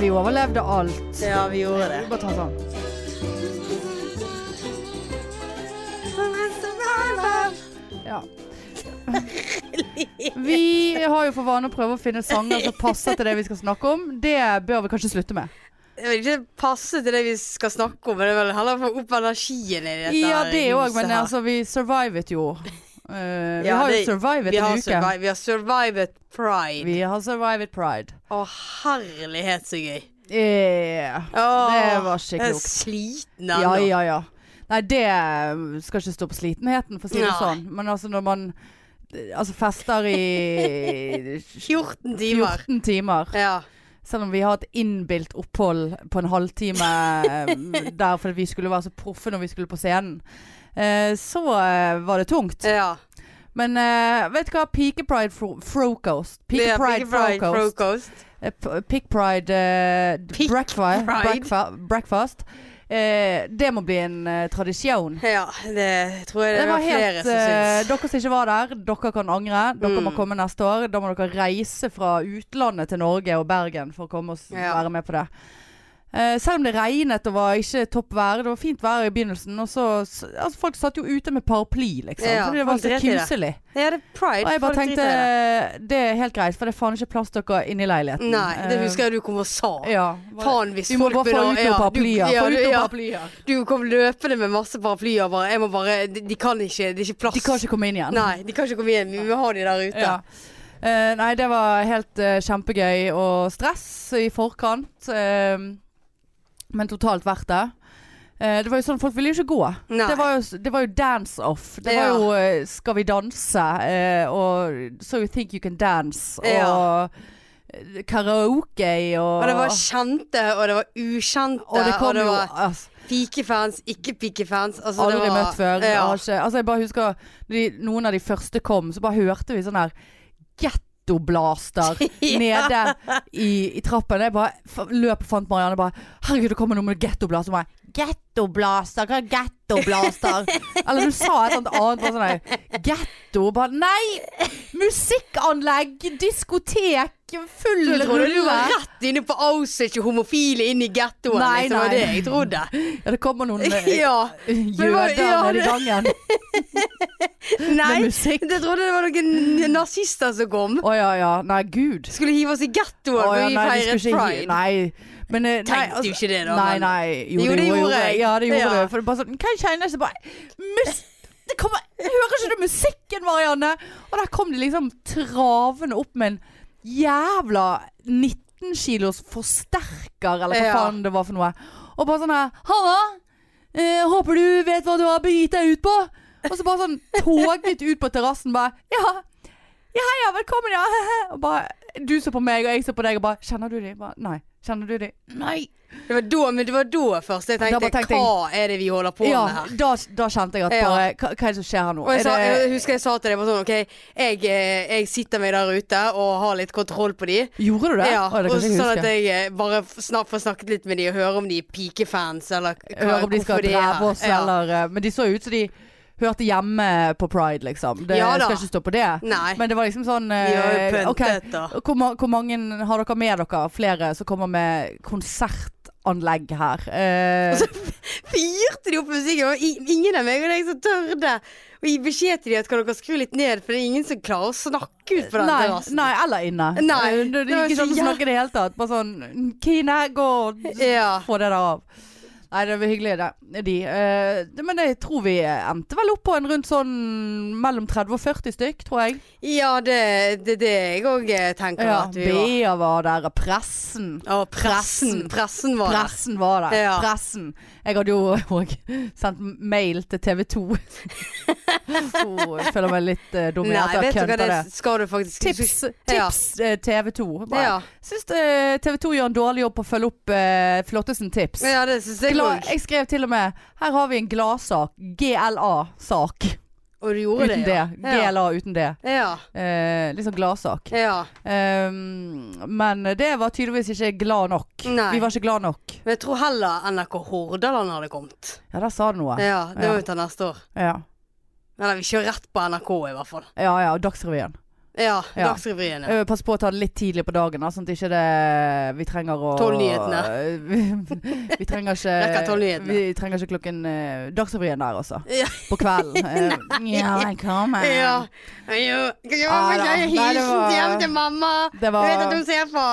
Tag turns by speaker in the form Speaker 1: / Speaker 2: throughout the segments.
Speaker 1: vi overlevde alt.
Speaker 2: Ja, vi gjorde
Speaker 1: Vi
Speaker 2: det.
Speaker 1: bare tar sånn. Ja. Vi har jo for vane å prøve å finne sanger som passer til det vi skal snakke om. Det bør vi kanskje slutte med.
Speaker 2: Det vil ikke passe til det vi skal snakke om, men det er vel heller for å få opp energien i dette
Speaker 1: Ja, det òg,
Speaker 2: huset
Speaker 1: men
Speaker 2: her.
Speaker 1: altså, vi survivet jo. Eh, vi
Speaker 2: Ja,
Speaker 1: har jo
Speaker 2: det-
Speaker 1: survivet
Speaker 2: vi har
Speaker 1: en uke.
Speaker 2: survi- vi har survived pride.
Speaker 1: Vi har survivet pride.
Speaker 2: Å, herlighet så gøy.
Speaker 1: Eh,
Speaker 2: Åh,
Speaker 1: Det var ikke
Speaker 2: Jeg er
Speaker 1: klokt.
Speaker 2: sliten
Speaker 1: ja,
Speaker 2: ennå.
Speaker 1: ja, ja. Nei, det eh, skal ikke stå på slitenheten, for å si det
Speaker 2: Nei.
Speaker 1: sånn. Men altså, når man eh, altså, fester i
Speaker 2: 14 timer.
Speaker 1: 14 timer
Speaker 2: Ja.
Speaker 1: Selv om vi har et innbilt opphold på en halvtime eh, der fordi vi skulle være så proffe når vi skulle på scenen. Eh, så eh, var det tungt.
Speaker 2: ja.
Speaker 1: Men eh, vet du hva? Pikepride fro- frokost.
Speaker 2: Det
Speaker 1: Pike
Speaker 2: er
Speaker 1: Pride
Speaker 2: Pike Pride
Speaker 1: frokost.
Speaker 2: frokost.
Speaker 1: Eh, p- Pike Pride eh,
Speaker 2: Pike
Speaker 1: breakfast.
Speaker 2: Pride.
Speaker 1: breakfa- breakfast. Eh, det må bli en eh, tradisjon.
Speaker 2: Ja, det tror jeg det,
Speaker 1: Det var
Speaker 2: flere
Speaker 1: helt
Speaker 2: som
Speaker 1: eh,
Speaker 2: syns.
Speaker 1: Dere som ikke var der, dere kan angre. Dere må
Speaker 2: Mm.
Speaker 1: komme neste år. Da må dere reise fra utlandet til Norge og Bergen for å komme og s-
Speaker 2: Ja.
Speaker 1: være med på det. Eh, selv om det regnet og var ikke topp vær. Det var fint vær i begynnelsen. Og så, s- altså folk satt jo ute med paraply, liksom.
Speaker 2: Ja,
Speaker 1: fordi det var
Speaker 2: folk
Speaker 1: så
Speaker 2: dreit i det.
Speaker 1: kuselig.
Speaker 2: Ja, det er pride.
Speaker 1: Og jeg bare
Speaker 2: folk
Speaker 1: tenkte eh,
Speaker 2: driter i det.
Speaker 1: det er helt greit, for det er faen ikke plass til dere inne i leiligheten.
Speaker 2: Nei, det
Speaker 1: Eh,
Speaker 2: husker jeg du kom og sa.
Speaker 1: ja, bare-
Speaker 2: Faen, hvis
Speaker 1: vi må
Speaker 2: folk
Speaker 1: bare få
Speaker 2: begynner-
Speaker 1: ut
Speaker 2: ja,
Speaker 1: noen
Speaker 2: du-
Speaker 1: paraplyer.
Speaker 2: ja,
Speaker 1: Få ut
Speaker 2: du-
Speaker 1: noen
Speaker 2: ja.
Speaker 1: paraplyer.
Speaker 2: Du kom løpende med masse paraplyer. Bare, jeg må bare de, de kan ikke. Det er ikke plass.
Speaker 1: De kan ikke komme inn igjen.
Speaker 2: Nei, de kan ikke komme inn. Vi må ha de der ute.
Speaker 1: Ja. Eh, nei, det var helt eh, kjempegøy og stress i forkant. eh, men totalt verdt det. Eh, det var jo sånn, Folk ville jo ikke gå.
Speaker 2: Nei.
Speaker 1: Det var jo, det var jo dance-off. Det
Speaker 2: Ja.
Speaker 1: var jo eh, 'Skal vi danse?' eh, og 'So you think you can dance?'
Speaker 2: Ja.
Speaker 1: og eh, karaoke og
Speaker 2: Og det var kjente, og det var ukjente.
Speaker 1: og det kom jo
Speaker 2: var
Speaker 1: altså,
Speaker 2: pikefans, ikke pikefans. Altså, det
Speaker 1: Aldri
Speaker 2: var,
Speaker 1: møtt før.
Speaker 2: Ja.
Speaker 1: har Ikke, altså jeg bare husker når de, Noen av de første kom, så bare hørte vi sånn her Gettoblaster nede i, i trappen. Jeg bare f- løp og fant Marianne bare 'Herregud, det kommer noen med gettoblaster.' Og bare 'Gettoblaster? Hva er gettoblaster?' Eller du sa et eller annet annet. Bare sånn her Getto? Bare Nei! Musikkanlegg! Diskotek! Full
Speaker 2: Du trodde du
Speaker 1: rulle!
Speaker 2: var rett inne på Auschwitz og homofile inn i gettoen.
Speaker 1: Nei,
Speaker 2: liksom, Det var
Speaker 1: nei.
Speaker 2: det jeg trodde.
Speaker 1: Ja, det kommer noen eh,
Speaker 2: ja. det var-
Speaker 1: jøder
Speaker 2: ja,
Speaker 1: nede i
Speaker 2: det-
Speaker 1: gangen med
Speaker 2: Nei,
Speaker 1: musikk.
Speaker 2: jeg trodde det var noen nazister som kom.
Speaker 1: Å ja, ja. Nei, gud.
Speaker 2: Skulle hive oss i gettoen
Speaker 1: Å,
Speaker 2: for
Speaker 1: ja,
Speaker 2: vi
Speaker 1: nei, de
Speaker 2: feiret
Speaker 1: skulle ikke gi-
Speaker 2: pride.
Speaker 1: Nei, men eh, nei,
Speaker 2: Tenkte jo ikke det da,
Speaker 1: Nei,
Speaker 2: men-
Speaker 1: nei. Jo,
Speaker 2: Jo, det gjorde jeg.
Speaker 1: Ja, det gjorde
Speaker 2: Ja.
Speaker 1: det. For det bare sånn Hva kjennes det bare mus det kommer, Hører ikke du musikken, Marianne? Og der kom de liksom travende opp med en jævla 19 kilos forsterker, eller hva
Speaker 2: Ja.
Speaker 1: faen det var for noe. Og bare sånn her Halla! Eh, håper du vet hva du har begitt deg ut på? Og så bare sånn toget ut på terrassen bare Ja, ja, velkommen, ja. Og bare, du så på meg, og jeg så på deg, og bare Kjenner du de? Bare, Nei. Kjenner du de? Nei.
Speaker 2: Det var da, men det var da først jeg
Speaker 1: Da
Speaker 2: tenkte
Speaker 1: bare tenkte jeg-
Speaker 2: hva er det vi holder på
Speaker 1: Ja,
Speaker 2: med her?
Speaker 1: da, da kjente jeg at
Speaker 2: Ja.
Speaker 1: bare Hva, hva er det som skjer her nå?
Speaker 2: Og jeg,
Speaker 1: Er
Speaker 2: sa,
Speaker 1: det,
Speaker 2: jeg husker jeg sa til deg bare sånn OK, jeg, eh, jeg sitter meg der ute og har litt kontroll på de.
Speaker 1: gjorde du det?
Speaker 2: Ja,
Speaker 1: Å, det
Speaker 2: og
Speaker 1: kan ikke jeg
Speaker 2: sånn at
Speaker 1: huske.
Speaker 2: jeg eh, bare f- snart får snakket litt med de og høre om de er pikefans eller k- hva-
Speaker 1: Hører om de skal
Speaker 2: hvorfor er her.
Speaker 1: drepe oss,
Speaker 2: Ja.
Speaker 1: eller eh, Men de så jo ut som de hørte hjemme på Pride, liksom. Det
Speaker 2: Ja da.
Speaker 1: skal ikke stå på det.
Speaker 2: Nei.
Speaker 1: Men det var liksom sånn
Speaker 2: de var jo
Speaker 1: eh,
Speaker 2: pøntet,
Speaker 1: ok,
Speaker 2: da.
Speaker 1: Hvor, ma- hvor mange har dere med dere? Flere som kommer med konsertanlegg her. Eh,
Speaker 2: Fyrte de opp musikken? Og i- ingen av meg og deg som tørde å gi beskjed til de at kan dere skru litt ned, for det er ingen som klarer å snakke ut på den
Speaker 1: nei,
Speaker 2: terrassen.
Speaker 1: nei, eller inne.
Speaker 2: Nei,
Speaker 1: Eh, det,
Speaker 2: det var
Speaker 1: gikk ikke
Speaker 2: så
Speaker 1: an å
Speaker 2: jæv-
Speaker 1: snakke i det hele tatt. Bare sånn Kine, gå og
Speaker 2: Ja.
Speaker 1: få det der av. Nei, det var hyggelig, det. De. Eh, det- men jeg tror vi endte vel opp på en rundt sånn mellom 30 og 40 stykk, tror jeg.
Speaker 2: ja, det er det, det jeg òg tenker
Speaker 1: Ja,
Speaker 2: at vi var.
Speaker 1: Bea var der, og pressen.
Speaker 2: Å, pressen. Pressen var der.
Speaker 1: Pressen var der.
Speaker 2: Ja.
Speaker 1: Pressen. Jeg hadde jo òg sendt mail til TV 2. Hun føler meg litt eh, dum i
Speaker 2: Nei,
Speaker 1: at jeg
Speaker 2: vet du hva,
Speaker 1: kødder
Speaker 2: det
Speaker 1: det.
Speaker 2: skal du faktisk
Speaker 1: Tips,
Speaker 2: Ja.
Speaker 1: tips eh, TV 2.
Speaker 2: Ja,
Speaker 1: Syns eh, TV 2 gjør en dårlig jobb på å følge opp eh, Flottesen tips.
Speaker 2: ja det syns jeg
Speaker 1: Gla
Speaker 2: òg.
Speaker 1: jeg skrev til og med Her har vi en gladsak. GLA-sak.
Speaker 2: Og du gjorde
Speaker 1: Uten det.
Speaker 2: ja. ja.
Speaker 1: GLA uten det.
Speaker 2: Ja.
Speaker 1: Eh, liksom gladsak.
Speaker 2: ja.
Speaker 1: Um, men det var tydeligvis ikke glad nok.
Speaker 2: Nei.
Speaker 1: Vi var ikke glad nok.
Speaker 2: Men jeg tror heller NRK Hordaland hadde kommet.
Speaker 1: Ja, der sa du noe.
Speaker 2: Ja, det
Speaker 1: Ja.
Speaker 2: må vi ta neste år.
Speaker 1: Ja.
Speaker 2: Eller vi kjører rett på NRK i hvert fall.
Speaker 1: Ja ja, og Dagsrevyen.
Speaker 2: Ja,
Speaker 1: Ja.
Speaker 2: Dagsrevyen. Ja.
Speaker 1: Eh, Pass på å ta det litt tidlig på dagen, da, sånn at ikke det Vi trenger å
Speaker 2: Tolvnyhetene.
Speaker 1: vi, vi trenger ikke
Speaker 2: Rekker tolvnyhetene.
Speaker 1: Vi trenger ikke klokken eh, Dagsrevyen der, altså.
Speaker 2: Ja.
Speaker 1: På kvelden. Eh, ja, eh. velkommen.
Speaker 2: Ja. Jo, kan jeg
Speaker 1: Ah,
Speaker 2: bare si
Speaker 1: da. Nei, det
Speaker 2: hilsen
Speaker 1: var-
Speaker 2: til hjem til mamma?
Speaker 1: Det
Speaker 2: Du vet at
Speaker 1: var,
Speaker 2: hun ser på.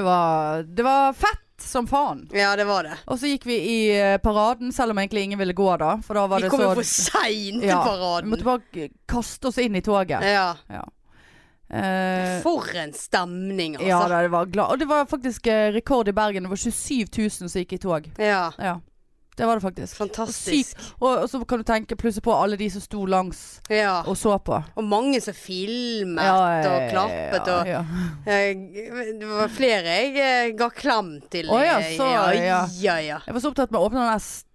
Speaker 1: det var Det var fett som faen.
Speaker 2: Ja, det var det.
Speaker 1: Og så gikk vi i eh, paraden, selv om egentlig ingen ville gå da. For da var
Speaker 2: Vi
Speaker 1: det
Speaker 2: kom jo
Speaker 1: så
Speaker 2: for seint til
Speaker 1: Ja, Vi
Speaker 2: paraden.
Speaker 1: måtte bare k- kaste oss inn i toget.
Speaker 2: Ja.
Speaker 1: Eh,
Speaker 2: For en stemning,
Speaker 1: ja,
Speaker 2: altså.
Speaker 1: da, det var glad. Og det var faktisk eh, rekord i Bergen. Det var 27 000 som gikk i tog.
Speaker 2: Ja.
Speaker 1: Ja, det var det faktisk.
Speaker 2: Fantastisk.
Speaker 1: Og, og så kan du tenke plutselig på alle de som sto langs
Speaker 2: Ja.
Speaker 1: og så på.
Speaker 2: Og mange som filmet Ah. og
Speaker 1: eh,
Speaker 2: klappet
Speaker 1: ja,
Speaker 2: og
Speaker 1: ja.
Speaker 2: Eh, Det var flere jeg eh, ga klem til.
Speaker 1: Å ja,
Speaker 2: eh,
Speaker 1: så,
Speaker 2: ja,
Speaker 1: ja.
Speaker 2: ja, ja.
Speaker 1: Jeg var så opptatt med å åpne den der s-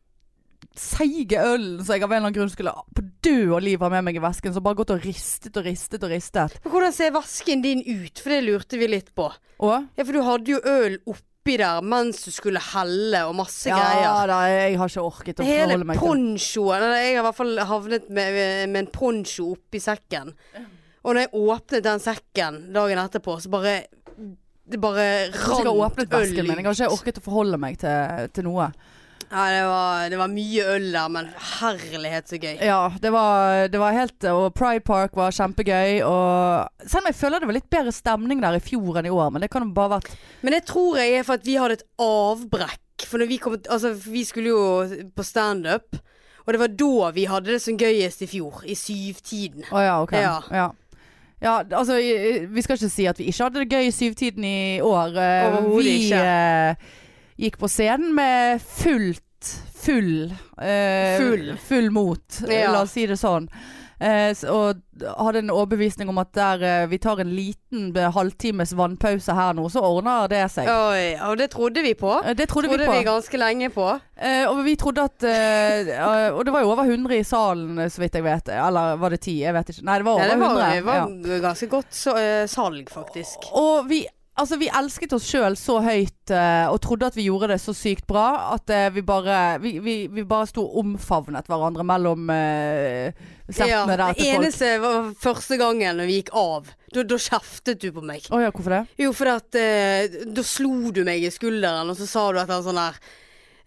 Speaker 1: seige ølen som jeg av en eller annen grunn skulle på død og liv ha med meg i vesken. Som bare gått og ristet og ristet og ristet.
Speaker 2: Men Hvordan ser vasken din ut? For det lurte vi litt på.
Speaker 1: Og
Speaker 2: Ja, For du hadde jo øl oppi der mens du skulle helle og masse
Speaker 1: Ja
Speaker 2: greier.
Speaker 1: da, jeg har ikke orket å
Speaker 2: Hele
Speaker 1: forholde meg til det.
Speaker 2: ponchoen Eller jeg har i hvert fall havnet med, med en poncho oppi sekken. Og når jeg åpnet den sekken dagen etterpå, så bare Det bare
Speaker 1: Jeg har
Speaker 2: rant
Speaker 1: åpnet
Speaker 2: øl
Speaker 1: vesken min. Jeg har ikke orket å forholde meg til, til noe.
Speaker 2: Ja, det var, det var mye øl der, men herlighet så gøy.
Speaker 1: Ja, det var, det var helt Og Pride Park var kjempegøy. Og selv om jeg føler det var litt bedre stemning der i fjor enn i år, men det kan jo bare vært
Speaker 2: Men det tror jeg er for at vi hadde et avbrekk. For når vi, kom, altså, vi skulle jo på standup, og det var da vi hadde det som gøyest i fjor. I syvtiden.
Speaker 1: Å ja, ok.
Speaker 2: Ja.
Speaker 1: Ja. ja. altså i- i- Vi skal ikke si at vi ikke hadde det gøy i syvtiden i år. Eh,
Speaker 2: Overhodet
Speaker 1: Vi
Speaker 2: ikke.
Speaker 1: eh, gikk på scenen med fullt Full eh,
Speaker 2: Full.
Speaker 1: full mot,
Speaker 2: Ja.
Speaker 1: la oss si det sånn. Eh, s- og hadde en overbevisning om at der eh, vi tar en liten eh, halvtimes vannpause her nå, så ordner det seg.
Speaker 2: Oi, og det trodde vi på.
Speaker 1: Eh, Det trodde,
Speaker 2: Trodde
Speaker 1: vi på.
Speaker 2: vi ganske lenge på.
Speaker 1: Eh, og vi trodde at eh, eh, Og det var jo over 100 i salen, eh, så vidt jeg vet. Eller var det 10? Jeg vet ikke. Nei, det var
Speaker 2: Ja,
Speaker 1: over
Speaker 2: det var,
Speaker 1: 100.
Speaker 2: det var
Speaker 1: ja.
Speaker 2: ganske godt så, eh, salg, faktisk.
Speaker 1: Og vi, altså, vi elsket oss sjøl så høyt eh, og trodde at vi gjorde det så sykt bra at eh, vi bare Vi, vi, vi bare sto og omfavnet hverandre mellom eh,
Speaker 2: Ja,
Speaker 1: settene der
Speaker 2: det
Speaker 1: til folk.
Speaker 2: eneste var første gangen når vi gikk av. Da, da kjeftet du på meg.
Speaker 1: Å ja, hvorfor det?
Speaker 2: Jo, for at eh, da slo du meg i skulderen, og så sa du et eller annet sånn her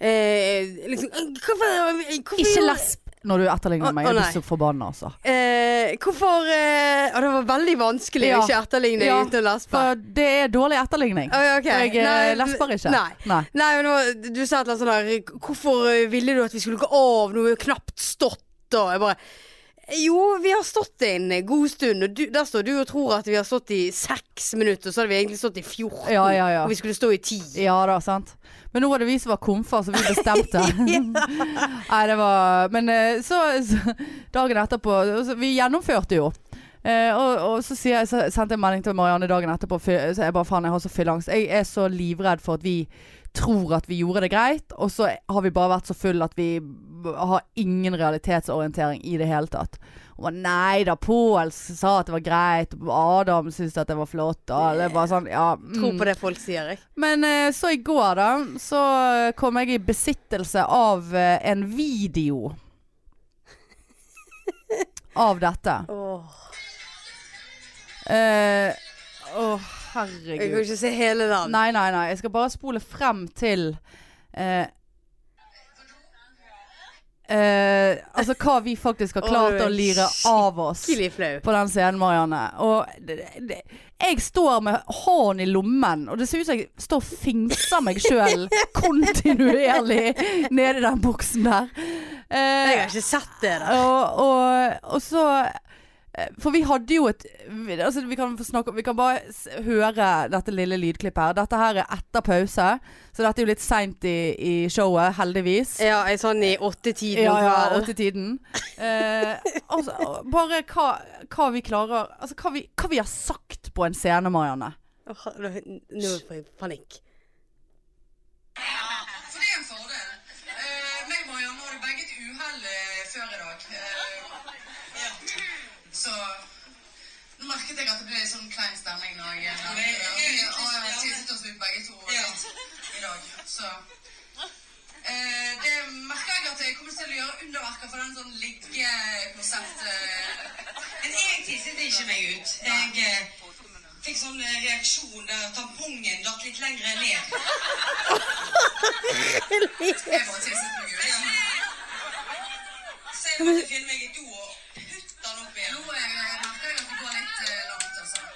Speaker 2: eh, liksom, hvorfor, hvorfor
Speaker 1: Ikke
Speaker 2: gjorde-
Speaker 1: lesp når du etterligner
Speaker 2: Å,
Speaker 1: meg.
Speaker 2: å,
Speaker 1: Jeg
Speaker 2: nei.
Speaker 1: blir så forbanna, altså.
Speaker 2: Eh, hvorfor eh, å, Det var veldig vanskelig å
Speaker 1: Ja.
Speaker 2: ikke etterligne
Speaker 1: Ja,
Speaker 2: uten å lespe.
Speaker 1: For det er dårlig etterligning.
Speaker 2: Å, ja, ok.
Speaker 1: Og jeg eh,
Speaker 2: Nei,
Speaker 1: lesper ikke.
Speaker 2: Nei.
Speaker 1: nei.
Speaker 2: Nei, men nå, du sa et eller annet sånn der Hvorfor eh, ville du at vi skulle gå av? Nå har vi jo knapt stått, og jeg bare jo, vi har stått en god stund, og du, der står du og tror at vi har stått i seks minutter, og så hadde vi egentlig stått i 14,
Speaker 1: Ja, ja, ja.
Speaker 2: og vi skulle stå i ti.
Speaker 1: Ja da, sant. Men nå var det vi som var komfer, så vi bestemte. Nei, det var Men eh, så, så dagen etterpå så, Vi gjennomførte jo. Eh, og, og så sier jeg, så sendte jeg melding til Marianne dagen etterpå. fy- Så jeg bare faen, jeg har så fylleangst. Jeg er så livredd for at vi tror at vi gjorde det greit, og så har vi bare vært så full at vi b- har ingen realitetsorientering i det hele tatt. Og bare, nei da, Pål sa at det var greit, og Adam syntes at det var flott, og alle bare sånn ja,
Speaker 2: Tro
Speaker 1: mm.
Speaker 2: på det folk sier, jeg.
Speaker 1: Men eh, så i går da, så eh, kom jeg i besittelse av eh, en video av dette. Eh, Å,
Speaker 2: Jeg kan
Speaker 1: herregud.
Speaker 2: ikke se hele den.
Speaker 1: Nei, nei, nei. Jeg skal bare spole frem til eh, eh, altså hva vi faktisk har
Speaker 2: Å,
Speaker 1: klart
Speaker 2: du er
Speaker 1: å lire av oss
Speaker 2: Skikkelig flau.
Speaker 1: på den scenen, Marianne. Og det, det, jeg står med hånden i lommen, og det ser ut som jeg står og fingser meg sjøl kontinuerlig nedi den buksen der. Eh,
Speaker 2: Jeg har ikke sett det der.
Speaker 1: og, og, og så eh, For vi hadde jo et vi- altså vi, kan få snakke, om- vi kan bare s- høre dette lille lydklippet her. Dette her er etter pause, så dette er jo litt seint i, i showet, heldigvis.
Speaker 2: Ja, jeg sånn i åttetiden
Speaker 1: Ja,
Speaker 2: om
Speaker 1: ja,
Speaker 2: kvelden.
Speaker 1: åttetiden. Eh, altså, bare hva, hva vi klarer Altså hva vi, hva vi har sagt på en scene, Marianne.
Speaker 2: Åh, Nå nå får jeg panikk.
Speaker 3: Så det er en fordel. Eh, meg og Marianne hadde begge et uhell eh, før i dag. Eh, ja. Så nå merket jeg at det ble litt sånn klein stemning i dag. Ja, vi har tisset oss ut begge to litt i dag. Så eh, det merker jeg at jeg kommer til å gjøre underverker for den sånn liggekonsept. Eh. Men jeg tisset i ikke meg ut. Jeg eh, fikk sånn eh, reaksjon der tampongen datt litt lengre ned. Jeg bare tisset på gulvet. Så jeg måtte finne meg i do og putte den opp igjen. Nå eh, merker jeg at det går litt eh, langt, altså.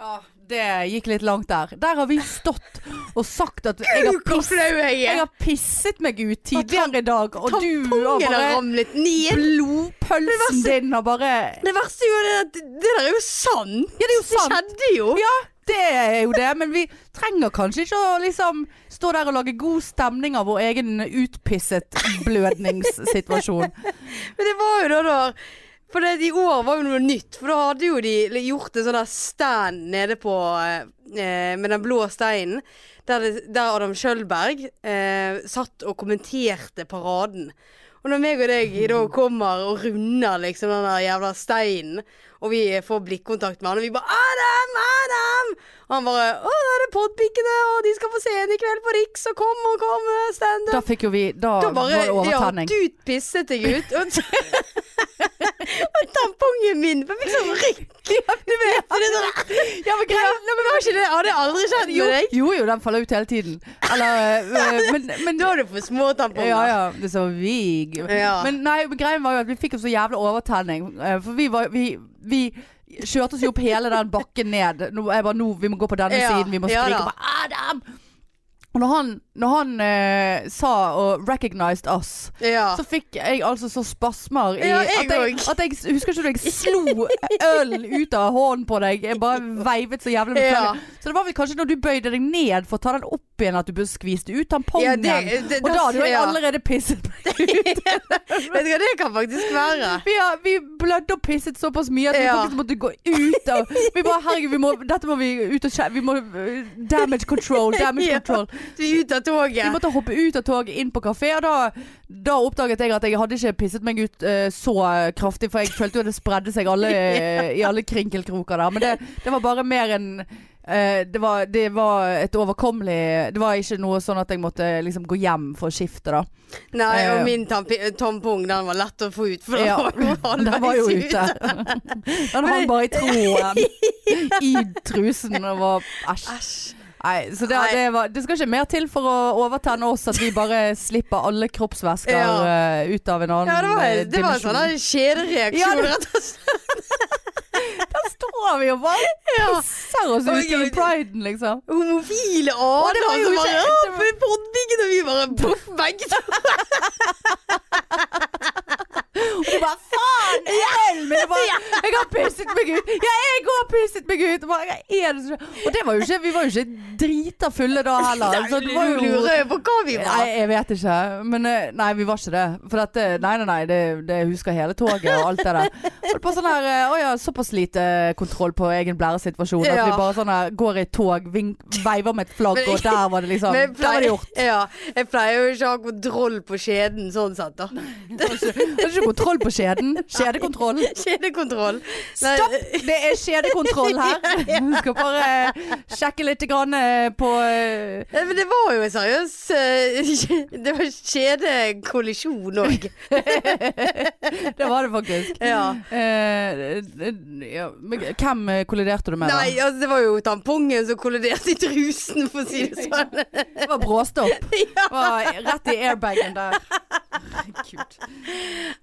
Speaker 1: Ja, det gikk litt langt der. Der har vi stått og sagt at jeg har,
Speaker 2: Hvor
Speaker 1: piss,
Speaker 2: flau jeg
Speaker 1: jeg
Speaker 2: er.
Speaker 1: har pisset meg ut tidligere i dag, og du har
Speaker 2: Tampongen har
Speaker 1: bare
Speaker 2: ramlet ned.
Speaker 1: Blodpølsen din har bare
Speaker 2: Det verste er jo det at det der er jo sant.
Speaker 1: Ja, det er jo sant.
Speaker 2: skjedde jo.
Speaker 1: Ja, det er jo det, men vi trenger kanskje ikke å liksom stå der og lage god stemning av vår egen utpisset blødningssituasjon.
Speaker 2: Men det var jo da da For det, i år var jo noe nytt For da hadde jo de li- gjort en sånn der stand Nede på eh, Med den blå steinen Der, det, der Adam Kjølberg eh, Satt og kommenterte paraden Og når meg og deg i dag kommer Og runder liksom den der jævla steinen Og vi får blikkontakt med han Og vi bare Adam, Adam Og han bare Åh, det er det podpikkene Og de skal få se henne i kveld på Riks Og kom og kom stand up
Speaker 1: Da fikk jo vi Da,
Speaker 2: da bare,
Speaker 1: var det
Speaker 2: ja,
Speaker 1: overtenning.
Speaker 2: du pisset deg ut. Og, og tampongen min bare fikk sånn rykk. Du vet, det er sånn
Speaker 1: Ja, men greia
Speaker 2: Nei, men var ikke det Hadde jeg aldri skjedd
Speaker 1: jo,
Speaker 2: med deg?
Speaker 1: jo, jo, den faller ut hele tiden. Eller øh, Men, men
Speaker 2: Da er du for små tamponger.
Speaker 1: Ja, ja. Det er så vig.
Speaker 2: Ja.
Speaker 1: Men nei, men greien var jo at vi fikk jo så jævla overtenning. eh, For vi var Vi, vi kjørte oss jo opp hele den bakken ned. Nå, jeg bare, nå, vi må gå på denne
Speaker 2: Ja,
Speaker 1: siden, vi må
Speaker 2: ja
Speaker 1: skrike
Speaker 2: da.
Speaker 1: på Adam! Og når han, når han eh, sa og recognized us,
Speaker 2: Ja.
Speaker 1: så fikk jeg altså så spasmer i
Speaker 2: Ja, jeg
Speaker 1: at, jeg,
Speaker 2: òg.
Speaker 1: at jeg husker ikke at jeg slo øl ut av hånden på deg. Jeg bare veivet så jævlig med
Speaker 2: Ja.
Speaker 1: flagget. Så det var vel kanskje når du bøyde deg ned for å ta den opp igjen at du burde skviste ut tampongen.
Speaker 2: Ja, det- det-
Speaker 1: og da hadde jo jeg
Speaker 2: ja.
Speaker 1: allerede pisset meg.
Speaker 2: Vet du hva det kan faktisk være?
Speaker 1: Vi, har, vi blødde og pisset såpass mye at vi
Speaker 2: Ja.
Speaker 1: faktisk måtte gå ut av Vi bare herregud, vi må, dette må vi ut og sjekke. Vi må øh, Damage control, damage
Speaker 2: Ja.
Speaker 1: control.
Speaker 2: Du er ute av
Speaker 1: Vi
Speaker 2: toget.
Speaker 1: måtte hoppe ut av toget, inn på kafé, og da, da oppdaget jeg at jeg hadde ikke pisset meg ut eh, så kraftig, for jeg følte jo det spredde seg alle, eh, i alle krinkelkroker der. Men det, det var bare mer enn eh, det, var, det var et overkommelig Det var ikke noe sånn at jeg måtte liksom gå hjem for å skifte, da.
Speaker 2: Nei, og
Speaker 1: Eh.
Speaker 2: min tampi- tampong den var lett å få ut, for den
Speaker 1: Ja,
Speaker 2: var jo
Speaker 1: Den var jo
Speaker 2: halvveis
Speaker 1: ute.
Speaker 2: ute.
Speaker 1: Den hang bare i tråden i trusen og var Æsj.
Speaker 2: Æsj.
Speaker 1: Nei, så det,
Speaker 2: Nei.
Speaker 1: det, var, det skal ikke mer til for å overtenne oss at vi bare slipper alle kroppsvæsker
Speaker 2: Ja.
Speaker 1: eh, ut av en annen
Speaker 2: Ja, det var,
Speaker 1: eh,
Speaker 2: det var en
Speaker 1: dimensjon.
Speaker 2: sånn der
Speaker 1: Ja,
Speaker 2: kjedereaksjon,
Speaker 1: det-
Speaker 2: rett og slett.
Speaker 1: Der står vi og bare pisser oss ut i
Speaker 2: Oi,
Speaker 1: priden, liksom.
Speaker 2: Homofile
Speaker 1: Å, det
Speaker 2: Adam
Speaker 1: var jo
Speaker 2: som
Speaker 1: ikke-
Speaker 2: bare
Speaker 1: det
Speaker 2: «Å, for poddingen, og vi bare poff, begge to.
Speaker 1: Og du bare faen, ølen min! Jeg bare, Jeg har pisset meg ut! Ja, jeg har pisset meg ut! Og, bare, «Hva er det som skjer?» og det var jo ikke, vi var jo ikke drita fulle da heller. Så
Speaker 2: Du
Speaker 1: det var altså, jo altså,
Speaker 2: lurer jo på hva vi
Speaker 1: Nei,
Speaker 2: var.
Speaker 1: jeg vet ikke. Men eh, nei, vi var ikke det. For dette, nei, nei, nei, det, det husker hele toget og alt det der. Og det bare sånn her, eh, å ja, såpass lite eh, kontroll på egen blæresituasjon at
Speaker 2: Ja.
Speaker 1: vi bare sånn her går i et tog, vink, veiver med et flagg,
Speaker 2: Men-
Speaker 1: og der var det liksom
Speaker 2: Men jeg
Speaker 1: Der var det gjort.
Speaker 2: pleier- Ja, jeg pleier jo ikke å ha kontroll på skjeden sånn sett, da.
Speaker 1: Det er ikke kontroll på skjeden. Skjedekontroll.
Speaker 2: Skjedekontroll. Nei,
Speaker 1: Stopp! Det er skjedekontroll her. Vi skal bare eh, sjekke litt grann eh, på eh,
Speaker 2: Nei, Men det var jo en seriøs eh, kje- Det var skjedekollisjon òg.
Speaker 1: Det var det faktisk.
Speaker 2: Ja.
Speaker 1: Eh, ja, men hvem eh, kolliderte du med?
Speaker 2: Nei,
Speaker 1: da?
Speaker 2: altså det var jo tampongen som kolliderte i trusen, for å si det sånn.
Speaker 1: Det var bråstopp. Det var rett i airbagen der. Herregud.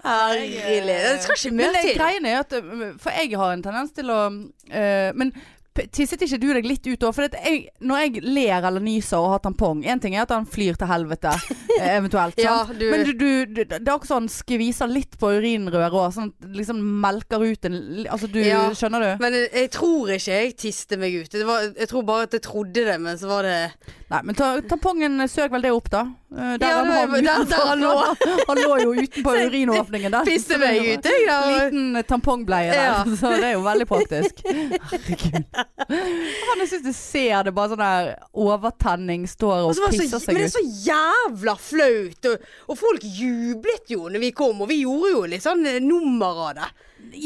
Speaker 1: Eh,
Speaker 2: Herlig. Det skal ikke
Speaker 1: Men
Speaker 2: mer
Speaker 1: det
Speaker 2: til.
Speaker 1: greien er at øh, For jeg har en tendens til å øh, Men p- tisset ikke du deg litt ut òg? For at jeg, når jeg ler eller nyser og har tampong En ting er at han flyr til helvete, eh, eventuelt.
Speaker 2: Ja,
Speaker 1: sant?
Speaker 2: du-
Speaker 1: Men du, du, du, det er akkurat sånn skviser litt på urinrøret òg. Sånn, at det liksom melker ut en li- Altså, du
Speaker 2: Ja.
Speaker 1: Skjønner du?
Speaker 2: Men jeg, jeg tror ikke jeg tiste meg ut. Det var, jeg tror bare at jeg trodde det, men så var det
Speaker 1: Nei, men ta, tampongen søk vel det opp, da. Eh, Der
Speaker 2: Ja,
Speaker 1: han
Speaker 2: det
Speaker 1: hang
Speaker 2: var- der- der han lå.
Speaker 1: Han lå jo utenpå urinåpningen der.
Speaker 2: Piste meg ut, jeg. da.
Speaker 1: Liten eh, tampongbleie der,
Speaker 2: Ja.
Speaker 1: så det er jo veldig praktisk. Herregud. Faen, jeg syns du ser det bare sånn der overtenning står
Speaker 2: Og
Speaker 1: og
Speaker 2: så var Altså, det
Speaker 1: pisser
Speaker 2: så,
Speaker 1: seg
Speaker 2: men det er
Speaker 1: ut.
Speaker 2: så jævla flaut, og, og folk jublet jo når vi kom, og vi gjorde jo litt sånn eh, nummer av det.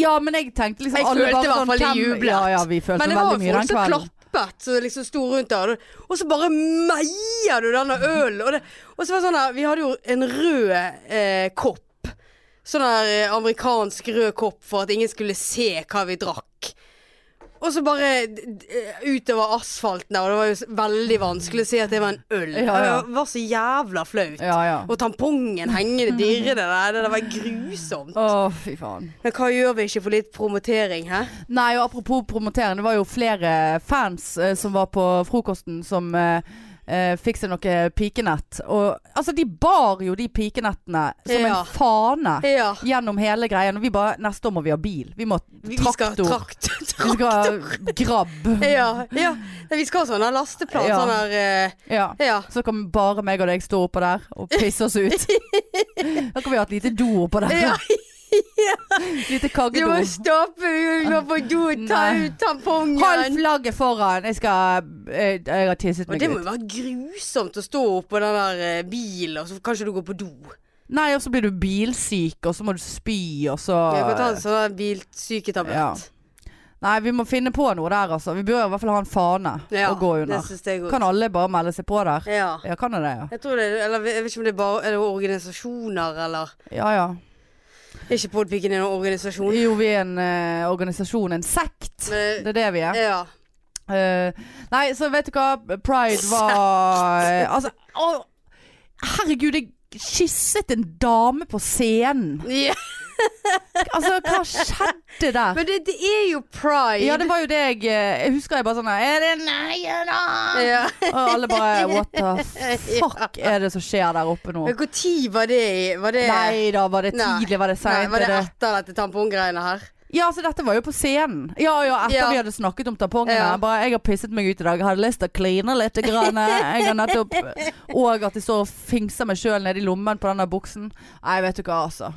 Speaker 1: Ja, men jeg tenkte liksom
Speaker 2: Jeg følte
Speaker 1: alle
Speaker 2: i
Speaker 1: bare
Speaker 2: hvert
Speaker 1: sånn,
Speaker 2: fall de
Speaker 1: hvem-
Speaker 2: jublet.
Speaker 1: Ja, ja, vi følte
Speaker 2: Men det var
Speaker 1: veldig mye
Speaker 2: folk
Speaker 1: den
Speaker 2: som
Speaker 1: kvelden.
Speaker 2: klappet, så liksom sto rundt der, og, og så bare meier du denne ølen. Og, det, og så var det sånn der, vi hadde jo en rød eh, kopp. Sånn der eh, amerikansk rød kopp for at ingen skulle se hva vi drakk. Og så bare d- d- utover asfalten der, og det var jo s- veldig vanskelig å si at det var en øl.
Speaker 1: Ja, ja.
Speaker 2: Det var så jævla flaut.
Speaker 1: Ja, ja.
Speaker 2: Og tampongen hengende dirrende der, det der var grusomt.
Speaker 1: Å, fy faen.
Speaker 2: Men hva gjør vi ikke for litt promotering, hæ?
Speaker 1: Nei, og apropos promotering, det var jo flere fans eh, som var på frokosten som eh, eh, fikk seg noe pikenett. Og altså, de bar jo de pikenettene som
Speaker 2: Ja.
Speaker 1: en fane
Speaker 2: Ja.
Speaker 1: gjennom hele greien. Og vi bare Neste år må vi ha bil. Vi må
Speaker 2: Vi, vi skal
Speaker 1: traktor.
Speaker 2: trakt,
Speaker 1: Vi
Speaker 2: trakt.
Speaker 1: skal ha grabb.
Speaker 2: Ja, ja. Nei, vi skal ha sånn der lasteplan,
Speaker 1: Ja.
Speaker 2: sånn der
Speaker 1: Ja.
Speaker 2: eh, Ja.
Speaker 1: Så kan bare meg og deg stå oppå der og pisse oss ut. Da kan vi ha et lite do oppå der.
Speaker 2: Ja.
Speaker 1: Lite
Speaker 2: Du må
Speaker 1: kaggedo.
Speaker 2: stoppe, vi må på do, ta
Speaker 1: Nei.
Speaker 2: ut tampongen.
Speaker 1: Hold flagget foran. Jeg skal Jeg, jeg har tisset
Speaker 2: Og
Speaker 1: meg
Speaker 2: det må
Speaker 1: ut.
Speaker 2: jo være grusomt å stå oppå den der eh, bilen, og så kanskje du går på do.
Speaker 1: Nei, og så blir du bilsyk, og så må du spy, og så
Speaker 2: Jeg kan ta en sånn der bilsyketablett.
Speaker 1: Nei, vi må finne på noe der, altså. Vi bør i hvert fall ha en fane å gå
Speaker 2: det
Speaker 1: under.
Speaker 2: synes jeg er godt.
Speaker 1: Kan alle bare melde seg på der?
Speaker 2: Ja.
Speaker 1: Ja, kan jeg det, ja.
Speaker 2: Jeg tror det, eller jeg vet ikke om det er bare er det organisasjoner, eller
Speaker 1: Ja ja.
Speaker 2: Er ikke Podpiken en organisasjon?
Speaker 1: Jo, vi er en eh, organisasjon, en sekt.
Speaker 2: Men- eh,
Speaker 1: Det er det vi er.
Speaker 2: Ja.
Speaker 1: Eh, nei, så vet du hva? Pride var eh, Altså, å, herregud, jeg kysset en dame på scenen.
Speaker 2: ja.
Speaker 1: Altså, hva skjedde der?
Speaker 2: Men det, det er jo pride.
Speaker 1: Ja, det var jo det jeg eh, Jeg husker jeg bare sånn Er det nøye, da?
Speaker 2: ja.
Speaker 1: Og alle bare What the fuck er det som skjer der oppe nå?
Speaker 2: Men hvor tid var det? i- Var det
Speaker 1: Nei da, var det
Speaker 2: Nei.
Speaker 1: tidlig? Var det
Speaker 2: Nei,
Speaker 1: seint?
Speaker 2: var det etter dette tampongreiene her?
Speaker 1: Ja, så dette var jo på scenen. Ja, ja, etter
Speaker 2: Ja.
Speaker 1: vi hadde snakket om tampongene.
Speaker 2: Ja.
Speaker 1: Bare, jeg har pisset meg ut i dag. Jeg hadde lyst til å kline litt. Grann. Jeg har nettopp Og at jeg står og fingser meg sjøl nedi lommen på denne buksen. Nei, vet du hva, altså.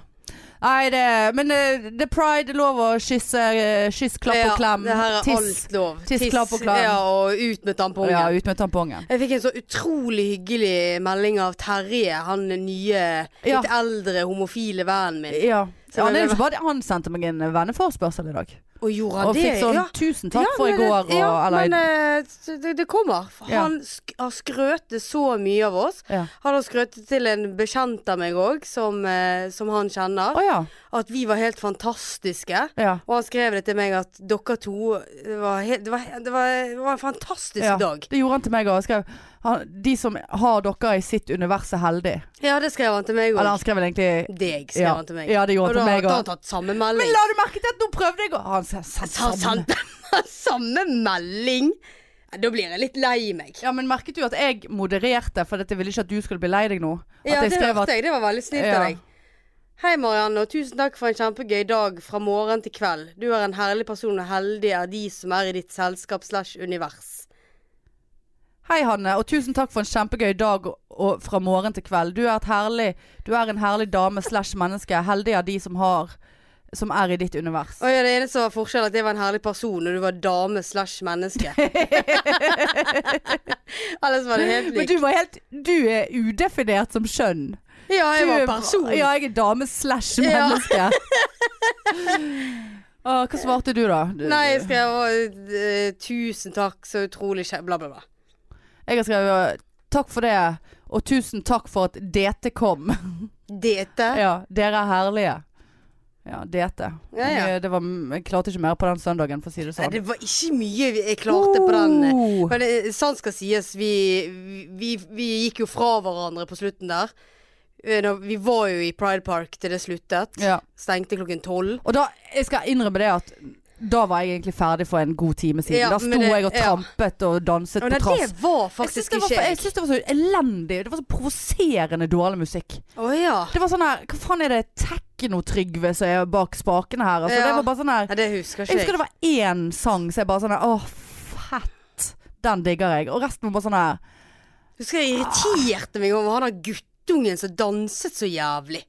Speaker 1: Nei, det Men eh, det er pride. Det er lov å kysse. eh, Kyss, klapp og klem.
Speaker 2: Det her er
Speaker 1: Tiss.
Speaker 2: alt lov.
Speaker 1: Tiss, klapp og klem.
Speaker 2: Ja, og ut med tampongen.
Speaker 1: Ja, ut med tampongen.
Speaker 2: Jeg fikk en så utrolig hyggelig melding av Terje, han nye,
Speaker 1: Ja.
Speaker 2: litt eldre, homofile vennen min.
Speaker 1: Ja.
Speaker 2: Så
Speaker 1: ja
Speaker 2: det-
Speaker 1: det er jo ikke bare det. Han sendte meg en venneforespørsel i dag.
Speaker 2: Og gjorde han
Speaker 1: Og
Speaker 2: det?
Speaker 1: fikk sånn
Speaker 2: ja.
Speaker 1: tusen takk
Speaker 2: Ja,
Speaker 1: for i
Speaker 2: men det-
Speaker 1: går. Og,
Speaker 2: ja,
Speaker 1: eller,
Speaker 2: men eh, så det, det kommer. For
Speaker 1: Ja.
Speaker 2: Han sk har skrøtet så mye av oss.
Speaker 1: ja.
Speaker 2: Han har skrøtet til en bekjent av meg òg, som, eh, som han kjenner.
Speaker 1: Å ja.
Speaker 2: At vi var helt fantastiske.
Speaker 1: ja.
Speaker 2: Og han skrev det til meg at dere to Det var, helt, det var, det var, det var en fantastisk
Speaker 1: Ja,
Speaker 2: dag.
Speaker 1: Det gjorde han til meg òg. Skrev han, 'De som har dere i sitt univers, er heldige'.
Speaker 2: Ja, det skrev han til meg
Speaker 1: Eller han
Speaker 2: òg.
Speaker 1: skrev vel egentlig
Speaker 2: Deg skrev
Speaker 1: ja,
Speaker 2: han til meg.
Speaker 1: ja, det gjorde
Speaker 2: og
Speaker 1: han til
Speaker 2: da
Speaker 1: meg
Speaker 2: hadde han
Speaker 1: òg.
Speaker 2: tatt samme melding.
Speaker 1: Men la du merke til at nå prøvde jeg å Han sa sa-
Speaker 2: Sa
Speaker 1: samme.
Speaker 2: sendte meg samme melding. Ja, Da blir jeg litt lei meg.
Speaker 1: Ja, men merket du at jeg modererte, for at jeg ville ikke at du skulle bli lei deg nå? At
Speaker 2: Ja,
Speaker 1: jeg
Speaker 2: det
Speaker 1: skrev
Speaker 2: hørte
Speaker 1: at
Speaker 2: jeg. Det var veldig snilt
Speaker 1: Ja.
Speaker 2: av deg. Hei, Marianne, og tusen takk for en kjempegøy dag fra morgen til kveld. Du er en herlig person, og heldig er de som er i ditt selskap slash univers.
Speaker 1: Hei, Hanne, og tusen takk for en kjempegøy dag og, og fra morgen til kveld. Du er, et herlig, du er en herlig dame slash menneske. Heldig av de som har Som er i ditt univers.
Speaker 2: Å ja, det eneste som var forskjellen, at jeg var en herlig person, og du var dame slash menneske. Ellers var det helt
Speaker 1: Men
Speaker 2: likt.
Speaker 1: du var helt Du er udefinert som kjønn.
Speaker 2: Ja, jeg var
Speaker 1: Du-
Speaker 2: person.
Speaker 1: Ja, jeg er dame slash menneske. Å, hva svarte du da? Du-
Speaker 2: Nei, jeg skrev eh, tusen takk, så utrolig kjæ... Bla, bla, bla.
Speaker 1: Jeg har skrevet takk for det, og tusen takk for at dete kom.
Speaker 2: Dete.
Speaker 1: ja, dere er herlige. Ja, dete.
Speaker 2: Ja, ja.
Speaker 1: Jeg, det var, jeg klarte ikke mer på den søndagen, for å si det
Speaker 2: Nei,
Speaker 1: sånn.
Speaker 2: det var ikke mye vi- jeg klarte på den. eh,
Speaker 1: Oh.
Speaker 2: Men eh, sant skal sies, vi, vi, vi gikk jo fra hverandre på slutten der. Eh, da- Vi var jo i Pride Park til det sluttet.
Speaker 1: Ja.
Speaker 2: Stengte klokken tolv.
Speaker 1: Og da, jeg skal innrømme det at da var jeg egentlig ferdig for en god time siden.
Speaker 2: Ja,
Speaker 1: da
Speaker 2: men
Speaker 1: sto
Speaker 2: det-
Speaker 1: jeg og
Speaker 2: ja.
Speaker 1: trampet og danset
Speaker 2: Og Nei,
Speaker 1: på
Speaker 2: det
Speaker 1: trass.
Speaker 2: var
Speaker 1: Jeg syns
Speaker 2: faktisk
Speaker 1: det, var-
Speaker 2: ikke
Speaker 1: jeg
Speaker 2: jeg.
Speaker 1: syns det var så elendig. Det var så provoserende dårlig musikk.
Speaker 2: Å ja.
Speaker 1: Det var sånn her Hva faen er det Tekno-Trygve som er bak spakene her? Altså,
Speaker 2: Ja.
Speaker 1: Det var bare sånn her
Speaker 2: Nei, det husker
Speaker 1: Jeg
Speaker 2: ikke
Speaker 1: husker
Speaker 2: jeg.
Speaker 1: det var én sang som jeg bare sånn her Å, fett. Den digger jeg. Og resten var bare sånn her
Speaker 2: Husker jeg irriterte meg over han der guttungen som danset så jævlig.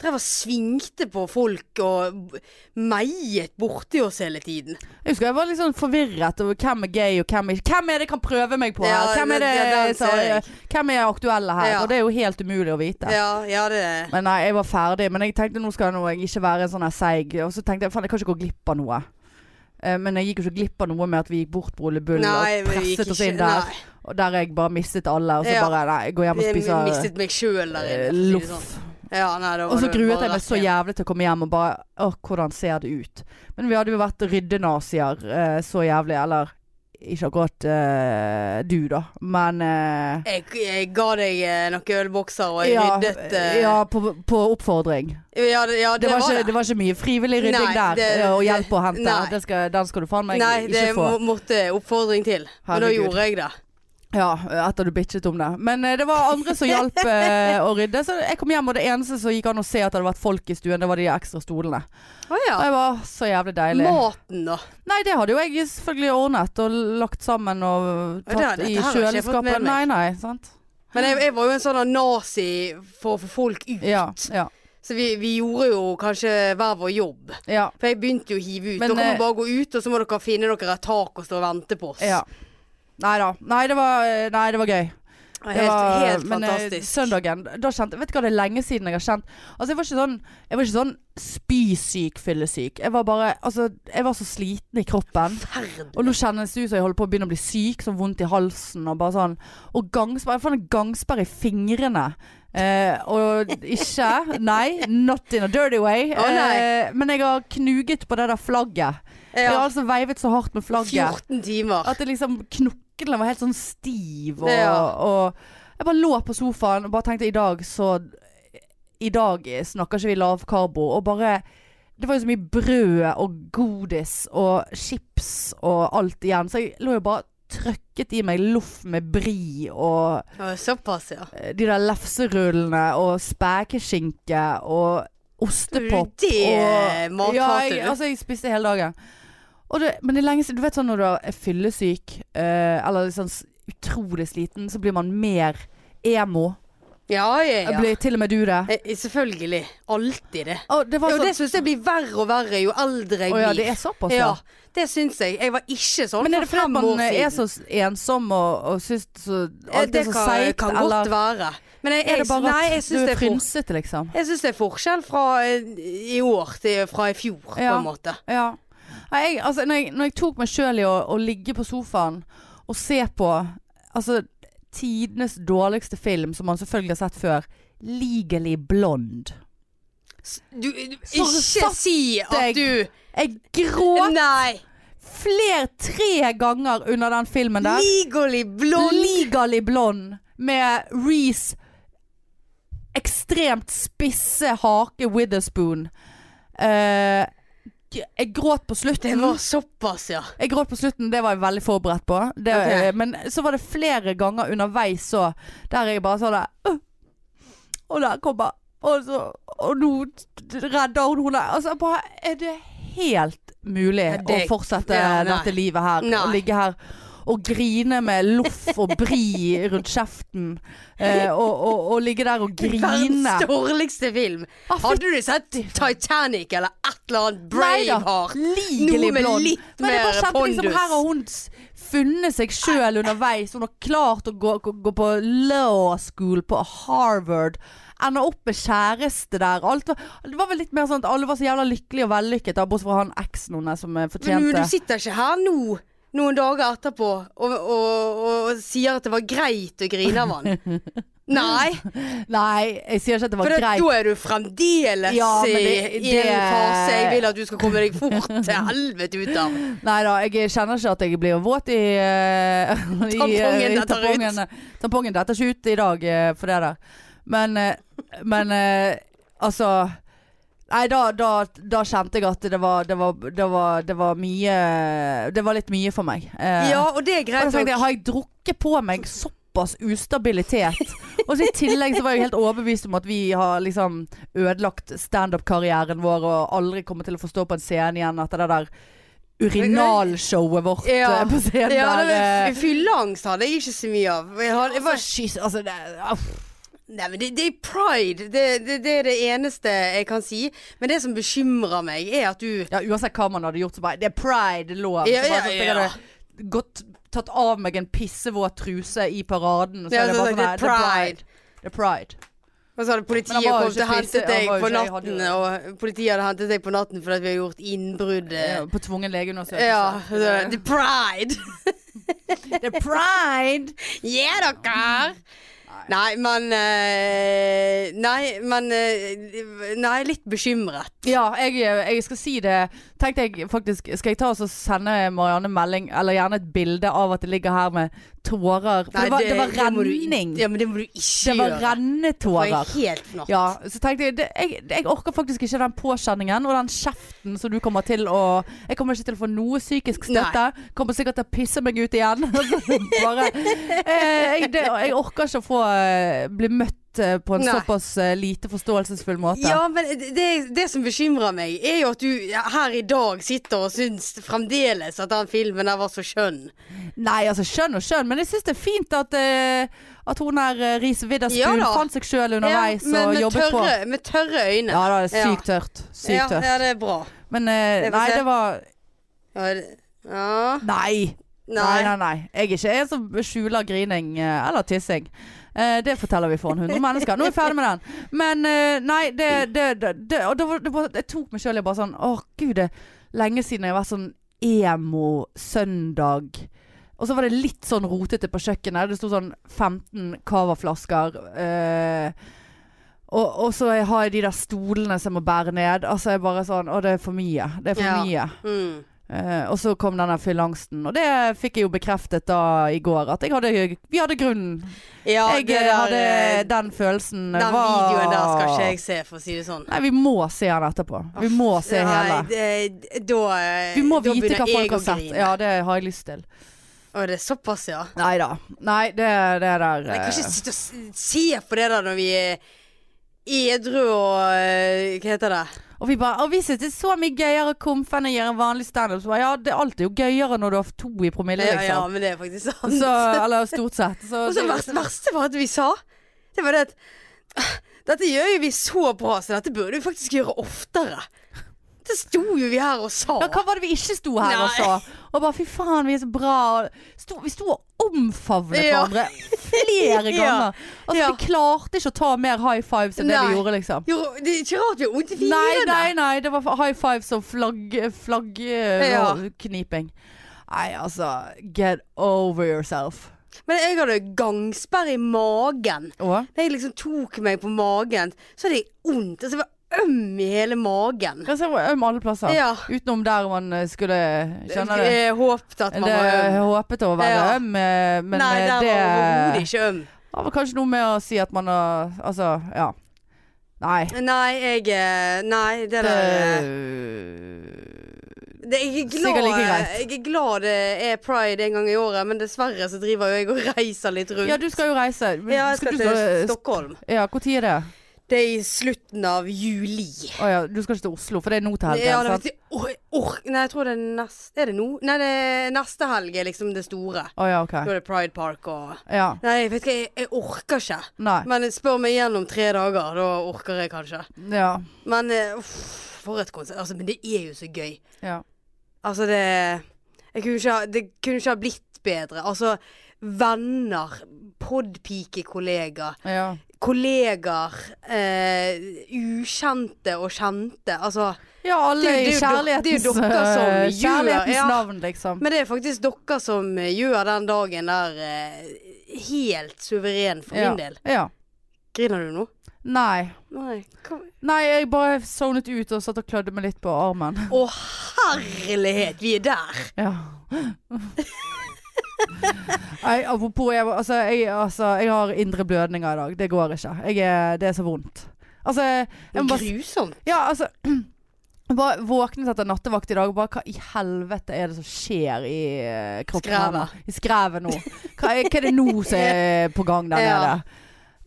Speaker 2: Drev og svingte på folk og b- meiet borti oss hele tiden.
Speaker 1: Jeg husker jeg var litt sånn forvirret over hvem er gay og hvem ikke. Hvem er det jeg kan prøve meg på her?
Speaker 2: Ja,
Speaker 1: hvem, er det,
Speaker 2: det- det- den
Speaker 1: så,
Speaker 2: ser jeg.
Speaker 1: hvem er aktuelle her?
Speaker 2: Ja.
Speaker 1: Og det er jo helt umulig å vite.
Speaker 2: Ja, ja, det
Speaker 1: Men nei, jeg var ferdig. Men jeg tenkte nå skal jeg, nå, jeg ikke være en sånn her seig. Og så tenkte jeg faen, jeg kan ikke gå glipp av noe. Eh, Men jeg gikk jo ikke glipp av noe med at vi gikk bort på Ole Bull
Speaker 2: Nei,
Speaker 1: og
Speaker 2: men vi gikk
Speaker 1: presset oss
Speaker 2: ikke-
Speaker 1: inn der.
Speaker 2: nei.
Speaker 1: Og der jeg bare mistet alle, og så
Speaker 2: Ja.
Speaker 1: bare nei, jeg går hjem og
Speaker 2: Jeg
Speaker 1: spiser
Speaker 2: mistet meg sjøl der inne. for
Speaker 1: eh,
Speaker 2: å si det
Speaker 1: loff.
Speaker 2: sånn. Ja, nei, da var
Speaker 1: Og så
Speaker 2: det
Speaker 1: gruet
Speaker 2: bare
Speaker 1: jeg meg
Speaker 2: rett
Speaker 1: så
Speaker 2: inn.
Speaker 1: jævlig til å komme hjem og bare Å, hvordan ser det ut? Men vi hadde jo vært ryddenazier eh, så jævlig, eller ikke akkurat eh, du, da, men eh,
Speaker 2: Jeg, jeg ga deg eh, noen ølbokser, og jeg ryddet eh,
Speaker 1: ja på, på oppfordring.
Speaker 2: ja, det, ja, det,
Speaker 1: Det var, ikke, det
Speaker 2: det.
Speaker 1: var ikke mye frivillig rydding
Speaker 2: Nei,
Speaker 1: der,
Speaker 2: det-
Speaker 1: eh, og hjelp å hente.
Speaker 2: nei.
Speaker 1: Det skal, den skal du faen meg
Speaker 2: Nei, det
Speaker 1: ikke få.
Speaker 2: må- måtte oppfordring til. Men da
Speaker 1: Herregud.
Speaker 2: gjorde jeg det.
Speaker 1: Ja, etter du bitchet om det. Men eh, det var andre som hjalp eh, å rydde. Så jeg kom hjem, og det eneste som gikk an å se at det hadde vært folk i stuen, det var de ekstra stolene.
Speaker 2: Å ja.
Speaker 1: Det var så jævlig deilig.
Speaker 2: Maten, da.
Speaker 1: Nei, det hadde jo jeg selvfølgelig ordnet og lagt sammen og
Speaker 2: Ja, det-
Speaker 1: tatt
Speaker 2: dette
Speaker 1: i
Speaker 2: her har ikke jeg fått med
Speaker 1: kjøleskapet. Nei,
Speaker 2: meg.
Speaker 1: nei, sant.
Speaker 2: Men jeg, jeg var jo en sånn nazi for å få folk ut.
Speaker 1: Ja, ja,
Speaker 2: Så vi, vi gjorde jo kanskje hver vår jobb.
Speaker 1: ja.
Speaker 2: For jeg begynte jo å hive ut.
Speaker 1: Men,
Speaker 2: dere
Speaker 1: eh,
Speaker 2: må bare gå ut, og så må dere finne dere et tak og stå og vente på oss.
Speaker 1: ja. Nei da. Nei, det var, nei, det var gøy.
Speaker 2: Det var
Speaker 1: Det
Speaker 2: helt,
Speaker 1: var-
Speaker 2: helt
Speaker 1: men, eh,
Speaker 2: fantastisk.
Speaker 1: søndagen, da kjente Vet du hva, det er lenge siden jeg har kjent Altså, jeg var ikke sånn, jeg var ikke sånn spysyk, fyllesyk. Jeg var bare Altså, jeg var så sliten i kroppen.
Speaker 2: Verden.
Speaker 1: Og nå kjennes det ut som jeg holder på å begynne å bli syk, sånn vondt i halsen og bare sånn. Og gangsperre. Jeg fant gangsperre i fingrene. Eh, og ikke Nei, not in a dirty way.
Speaker 2: Å, nei.
Speaker 1: eh, men jeg har knuget på det der flagget. Jeg har
Speaker 2: Ja,
Speaker 1: altså veivet så hardt med flagget.
Speaker 2: 14 timer.
Speaker 1: At det liksom knoklene var helt sånn stiv og,
Speaker 2: Ja.
Speaker 1: og Jeg bare lå på sofaen og bare tenkte i dag så I dag snakker ikke vi lavkarbo og bare Det var jo så mye brød og godis og chips og alt igjen, så jeg lå jo bare trøkket i meg loff med bri og
Speaker 2: Ja, Såpass, ja.
Speaker 1: eh, de der lefserullene og spekeskinke og ostepop.
Speaker 2: Du, det er
Speaker 1: og-
Speaker 2: matfatet,
Speaker 1: ja, jeg,
Speaker 2: du.
Speaker 1: altså, jeg spiste hele dagen. Og det, men det er lenge siden Du vet sånn når du er fyllesyk, eh, eller sånn s- utrolig sliten, så blir man mer emo.
Speaker 2: Ja, ja, ja.
Speaker 1: Blir til og med du det?
Speaker 2: Eh, Selvfølgelig. Alltid det.
Speaker 1: Å, det var
Speaker 2: Ja, og
Speaker 1: sånn,
Speaker 2: det syns jeg blir verre og verre jo eldre jeg
Speaker 1: Å
Speaker 2: blir.
Speaker 1: ja, det er såpass, ja.
Speaker 2: ja. Det syns jeg. Jeg var ikke sånn
Speaker 1: Men er det
Speaker 2: for
Speaker 1: fordi at
Speaker 2: fem
Speaker 1: man
Speaker 2: år
Speaker 1: eh, er
Speaker 2: siden.
Speaker 1: så s- ensom og, og syns så,
Speaker 2: Eh,
Speaker 1: alt er så
Speaker 2: kan,
Speaker 1: seigt?
Speaker 2: kan
Speaker 1: Eller
Speaker 2: godt være. Men jeg,
Speaker 1: er
Speaker 2: jeg,
Speaker 1: det bare
Speaker 2: nei, jeg
Speaker 1: at
Speaker 2: syns
Speaker 1: du
Speaker 2: det
Speaker 1: er
Speaker 2: er for,
Speaker 1: frynsete, liksom?
Speaker 2: jeg synes det er forskjell fra eh, i år til fra i fjor, på
Speaker 1: Ja.
Speaker 2: en måte.
Speaker 1: Ja. Nei, jeg, altså, når, jeg, når jeg tok meg sjøl i å, å ligge på sofaen og se på altså, tidenes dårligste film, som man selvfølgelig har sett før, 'Legally Blonde'.
Speaker 2: S- Du, du
Speaker 1: Så
Speaker 2: ikke
Speaker 1: satt
Speaker 2: si
Speaker 1: jeg-
Speaker 2: at du
Speaker 1: Jeg gråt
Speaker 2: Nei!
Speaker 1: flere tre ganger under den filmen der.
Speaker 2: Legally blond.
Speaker 1: Legally Blonde med Reece ekstremt spisse hake Witherspoon. Eh, jeg gråt på slutten.
Speaker 2: Det var såpass, ja.
Speaker 1: Jeg gråt på slutten, det var jeg veldig forberedt på. Det, eh,
Speaker 2: Ok.
Speaker 1: Men så var det flere ganger underveis så, der jeg bare sa det «Åh!» Og der kommer Og, så, og nå redder hun henne. Altså, bare, er det helt mulig
Speaker 2: det-
Speaker 1: å fortsette
Speaker 2: ja, nei.
Speaker 1: dette livet her? Og
Speaker 2: Nei.
Speaker 1: ligge her og grine med loff og bri rundt kjeften. Eh, og, og, og ligge der og grine.
Speaker 2: Verdens dårligste film.
Speaker 1: Ah, fy-
Speaker 2: Hadde du sett Titanic eller et eller annet
Speaker 1: Neida,
Speaker 2: Braveheart?
Speaker 1: Ligelig
Speaker 2: Noe med
Speaker 1: blond.
Speaker 2: litt
Speaker 1: Men jeg bare
Speaker 2: mer
Speaker 1: kjente liksom
Speaker 2: pondus.
Speaker 1: her har hun s- funnet seg sjøl underveis. Hun har klart å gå, gå, gå på law school på Harvard. Ender opp med kjæreste der. Alt var, det var vel litt mer sånn at alle var så jævla lykkelige og vellykket, da, bortsett fra han eksen hennes som eh,
Speaker 2: Men du,
Speaker 1: fortjente
Speaker 2: du sitter ikke her nå, noen dager etterpå, og, og, og, sier at det var greit å grine av han. Nei,
Speaker 1: Nei, jeg sier ikke at det
Speaker 2: for
Speaker 1: var
Speaker 2: det,
Speaker 1: greit.
Speaker 2: da er du fremdeles
Speaker 1: Ja, men det-
Speaker 2: i- i
Speaker 1: det-
Speaker 2: en fase jeg vil at du skal komme deg fort til helvete ut av.
Speaker 1: Nei da, jeg kjenner ikke at jeg blir våt i, eh, i, eh, i
Speaker 2: Tampongen detter
Speaker 1: tampongen. Tampongen detter ikke ut i dag eh, for det der. Men, eh, men eh, altså Nei, da, da, da kjente jeg at det var, det, var, det, var, det var mye Det var litt mye for meg. Eh,
Speaker 2: Ja, og det er
Speaker 1: og da
Speaker 2: greit.
Speaker 1: tenkte jeg,
Speaker 2: Og,
Speaker 1: har jeg drukket på meg såpass ustabilitet? Og så i tillegg så var jeg helt overbevist om at vi har liksom ødelagt standup-karrieren vår og aldri kommer til å få stå på en scene igjen etter det der urinalshowet vårt
Speaker 2: Ja.
Speaker 1: eh, på scenen
Speaker 2: ja, det
Speaker 1: der. eh.
Speaker 2: var- Fylleangst hadde jeg ikke så mye av. Jeg hadde, jeg var,
Speaker 1: Skyss, altså det, aff.
Speaker 2: nei, men det, det er pride. Det, det, det er det eneste jeg kan si. Men det som bekymrer meg, er at du
Speaker 1: Ja, uansett hva man hadde gjort, så bare Det er pride-lov.
Speaker 2: Ja,
Speaker 1: så bare
Speaker 2: ja,
Speaker 1: sånn at
Speaker 2: ja.
Speaker 1: Jeg hadde gått, tatt av meg en pissevåt truse i paraden, og så
Speaker 2: Ja,
Speaker 1: er det
Speaker 2: så
Speaker 1: bare
Speaker 2: sagt,
Speaker 1: sånn
Speaker 2: det
Speaker 1: her,
Speaker 2: er pride.
Speaker 1: Det er pride.
Speaker 2: Og så hadde
Speaker 1: Men
Speaker 2: politiet
Speaker 1: han var jo
Speaker 2: kommet
Speaker 1: ikke
Speaker 2: og hentet
Speaker 1: pisse, han
Speaker 2: deg
Speaker 1: var jo
Speaker 2: på
Speaker 1: ikke- jeg hadde
Speaker 2: natten. Og politiet hadde hentet deg på natten fordi at vi har gjort innbrudd.
Speaker 1: Ja,
Speaker 2: eh.
Speaker 1: På tvungen legeundersøkelse.
Speaker 2: Ja. så det- The pride.
Speaker 1: Det er pride!
Speaker 2: Ja, dere! Nei, men eh, Nei, men eh, Nei, litt bekymret.
Speaker 1: Ja, jeg, eh, jeg skal si det. Tenkte jeg faktisk Skal jeg ta og så sende Marianne melding, eller gjerne et bilde av at det ligger her med tårer? For
Speaker 2: Nei,
Speaker 1: det, var, det var
Speaker 2: må du ikke-
Speaker 1: renning.
Speaker 2: Ja, men det må du ikke
Speaker 1: det var
Speaker 2: gjøre. Det var
Speaker 1: rennetårer.
Speaker 2: helt fnatt.
Speaker 1: Ja, så tenkte jeg, det, jeg Jeg orker faktisk ikke den påkjenningen og den kjeften som du kommer til å Jeg kommer ikke til å få noe psykisk støtte. Kommer sikkert til å pisse meg ut igjen. Bare, eh, jeg, det, jeg orker ikke å få eh, bli møtt eh, på en
Speaker 2: Nei.
Speaker 1: såpass eh, lite forståelsesfull måte.
Speaker 2: Ja, men det- det, det som bekymrer meg, er jo at du her i dag sitter og syns fremdeles at den filmen der var så skjønn.
Speaker 1: Nei, altså skjønn og skjønn, men jeg syns det er fint at, eh, at hun her uh, Reece
Speaker 2: Ja
Speaker 1: Witherspoon
Speaker 2: da.
Speaker 1: fant seg sjøl underveis
Speaker 2: Ja, men
Speaker 1: og
Speaker 2: med
Speaker 1: jobbet på.
Speaker 2: tørre, Med tørre øyne.
Speaker 1: Ja da, det er sykt tørt. Sykt
Speaker 2: Ja,
Speaker 1: tørt.
Speaker 2: ja, det er bra.
Speaker 1: Men eh,
Speaker 2: Jeg får
Speaker 1: nei,
Speaker 2: se.
Speaker 1: det var
Speaker 2: Ja, det- ja.
Speaker 1: Nei. Nei, nei, nei. Jeg er ikke en som skjuler grining eh, eller tissing. Eh, det forteller vi foran 100 mennesker. Nå er jeg ferdig med den. Men eh, nei, det, det, det, det Og det, var, det var, jeg tok meg sjøl i bare sånn Å, gud, det er lenge siden jeg har vært sånn emo-søndag. Og så var det litt sånn rotete på kjøkkenet. Det sto sånn 15 Cava-flasker. eh, og, og så har jeg de der stolene som jeg må bære ned. Altså jeg bare sånn Å, det er for mye. Det er for
Speaker 2: Ja.
Speaker 1: mye.
Speaker 2: Mm.
Speaker 1: Eh, og så kom denne fyllangsten, og det fikk jeg jo bekreftet da i går. At jeg hadde, vi hadde grunnen.
Speaker 2: ja
Speaker 1: jeg
Speaker 2: det
Speaker 1: eh,
Speaker 2: der,
Speaker 1: hadde
Speaker 2: eh,
Speaker 1: den følelsen eh,
Speaker 2: Den videoen der skal ikke jeg se, for å si det sånn.
Speaker 1: Nei, vi må se den etterpå. Vi må se hele.
Speaker 2: Nei, det, da eh,
Speaker 1: Vi må
Speaker 2: da
Speaker 1: vite
Speaker 2: begynner
Speaker 1: hva
Speaker 2: jeg
Speaker 1: folk
Speaker 2: å
Speaker 1: har sett.
Speaker 2: grine.
Speaker 1: Ja, det har jeg lyst til.
Speaker 2: Å, det er såpass, ja.
Speaker 1: Nei da. Nei, det, det der
Speaker 2: Jeg kan ikke
Speaker 1: eh,
Speaker 2: sitte og s- se på det der når vi er edru og eh, Hva heter det?
Speaker 1: Og vi bare Og vi synes det er så mye gøyere komf enn å gjøre en vanlig standup. Så bare, Ja, det, alt er jo gøyere når du har to i promille,
Speaker 2: Ja, ja,
Speaker 1: liksom.
Speaker 2: men det er faktisk sant.
Speaker 1: Så, eller stort sett. Så,
Speaker 2: og så verste, verste var at vi sa Det var det at «Ah, Dette gjør jo vi så bra, så dette burde vi faktisk gjøre oftere. Det sto jo vi her og sa.
Speaker 1: Ja, hva var det vi ikke sto her og
Speaker 2: Nei.
Speaker 1: sa? Og bare fy faen, vi er så bra. og Sto, vi sto og omfavnet
Speaker 2: Ja.
Speaker 1: hverandre flere ganger.
Speaker 2: Ja.
Speaker 1: Altså,
Speaker 2: Ja.
Speaker 1: vi klarte ikke å ta mer high fives enn det
Speaker 2: Nei.
Speaker 1: vi gjorde, liksom.
Speaker 2: Jo, det er ikke rart vi har vondt i fingrene.
Speaker 1: Nei, nei, nei. Det var high fives og flaggkniping. Flagg, eh,
Speaker 2: Ja.
Speaker 1: kniping. Nei, altså Get over yourself.
Speaker 2: Men jeg hadde gangsperre i magen.
Speaker 1: Og?
Speaker 2: Da jeg liksom tok meg på magen, så hadde jeg vondt. Altså, jeg var øm i hele magen.
Speaker 1: Jeg ser øm alle plasser.
Speaker 2: Ja.
Speaker 1: Utenom der man eh, skulle skjønne det.
Speaker 2: Jeg håpet at man
Speaker 1: Det
Speaker 2: var øm.
Speaker 1: jeg håpet å være
Speaker 2: Ja.
Speaker 1: øm, eh, men
Speaker 2: Nei,
Speaker 1: eh,
Speaker 2: den
Speaker 1: det
Speaker 2: var overhodet ikke øm.
Speaker 1: Det var kanskje noe med å si at man har Altså, ja. Nei.
Speaker 2: Nei, jeg eh, Nei, det
Speaker 1: Det,
Speaker 2: der eh, det, jeg, er glad, eh,
Speaker 1: sikkert like greit.
Speaker 2: jeg er glad det er pride en gang i året, men dessverre så driver jo jeg og reiser litt rundt.
Speaker 1: ja, du skal jo reise. Men
Speaker 2: Ja, jeg skal
Speaker 1: du
Speaker 2: til
Speaker 1: så-
Speaker 2: Stockholm.
Speaker 1: Ja, Når er det?
Speaker 2: Det er i slutten av juli.
Speaker 1: Å ja, du skal ikke til Oslo, for det er nå til
Speaker 2: Ja,
Speaker 1: helgen.
Speaker 2: det vet
Speaker 1: sant?
Speaker 2: jeg, Åh, jeg ork- nei, jeg tror det er neste Er det nå? Nei, det er neste helg er liksom det store.
Speaker 1: Å ja, OK.
Speaker 2: Da er det Pride Park og
Speaker 1: Ja.
Speaker 2: Nei, vet du hva, jeg, jeg orker ikke.
Speaker 1: Nei.
Speaker 2: Men spør meg igjen om tre dager, da orker jeg kanskje.
Speaker 1: Ja.
Speaker 2: Men eh, uff, for et konsert. Altså, men det er jo så gøy.
Speaker 1: ja.
Speaker 2: Altså, det jeg kunne ikke, ha- Det kunne ikke ha blitt bedre. Altså, venner, podpikekollegaer,
Speaker 1: ja.
Speaker 2: kollegaer, eh, ukjente og kjente. Altså
Speaker 1: Ja, alle
Speaker 2: Det er
Speaker 1: i
Speaker 2: jo dere- det er
Speaker 1: kjærlighetens,
Speaker 2: jo dere som
Speaker 1: eh,
Speaker 2: gjør-
Speaker 1: kjærlighetens
Speaker 2: ja.
Speaker 1: navn, liksom.
Speaker 2: Men det er faktisk dere som eh, gjør den dagen der eh, helt suveren for
Speaker 1: ja.
Speaker 2: min del.
Speaker 1: Ja.
Speaker 2: Griner du nå?
Speaker 1: Nei.
Speaker 2: Nei. Hva-
Speaker 1: Nei, jeg bare sovnet ut og satt og klødde meg litt på armen.
Speaker 2: Å herlighet, vi er der!
Speaker 1: Ja. Nei, apropos, jeg, altså, jeg, altså, jeg har indre blødninger i dag. Det går ikke. Jeg er, det er så vondt. Altså, jeg må bare
Speaker 2: Grusomt.
Speaker 1: Ja, altså jeg bare våknet etter nattevakt i dag og bare Hva i helvete er det som skjer i eh, kroppen
Speaker 2: Skrevet.
Speaker 1: her nå? I skrevet nå. Hva er, hva er det nå som er på gang der
Speaker 2: Ja.
Speaker 1: nede?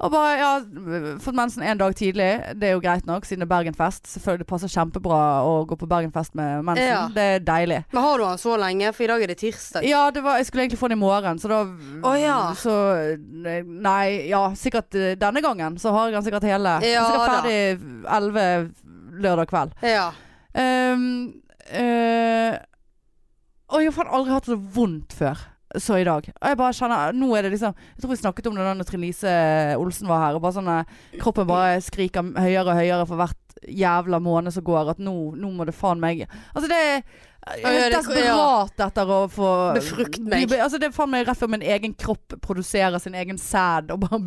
Speaker 1: Og bare, ja, Fått mensen en dag tidlig. Det er jo greit nok, siden det er Bergenfest. Selvfølgelig det passer kjempebra å gå på Bergenfest med mensen.
Speaker 2: Ja.
Speaker 1: Det er deilig.
Speaker 2: Men har du han så lenge? For i dag er det tirsdag.
Speaker 1: Ja, det var, jeg skulle egentlig få den i morgen, så da mm,
Speaker 2: Å, ja.
Speaker 1: Så Nei, ja, sikkert eh, denne gangen. Så har jeg den sikkert hele.
Speaker 2: Ja,
Speaker 1: sikkert
Speaker 2: da.
Speaker 1: ferdig elleve lørdag kveld.
Speaker 2: Ja.
Speaker 1: Ehm, eh, og jeg har faen aldri hatt det så vondt før. Så i dag. Og jeg bare kjenner Nå er det liksom Jeg tror vi snakket om det da når Trine Lise Olsen var her. Og bare sånn eh, Kroppen bare skriker høyere og høyere for hvert jævla måned som går. At nå, nå må det faen meg Altså det Jeg
Speaker 2: Ja,
Speaker 1: er
Speaker 2: det-
Speaker 1: desperat etter å få
Speaker 2: Befrukt meg.
Speaker 1: Bli- Altså, det er faen meg rett før min egen kropp produserer sin egen sæd og bare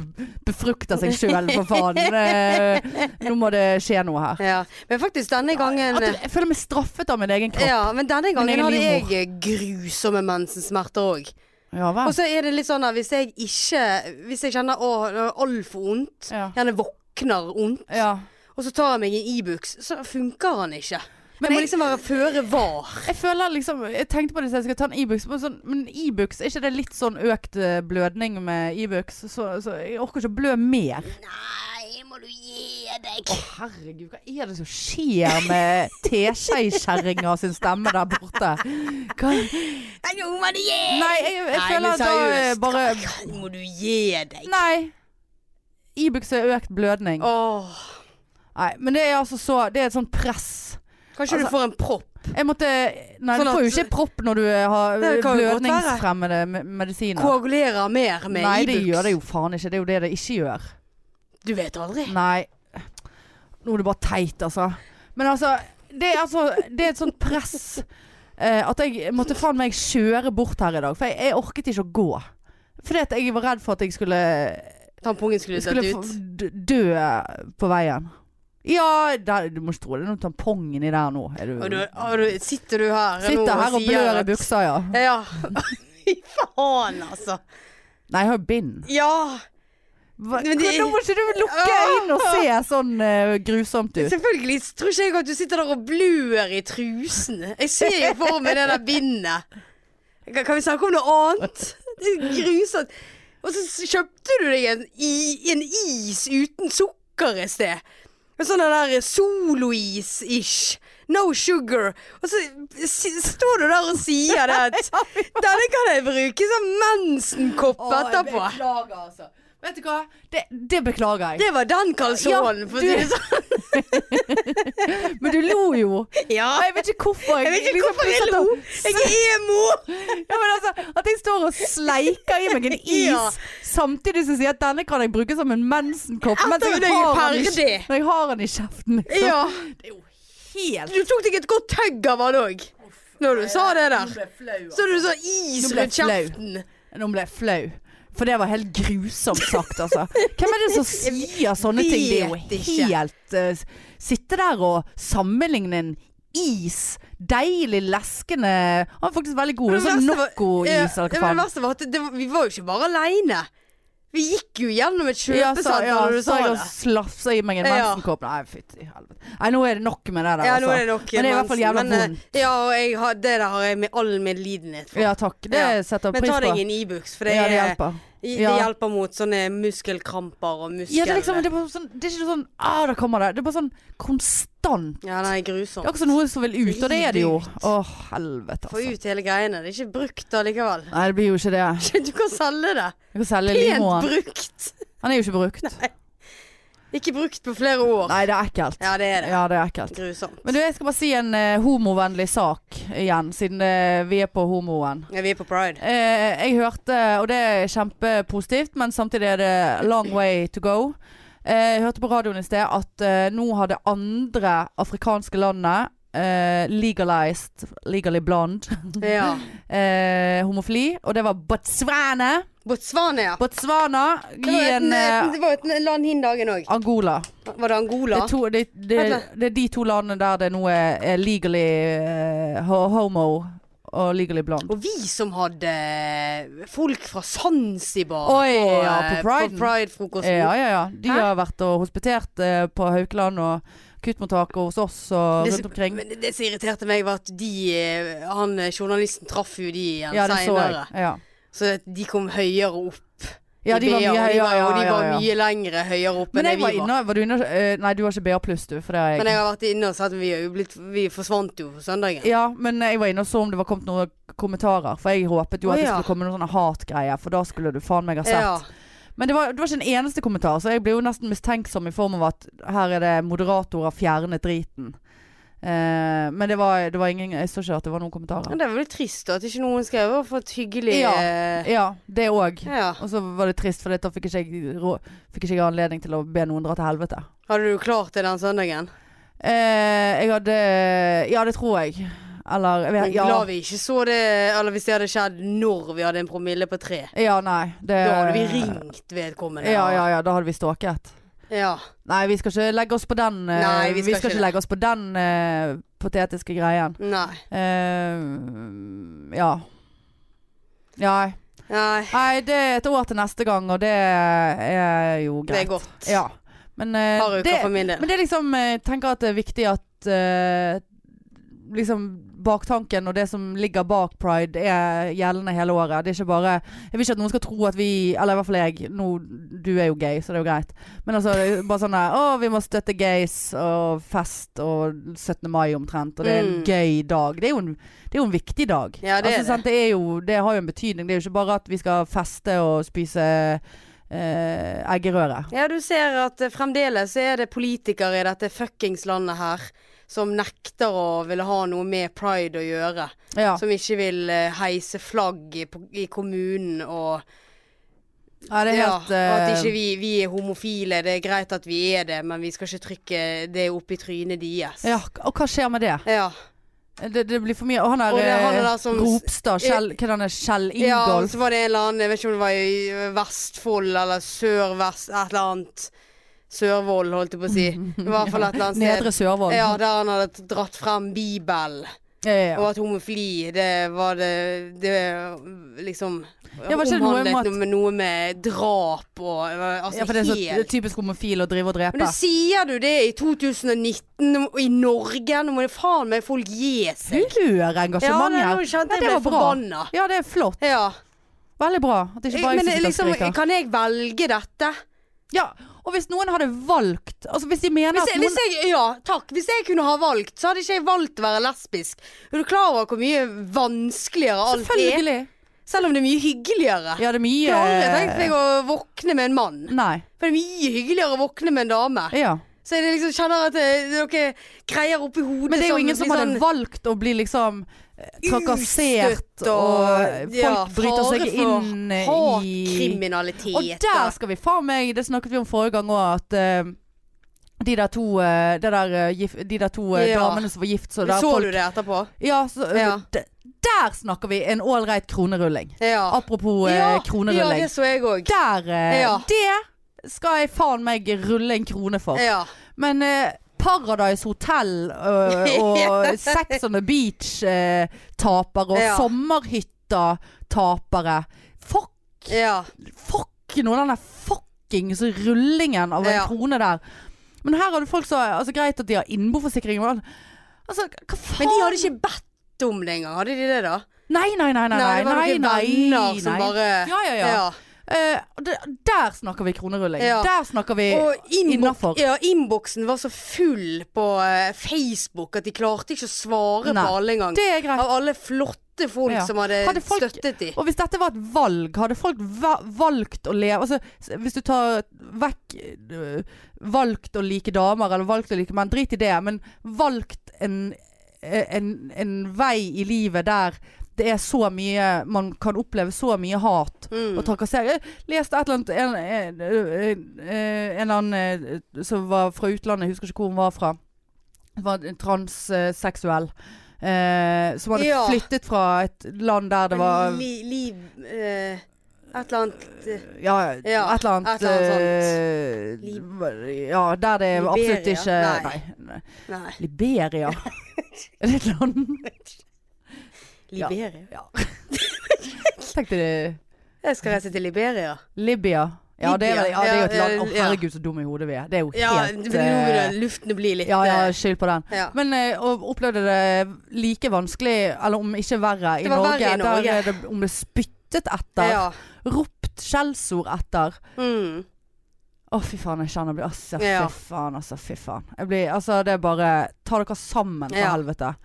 Speaker 1: befrukter seg sjøl, for faen. Det, nå må det skje noe her.
Speaker 2: Ja. Men faktisk, denne gangen
Speaker 1: At jeg, jeg føler meg straffet av min egen kropp.
Speaker 2: ja, men denne gangen
Speaker 1: egen
Speaker 2: hadde jeg grusomme mensensmerter òg.
Speaker 1: Ja
Speaker 2: Og
Speaker 1: vel.
Speaker 2: så er det litt sånn at hvis jeg ikke Hvis jeg kjenner å, det er altfor vondt,
Speaker 1: Ja.
Speaker 2: gjerne våkner vondt,
Speaker 1: Ja.
Speaker 2: og så tar jeg meg en Ibux, så funker han ikke. Men
Speaker 1: Men
Speaker 2: jeg må
Speaker 1: jeg-
Speaker 2: liksom være føre var.
Speaker 1: Jeg føler liksom Jeg tenkte på det sist jeg skulle ta en Ibux, men, sånn, men Ibux, er ikke det litt sånn økt eh, blødning med Ibux? Så, så jeg orker ikke å blø mer.
Speaker 2: Nei, må du gi deg.
Speaker 1: Herregud, hva er det som skjer med teskjekjerringa sin stemme der borte? Hva?
Speaker 2: Nå må du gi
Speaker 1: Nei, jeg, jeg føler at da eh, bare
Speaker 2: Nå må du gi deg.
Speaker 1: Nei. Ibux er økt blødning.
Speaker 2: Åh.
Speaker 1: Nei, men det er altså så Det er et sånt press.
Speaker 2: Kanskje
Speaker 1: Altså-
Speaker 2: du får en propp.
Speaker 1: Jeg måtte Nei,
Speaker 2: Sånn
Speaker 1: du får jo
Speaker 2: at-
Speaker 1: ikke propp når du eh, har
Speaker 2: Det kan jo godt være.
Speaker 1: blødningsfremmende me- medisiner.
Speaker 2: Koagulerer mer med
Speaker 1: Nei,
Speaker 2: Ibux.
Speaker 1: det gjør det jo faen ikke. Det er jo det det ikke gjør.
Speaker 2: Du vet aldri.
Speaker 1: Nei. Nå er det bare teit, altså. Men altså, det er, altså, det er et sånt press eh, at jeg måtte faen meg kjøre bort her i dag. For jeg, jeg orket ikke å gå. Fordi at jeg var redd for at jeg skulle,
Speaker 2: Tampungen skulle dødd ut.
Speaker 1: skulle få d- dø på veien. Ja, der, du må ikke tro det er noen tampong inni der nå. Er
Speaker 2: Og
Speaker 1: du,
Speaker 2: du, og du sitter du her nå
Speaker 1: sitter her og
Speaker 2: sier
Speaker 1: blør i
Speaker 2: at-
Speaker 1: buksa, ja.
Speaker 2: Ja. Fy faen, altså.
Speaker 1: Nei, jeg har jo bind.
Speaker 2: Ja.
Speaker 1: Hva-
Speaker 2: Men det-
Speaker 1: Nå må ikke du lukke øynene og se sånn eh, grusomt ut.
Speaker 2: Selvfølgelig tror ikke jeg at du sitter der og blør i trusen. Jeg ser jo for meg det der bindet. Kan, kan vi snakke om noe annet? Det er grusomt. Og så s- kjøpte du deg en, i, en is uten sukker i sted. En sånn der solois-ish. No sugar. Og så s- står du der og sier det at denne kan jeg bruke som mensenkopp
Speaker 1: Å, jeg
Speaker 2: etterpå.
Speaker 1: Beklager, altså. Vet du hva? Det, det beklager jeg.
Speaker 2: Det var den kalsonen,
Speaker 1: Ja,
Speaker 2: for å si det sånn.
Speaker 1: Men du lo jo.
Speaker 2: Ja.
Speaker 1: Og jeg vet ikke hvorfor.
Speaker 2: Jeg vet ikke hvorfor jeg
Speaker 1: satt og-
Speaker 2: lo. Jeg er emo.
Speaker 1: Ja, men altså, at jeg står og sleiker i meg en is
Speaker 2: Ja.
Speaker 1: samtidig som jeg sier at denne kan jeg bruke som en mensenkopp.
Speaker 2: Etter
Speaker 1: mens jeg
Speaker 2: at jeg er
Speaker 1: har den i-
Speaker 2: ferdig.
Speaker 1: Når jeg har den i kjeften. Liksom.
Speaker 2: Ja,
Speaker 1: Det er jo helt
Speaker 2: du tok deg et godt tøgg av han òg. Når du sa det der.
Speaker 1: Nå ble jeg flau, altså.
Speaker 2: Så du så is
Speaker 1: Nå ble jeg
Speaker 2: rundt kjeften.
Speaker 1: Nå ble jeg flau. For det var helt grusomt sagt, altså. Hvem er det som sier sånne
Speaker 2: Jeg
Speaker 1: ting? Det er jo
Speaker 2: vet ikke.
Speaker 1: helt eh, Sitte der og sammenligne en is. Deilig, leskende Han er faktisk veldig god. Det er Sånn
Speaker 2: Det verste var- Ja,
Speaker 1: Noco-is, eller
Speaker 2: men
Speaker 1: hva
Speaker 2: Det
Speaker 1: faen.
Speaker 2: verste var at det, var- vi var jo ikke bare aleine. Vi gikk jo gjennom et
Speaker 1: Ja, så,
Speaker 2: kjøpesenter
Speaker 1: ja,
Speaker 2: sånn når du
Speaker 1: så
Speaker 2: sa
Speaker 1: jeg og
Speaker 2: det.
Speaker 1: slafsa i meg en
Speaker 2: Ja.
Speaker 1: mensenkopp. Nei, fytti helvete. Nei, nå er det nok med det der,
Speaker 2: Ja,
Speaker 1: altså.
Speaker 2: nå er det nok
Speaker 1: Men det er i hvert fall
Speaker 2: mensen,
Speaker 1: jævla
Speaker 2: men, eh,
Speaker 1: vondt.
Speaker 2: Ja, og jeg har, det der har jeg med all medlidenhet for.
Speaker 1: Ja, takk. Det
Speaker 2: eh, Ja.
Speaker 1: setter jeg
Speaker 2: Men
Speaker 1: pris
Speaker 2: ta
Speaker 1: på.
Speaker 2: deg en Ibux, for det,
Speaker 1: ja, det
Speaker 2: er-
Speaker 1: hjelper.
Speaker 2: i-
Speaker 1: Ja.
Speaker 2: det hjelper mot sånne muskelkramper og muskel...
Speaker 1: Ja, det, er liksom, det, er bare sånn, det er ikke sånn ah, der kommer det. Det er bare sånn konstant.
Speaker 2: Ja, nei, grusomt.
Speaker 1: Det er akkurat som noe som vil ut, og det er det jo.
Speaker 2: Riv ut.
Speaker 1: Å, helvete,
Speaker 2: Få
Speaker 1: altså.
Speaker 2: ut hele greiene. Det er ikke brukt allikevel.
Speaker 1: Nei, det blir jo ikke det.
Speaker 2: Du kan selge det.
Speaker 1: Jeg kan selge
Speaker 2: Pent
Speaker 1: limoen.
Speaker 2: brukt.
Speaker 1: Han er jo ikke brukt.
Speaker 2: Ikke brukt på flere år.
Speaker 1: Nei, det er ekkelt.
Speaker 2: Ja, det er det.
Speaker 1: Ja, det er ekkelt.
Speaker 2: Grusomt.
Speaker 1: Men du, jeg skal bare si en eh, homovennlig sak igjen, siden eh, vi er på homoen.
Speaker 2: Ja, vi er på pride.
Speaker 1: Eh, jeg hørte, og det er kjempepositivt, men samtidig er det long way to go. Eh, jeg hørte på radioen i sted at eh, nå har det andre afrikanske landet eh, legalized, legally blonde,
Speaker 2: Ja.
Speaker 1: eh, homofili, og det var Botswana.
Speaker 2: Botswana, ja.
Speaker 1: Botswana,
Speaker 2: Det var
Speaker 1: gi
Speaker 2: et,
Speaker 1: en
Speaker 2: et,
Speaker 1: eh,
Speaker 2: det var et land hin dagen òg.
Speaker 1: Angola.
Speaker 2: Var det Angola?
Speaker 1: Det er, to, det, det,
Speaker 2: Vent da.
Speaker 1: det er de to landene der det nå er, er legally eh, ho- homo og legally blond.
Speaker 2: Og vi som hadde eh, folk fra Zanzibar
Speaker 1: Oi,
Speaker 2: på,
Speaker 1: ja,
Speaker 2: eh,
Speaker 1: på priden.
Speaker 2: på Pride-frokosten.
Speaker 1: Eh, Ja, ja, ja. De
Speaker 2: Hæ?
Speaker 1: har vært og hospitert eh, på Haukeland og akuttmottak og hos oss og
Speaker 2: Det,
Speaker 1: rundt
Speaker 2: som-
Speaker 1: omkring.
Speaker 2: men det- det som irriterte meg, var at de, eh, han eh, journalisten traff jo de igjen
Speaker 1: Ja, det så jeg.
Speaker 2: seinere.
Speaker 1: Ja,
Speaker 2: Så at de kom høyere opp.
Speaker 1: ja
Speaker 2: i
Speaker 1: de var
Speaker 2: BA,
Speaker 1: mye
Speaker 2: og de var-
Speaker 1: høyere. Ja,
Speaker 2: Og de
Speaker 1: ja,
Speaker 2: var
Speaker 1: ja.
Speaker 2: mye lengre høyere opp
Speaker 1: Men
Speaker 2: enn det
Speaker 1: jeg var
Speaker 2: vi var.
Speaker 1: inne Var du inne eh, Nei, du har ikke BA pluss, du. For det har
Speaker 2: Men
Speaker 1: jeg.
Speaker 2: jeg har vært inne og sett at vi, er jo blitt, vi forsvant jo på søndagen.
Speaker 1: Ja, men jeg var inne og så om det var kommet noen kommentarer. For jeg håpet jo
Speaker 2: Å,
Speaker 1: at det
Speaker 2: ja.
Speaker 1: skulle komme noen sånne hatgreier, for da skulle du faen meg ha sett.
Speaker 2: Ja.
Speaker 1: Men det var, det var ikke en eneste kommentar, så jeg ble jo nesten mistenksom i form av at her er det moderatorer fjernet driten. Eh, men det var, det var ingen Jeg så ikke at det var noen kommentarer.
Speaker 2: Men det er vel trist da, at ikke noen skrev og fått hyggelig
Speaker 1: Ja.
Speaker 2: eh,
Speaker 1: Ja, det òg.
Speaker 2: ja.
Speaker 1: Og så var det trist, for da fikk ikke jeg, rå- fikk ikke jeg anledning til å be noen dra til helvete.
Speaker 2: Hadde du klart det den søndagen?
Speaker 1: Eh, jeg hadde Ja, det tror jeg. Eller jeg
Speaker 2: Jeg er
Speaker 1: vet, ja.
Speaker 2: glad vi ikke så det, eller hvis det hadde skjedd når vi hadde en promille på tre.
Speaker 1: ja, nei. Det,
Speaker 2: Da hadde vi ringt vedkommende.
Speaker 1: Ja, ja, ja. Da hadde vi stalket.
Speaker 2: Ja.
Speaker 1: Nei, vi skal ikke legge oss på den eh,
Speaker 2: Nei,
Speaker 1: vi, skal ikke
Speaker 2: det.
Speaker 1: legge oss på den eh, patetiske greien.
Speaker 2: Nei.
Speaker 1: Eh, ja. Nei.
Speaker 2: Nei.
Speaker 1: Nei, det er et år til neste gang, og det er jo greit.
Speaker 2: Det er godt.
Speaker 1: Ja. Men, eh,
Speaker 2: Har uka
Speaker 1: det,
Speaker 2: for min del.
Speaker 1: men det er liksom Jeg tenker at det er viktig at eh, liksom baktanken og det som ligger bak pride, er gjeldende hele året. Det er ikke bare Jeg vil ikke at noen skal tro at vi Eller i hvert fall jeg. Nå, du er jo gay, så det er jo greit. Men altså det er bare sånn der Å, vi må støtte gays og fest og 17. mai omtrent. Og det er en
Speaker 2: Mm.
Speaker 1: gøy dag. Det er jo en, det er jo en viktig dag.
Speaker 2: Ja, det er
Speaker 1: altså,
Speaker 2: det.
Speaker 1: Sant, det, er jo, det har jo en betydning. Det er jo ikke bare at vi skal feste og spise eh, eggerøre.
Speaker 2: Ja, du ser at eh, fremdeles er det politikere i dette fuckings landet her som nekter å ville ha noe med pride å gjøre.
Speaker 1: Ja.
Speaker 2: Som ikke vil eh, heise flagg i, på- i kommunen og
Speaker 1: ja, det er
Speaker 2: ja,
Speaker 1: helt
Speaker 2: og At
Speaker 1: eh,
Speaker 2: ikke vi, vi er homofile. Det er greit at vi er det, men vi skal ikke trykke det opp i trynet deres.
Speaker 1: Ja, og hva skjer med det?
Speaker 2: Ja.
Speaker 1: Det, det blir for mye. Og han der,
Speaker 2: Og det er han
Speaker 1: eh,
Speaker 2: der som-
Speaker 1: Ropstad, Kjell, hva er det, Kjell
Speaker 2: Ja, og
Speaker 1: Ingolf?
Speaker 2: så var det en eller annen, jeg vet ikke om det var i eh, Vestfold eller Sør-Vest, et eller annet. Sørvoll, holdt jeg på å si. Det var i hvert fall et eller annet sted.
Speaker 1: Nedre Sørvoll.
Speaker 2: Ja, der han hadde dratt frem Bibelen.
Speaker 1: Ja, ja,
Speaker 2: Og
Speaker 1: ja.
Speaker 2: at homofili, det var det, det liksom
Speaker 1: Ja, var ikke det noe med at-
Speaker 2: noe med, noe med drap og altså,
Speaker 1: ja, for det er så
Speaker 2: helt
Speaker 1: typisk homofil å drive og
Speaker 2: Men
Speaker 1: drepe.
Speaker 2: da sier du det i 2019 og i Norge. Nå må det faen meg folk gi
Speaker 1: Hm?
Speaker 2: seg.
Speaker 1: Hør engasjementet
Speaker 2: Ja,
Speaker 1: her.
Speaker 2: nå kjente jeg
Speaker 1: det
Speaker 2: ble
Speaker 1: var bra.
Speaker 2: forbanna.
Speaker 1: Ja, det er flott.
Speaker 2: Ja.
Speaker 1: Veldig bra. At det ikke bare er
Speaker 2: Men
Speaker 1: jeg som sitter
Speaker 2: liksom,
Speaker 1: og skriker.
Speaker 2: kan jeg velge dette?
Speaker 1: Ja, og hvis noen hadde valgt Altså hvis de mener
Speaker 2: Hvis
Speaker 1: at
Speaker 2: jeg,
Speaker 1: noen
Speaker 2: hvis jeg, ja, takk. Hvis jeg kunne ha valgt, så hadde ikke jeg valgt å være lesbisk. Er du klar over hvor mye vanskeligere alt er?
Speaker 1: Selvfølgelig.
Speaker 2: Selv om det er mye hyggeligere.
Speaker 1: Ja, det er
Speaker 2: Jeg
Speaker 1: mye
Speaker 2: har aldri tenkt meg å våkne med en mann.
Speaker 1: Nei.
Speaker 2: For det er mye hyggeligere å våkne med en dame.
Speaker 1: Ja.
Speaker 2: Så jeg liksom kjenner at det det er noen greier oppi hodet
Speaker 1: Men det er jo
Speaker 2: som
Speaker 1: ingen som
Speaker 2: blir
Speaker 1: hadde
Speaker 2: sånn
Speaker 1: valgt å bli liksom eh, trakassert,
Speaker 2: utstøtt
Speaker 1: og eh, folk
Speaker 2: ja,
Speaker 1: bryter seg
Speaker 2: fare for
Speaker 1: inn i
Speaker 2: Hatkriminalitet.
Speaker 1: Og der skal vi faen meg Det snakket vi om forrige gang òg, at eh, de der to, eh, det der, eh, gif, de der to eh,
Speaker 2: Ja.
Speaker 1: damene som var gift så der
Speaker 2: Så
Speaker 1: folk,
Speaker 2: du det etterpå?
Speaker 1: Ja, så, eh,
Speaker 2: Ja.
Speaker 1: d- Der snakker vi en ålreit kronerulling.
Speaker 2: Ja.
Speaker 1: Apropos eh,
Speaker 2: ja, Ja,
Speaker 1: kronerulling.
Speaker 2: det så jeg òg.
Speaker 1: Der eh,
Speaker 2: Ja.
Speaker 1: Det skal jeg faen meg rulle en krone for.
Speaker 2: Ja.
Speaker 1: Men eh, Paradise Hotel eh, og Sex on the Beach-tapere eh, og
Speaker 2: Ja.
Speaker 1: sommerhytta-tapere. Fuck,
Speaker 2: ja.
Speaker 1: fuck noe den der fuckings rullingen av en
Speaker 2: Ja.
Speaker 1: krone der. Men her har du folk som altså, Greit at de har innboforsikring, men altså, hva faen?
Speaker 2: Men de hadde ikke bedt om det engang. Hadde de det, da?
Speaker 1: Nei, nei, nei. nei, nei,
Speaker 2: det var
Speaker 1: nei,
Speaker 2: noen
Speaker 1: nei,
Speaker 2: venner som
Speaker 1: nei.
Speaker 2: bare
Speaker 1: Ja, ja, ja. Eh, og det- der snakker vi kronerulling.
Speaker 2: Ja.
Speaker 1: Der snakker vi
Speaker 2: Og innbok,
Speaker 1: innafor.
Speaker 2: ja, innboksen var så full på eh, Facebook at de klarte ikke å svare
Speaker 1: Nei.
Speaker 2: på alle engang.
Speaker 1: Det er greit.
Speaker 2: Av alle flotte folk
Speaker 1: Ja.
Speaker 2: som hadde,
Speaker 1: Hadde folk-
Speaker 2: støttet de.
Speaker 1: Og hvis dette var et valg, hadde folk va valgt å leve altså, s- Hvis du tar vekk øh, Valgt å like damer eller valgt å like menn, drit i det, men valgt en, e, en, en vei i livet der det er så mye Man kan oppleve så mye hat
Speaker 2: Mm.
Speaker 1: og trakassering. Jeg leste et eller annet En, en, en, en eller annen eh, som var fra utlandet, jeg husker ikke hvor hun var fra. Hun var en transseksuell. Eh, som hadde
Speaker 2: Ja.
Speaker 1: flyttet fra et land der det var
Speaker 2: Li, liv eh, Et eller annet eh,
Speaker 1: ja,
Speaker 2: Ja,
Speaker 1: et eller
Speaker 2: et
Speaker 1: annet,
Speaker 2: eller
Speaker 1: eh, Ja, der det
Speaker 2: Liberia?
Speaker 1: absolutt ikke
Speaker 2: Nei.
Speaker 1: nei.
Speaker 2: Nei.
Speaker 1: Liberia? er det et land? Ja.
Speaker 2: Liberia.
Speaker 1: Ja. Tenkte det
Speaker 2: Jeg skal reise til Liberia.
Speaker 1: Libya. Ja, det er, vel- ja, det er jo et
Speaker 2: Ja,
Speaker 1: land Å,
Speaker 2: ja.
Speaker 1: herregud, så dumme i hodet vi er. Det er jo
Speaker 2: Ja,
Speaker 1: helt
Speaker 2: det blir noe med
Speaker 1: eh,
Speaker 2: det. luftene blir litt
Speaker 1: Ja, ja,
Speaker 2: eh,
Speaker 1: skyld på den.
Speaker 2: ja.
Speaker 1: Men eh, og opplevde det like vanskelig, eller om ikke verre, i
Speaker 2: Det var
Speaker 1: Norge.
Speaker 2: verre i Norge.
Speaker 1: Der er det, om det er spyttet etter,
Speaker 2: ja.
Speaker 1: ropt skjellsord etter.
Speaker 2: Mm.
Speaker 1: Å, fy faen, jeg kjenner jeg blir Altså,
Speaker 2: Ja.
Speaker 1: fy faen, altså, fy faen. Jeg blir, altså, det er bare Ta dere sammen, for
Speaker 2: Ja.
Speaker 1: helvete.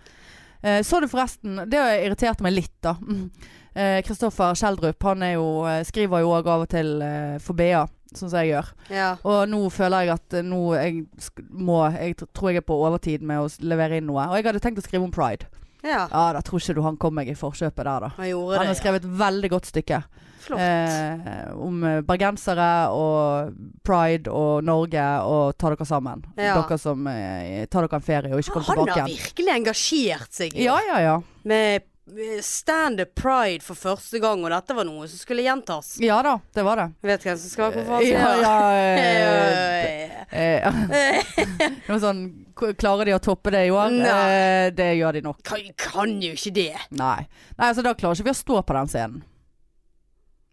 Speaker 1: Eh, så du forresten Det irriterte meg litt, da. Mm. Eh, Kristoffer Schjelderup han er jo, eh, skriver jo òg av og til eh, for BA, sånn som jeg gjør.
Speaker 2: ja.
Speaker 1: Og nå føler jeg at eh, nå jeg sk- må Jeg tr- tror jeg er på overtid med å s- levere inn noe. Og jeg hadde tenkt å skrive om pride.
Speaker 2: Ja.
Speaker 1: Ja da tror ikke du han kom meg i forkjøpet der, da.
Speaker 2: Han gjorde
Speaker 1: Han har
Speaker 2: det.
Speaker 1: skrevet et veldig godt stykke
Speaker 2: Ja. Flott.
Speaker 1: eh, om eh, bergensere og pride og Norge og ta dere sammen.
Speaker 2: Ja. Ah,
Speaker 1: Dere som eh, tar dere en ferie og ikke kommer
Speaker 2: han
Speaker 1: tilbake
Speaker 2: har
Speaker 1: igjen.
Speaker 2: virkelig engasjert seg i-
Speaker 1: Ja, ja, ja.
Speaker 2: med eh, standup pride for første gang, og dette var noe som skulle gjentas.
Speaker 1: Ja da, det var det.
Speaker 2: Vet hvem som skal ha konferanse?
Speaker 1: Ja, ja, eh,
Speaker 2: Eh,
Speaker 1: eh, Noe sånn k- Klarer de å toppe det i år?
Speaker 2: Nei.
Speaker 1: Eh, det gjør de nok.
Speaker 2: Kan, kan jo ikke det.
Speaker 1: Nei. Nei, altså Da klarer ikke vi å stå på den scenen.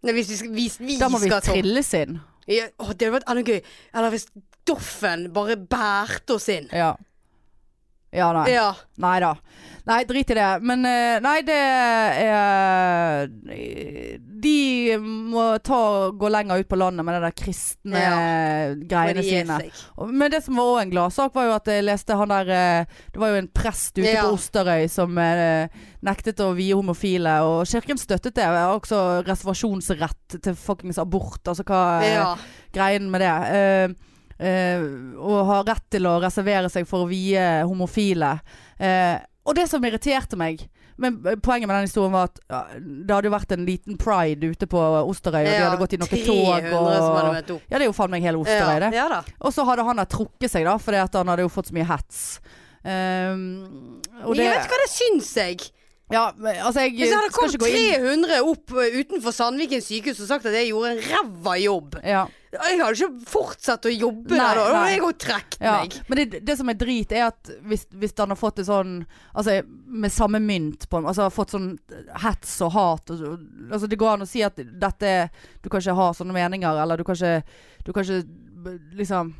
Speaker 2: Nei, hvis vi skal, hvis vi
Speaker 1: Da må vi
Speaker 2: skal ta-
Speaker 1: trilles inn.
Speaker 2: Ja, å, det hadde vært enda gøy. Eller hvis Doffen bare bærte oss inn.
Speaker 1: Ja. Ja, nei.
Speaker 2: Ja.
Speaker 1: Nei da. Nei, drit i det. Men eh, nei, det er De må ta, gå lenger ut på landet med de der kristne
Speaker 2: Men
Speaker 1: greiene
Speaker 2: de gir
Speaker 1: sine.
Speaker 2: seg.
Speaker 1: Og- Men det som var òg en gladsak, var jo at jeg leste han der eh, Det var jo en prest ute
Speaker 2: Ja.
Speaker 1: på Osterøy som eh, nektet å vie homofile, og kirken støttet det. Også reservasjonsrett til fuckings abort, altså hva eh,
Speaker 2: Ja.
Speaker 1: greien med det. Eh, eh, å ha rett til å reservere seg for å vie homofile. Eh, og det som irriterte meg men eh, Poenget med den historien var at ja, det hadde jo vært en liten pride ute på Osterøy, og de hadde gått i noen tog.
Speaker 2: 300 som hadde
Speaker 1: Og,
Speaker 2: møtt opp.
Speaker 1: ja, det er jo faen meg hele
Speaker 2: Ja,
Speaker 1: Osterøy, det.
Speaker 2: ja da.
Speaker 1: Og så hadde han da trukket seg, da, fordi at han hadde jo fått så mye hets. Ehm, og det
Speaker 2: Jeg vet hva det syns jeg.
Speaker 1: Ja, men, altså, jeg
Speaker 2: Hvis det hadde
Speaker 1: skal
Speaker 2: kommet
Speaker 1: ikke gå inn
Speaker 2: 300 opp eh, utenfor Sandviken sykehus og sagt at jeg gjorde en ræva jobb
Speaker 1: ja,
Speaker 2: Jeg hadde ikke fortsatt å jobbe
Speaker 1: Nei,
Speaker 2: der da. Da
Speaker 1: nei.
Speaker 2: hadde jeg jo trukket
Speaker 1: ja.
Speaker 2: meg.
Speaker 1: Men det, det som er drit, er at hvis, hvis han har fått det sånn Altså med samme mynt på Altså har fått sånn hets og hat og, og- Altså det går an å si at dette er- Du kan ikke ha sånne meninger, eller du kan ikke Du kan ikke liksom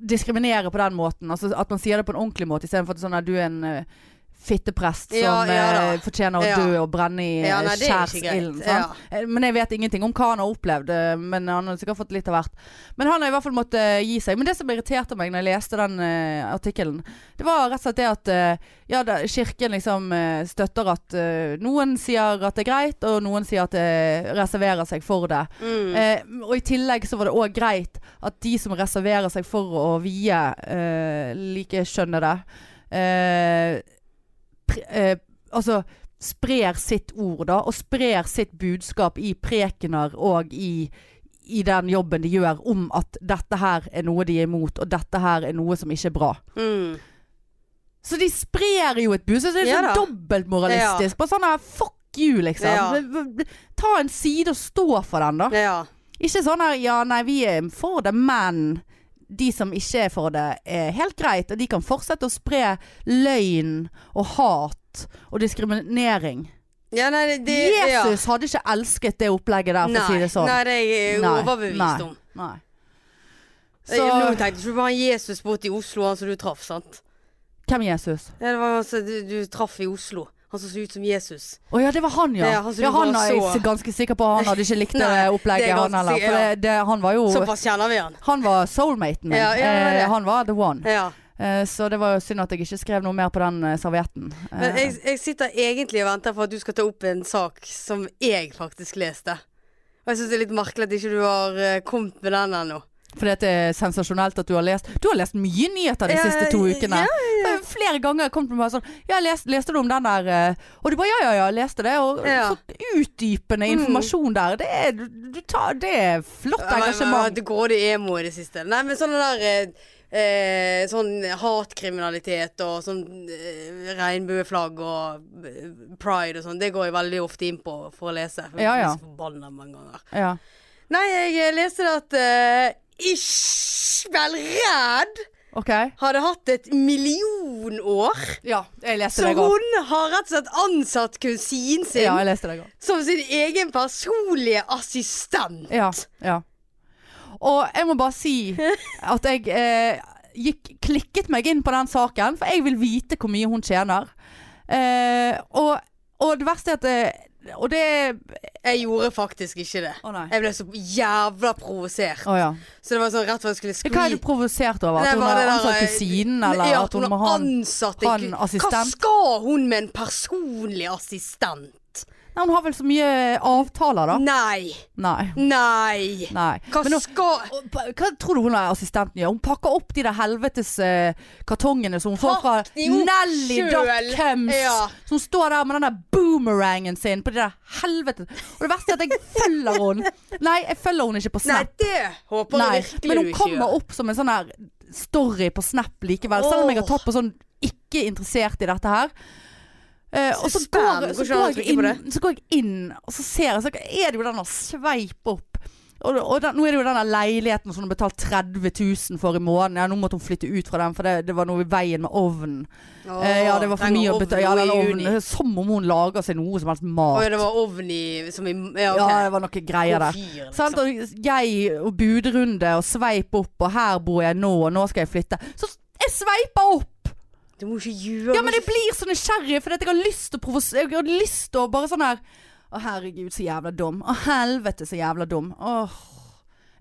Speaker 1: diskriminere på den måten. Altså at man sier det på en ordentlig måte istedenfor at det er sånn at du er en eh, fitteprest som
Speaker 2: Ja, ja da.
Speaker 1: eh, fortjener å
Speaker 2: Ja.
Speaker 1: dø og brenne i
Speaker 2: Ja, nei, det er ikke
Speaker 1: skjærsilden.
Speaker 2: greit.
Speaker 1: eh, sant? Eh, Men jeg vet ingenting om hva han har opplevd, eh, men han har sikkert fått litt av hvert. Men han har i hvert fall måttet eh, gi seg. Men det som irriterte meg når jeg leste den eh, artikkelen, det var rett og slett det at eh, ja, da, kirken liksom eh, støtter at eh, noen sier at det er greit, og noen sier at det reserverer seg for det.
Speaker 2: Mm.
Speaker 1: Eh, og i tillegg så var det òg greit at de som reserverer seg for å vie eh, likekjønnede eh, pr eh, Altså sprer sitt ord, da, og sprer sitt budskap i prekener og i i den jobben de gjør om at dette her er noe de er imot, og dette her er noe som ikke er bra.
Speaker 2: Mm.
Speaker 1: Så de sprer jo et budskap. så Det er
Speaker 2: Ja da.
Speaker 1: sånn dobbeltmoralistisk. På sånn her fuck you, liksom. Ta en side og stå for den, da.
Speaker 2: Ja.
Speaker 1: Ikke sånn her, ja nei vi er for det, men de som ikke er for det er helt greit, og de kan fortsette å spre løgn og hat og diskriminering.
Speaker 2: ja nei, det, det ja.
Speaker 1: Jesus hadde ikke elsket det opplegget der, for å si det sånn.
Speaker 2: Nei, det er jeg
Speaker 1: Nei,
Speaker 2: overbevist
Speaker 1: nei.
Speaker 2: om.
Speaker 1: Nei.
Speaker 2: Så... Eh, Nå
Speaker 1: Så
Speaker 2: tenkte du ikke på han Jesus borte i Oslo, han som du traff, sant?
Speaker 1: hvem er Jesus?
Speaker 2: Ja, det var han som du, du traff i Oslo. Han som så ut som Jesus.
Speaker 1: Å ja, det var han, ja.
Speaker 2: Ja, han som
Speaker 1: ja,
Speaker 2: du
Speaker 1: han
Speaker 2: bare
Speaker 1: er jeg
Speaker 2: så.
Speaker 1: s- ganske sikker på. Han hadde ikke likt det
Speaker 2: Nei, det er
Speaker 1: opplegget,
Speaker 2: ganske
Speaker 1: han heller.
Speaker 2: sikker,
Speaker 1: For
Speaker 2: ja.
Speaker 1: det, det, han var jo
Speaker 2: Såpass kjenner vi han.
Speaker 1: Han var soulmaten min.
Speaker 2: Ja, ja, det var det.
Speaker 1: Eh, han var the one.
Speaker 2: Ja.
Speaker 1: Eh, så det var jo synd at jeg ikke skrev noe mer på den eh, servietten. Eh,
Speaker 2: Men jeg, jeg sitter egentlig og venter på at du skal ta opp en sak som jeg faktisk leste. Og jeg syns det er litt merkelig at ikke du har eh, kommet med den ennå.
Speaker 1: Fordi at det er sensasjonelt at du har lest Du har lest mye nyheter de
Speaker 2: Ja,
Speaker 1: siste to ukene.
Speaker 2: ja,
Speaker 1: Eh, Flere ganger har jeg kommet med meg sånn Ja, les, leste du om den der eh, Og du bare ja, ja, ja, leste det. Og
Speaker 2: Ja. Mm.
Speaker 1: så utdypende informasjon der. Det er, du, du tar, det er flott engasjement.
Speaker 2: eh, Det går det emo i det siste. Nei, men sånne der eh, eh, Sånn hatkriminalitet og sånn eh, regnbueflagg og eh, pride og sånn, det går jeg veldig ofte inn på for å lese. For jeg
Speaker 1: Ja,
Speaker 2: blir
Speaker 1: ja.
Speaker 2: så forbanna mange ganger.
Speaker 1: Ja.
Speaker 2: Nei, jeg leste at eh, Ishbel Ræd
Speaker 1: OK.
Speaker 2: hadde hatt et millionår.
Speaker 1: Ja, jeg leste
Speaker 2: Så
Speaker 1: deg òg.
Speaker 2: hun har rett og slett ansatt kusinen sin
Speaker 1: Ja, jeg leste deg òg.
Speaker 2: som sin egen personlige assistent.
Speaker 1: Ja, ja. Og jeg må bare si at jeg eh, gikk, klikket meg inn på den saken, for jeg vil vite hvor mye hun tjener. Eh, og, og det verste er at eh, Og det
Speaker 2: Jeg gjorde faktisk ikke det.
Speaker 1: Å nei.
Speaker 2: Jeg ble så jævla provosert.
Speaker 1: Å ja.
Speaker 2: Så det var sånn rett før jeg skulle
Speaker 1: Hva er
Speaker 2: skli
Speaker 1: du provosert over?
Speaker 2: Det
Speaker 1: At hun
Speaker 2: var
Speaker 1: har
Speaker 2: det der,
Speaker 1: ansatt
Speaker 2: eh,
Speaker 1: kusinen, eller
Speaker 2: ja,
Speaker 1: at hun må ha en
Speaker 2: ansatt
Speaker 1: ha
Speaker 2: en
Speaker 1: en
Speaker 2: ku- Hva
Speaker 1: assistent?
Speaker 2: skal hun med en personlig assistent?
Speaker 1: Nei, hun har vel så mye avtaler, da.
Speaker 2: Nei.
Speaker 1: Nei.
Speaker 2: Nei.
Speaker 1: Nei.
Speaker 2: Hva
Speaker 1: Men nå-
Speaker 2: skal
Speaker 1: Og pa- Hva tror du hun er assistenten gjør? Hun pakker opp de der helvetes eh, kartongene som hun får fra
Speaker 2: Pakk de opp
Speaker 1: Nelly.coms.
Speaker 2: selv. Ja.
Speaker 1: Som står der med den der boomerangen sin på de der helvete Og det verste er at jeg følger henne. Nei, jeg følger henne ikke på
Speaker 2: Nei,
Speaker 1: Snap.
Speaker 2: det håper
Speaker 1: Nei,
Speaker 2: jeg virkelig du
Speaker 1: men hun
Speaker 2: ikke
Speaker 1: kommer
Speaker 2: gjør.
Speaker 1: opp som en sånn her story på Snap likevel. Selv om jeg har tatt på sånn ikke interessert i dette her. Eh, og så
Speaker 2: Spam,
Speaker 1: går, så,
Speaker 2: går ikke an å
Speaker 1: går jeg
Speaker 2: trykke på
Speaker 1: inn, så går jeg inn, og så ser jeg, så er det jo den der sveip opp. Og, og den, nå er det jo den der leiligheten som hun betalte 30 000 for i måneden. Ja, nå måtte hun flytte ut fra den, for det, det var noe i veien med ovnen.
Speaker 2: Åh,
Speaker 1: Eh, ja, det var for
Speaker 2: den
Speaker 1: mye å
Speaker 2: ovnen
Speaker 1: betale. Ja,
Speaker 2: nå i
Speaker 1: den ovnen.
Speaker 2: juni.
Speaker 1: Det er Som om hun lager seg noe som helst mat.
Speaker 2: Å ja, det var ovn i som i Ja, ok.
Speaker 1: Ja, det var noe greier der.
Speaker 2: Komfyr, liksom.
Speaker 1: Sant? Og jeg og budrunde og sveip opp, og her bor jeg nå, og nå skal jeg flytte. Så jeg sveiper opp!
Speaker 2: Du må ikke gjøre
Speaker 1: Ja, men
Speaker 2: du
Speaker 1: jeg blir så nysgjerrig, fordi at jeg har lyst til å provosere. Jeg har lyst til å bare sånn her Å, herregud, så jævla dum. Å, helvete, så jævla dum. Åh.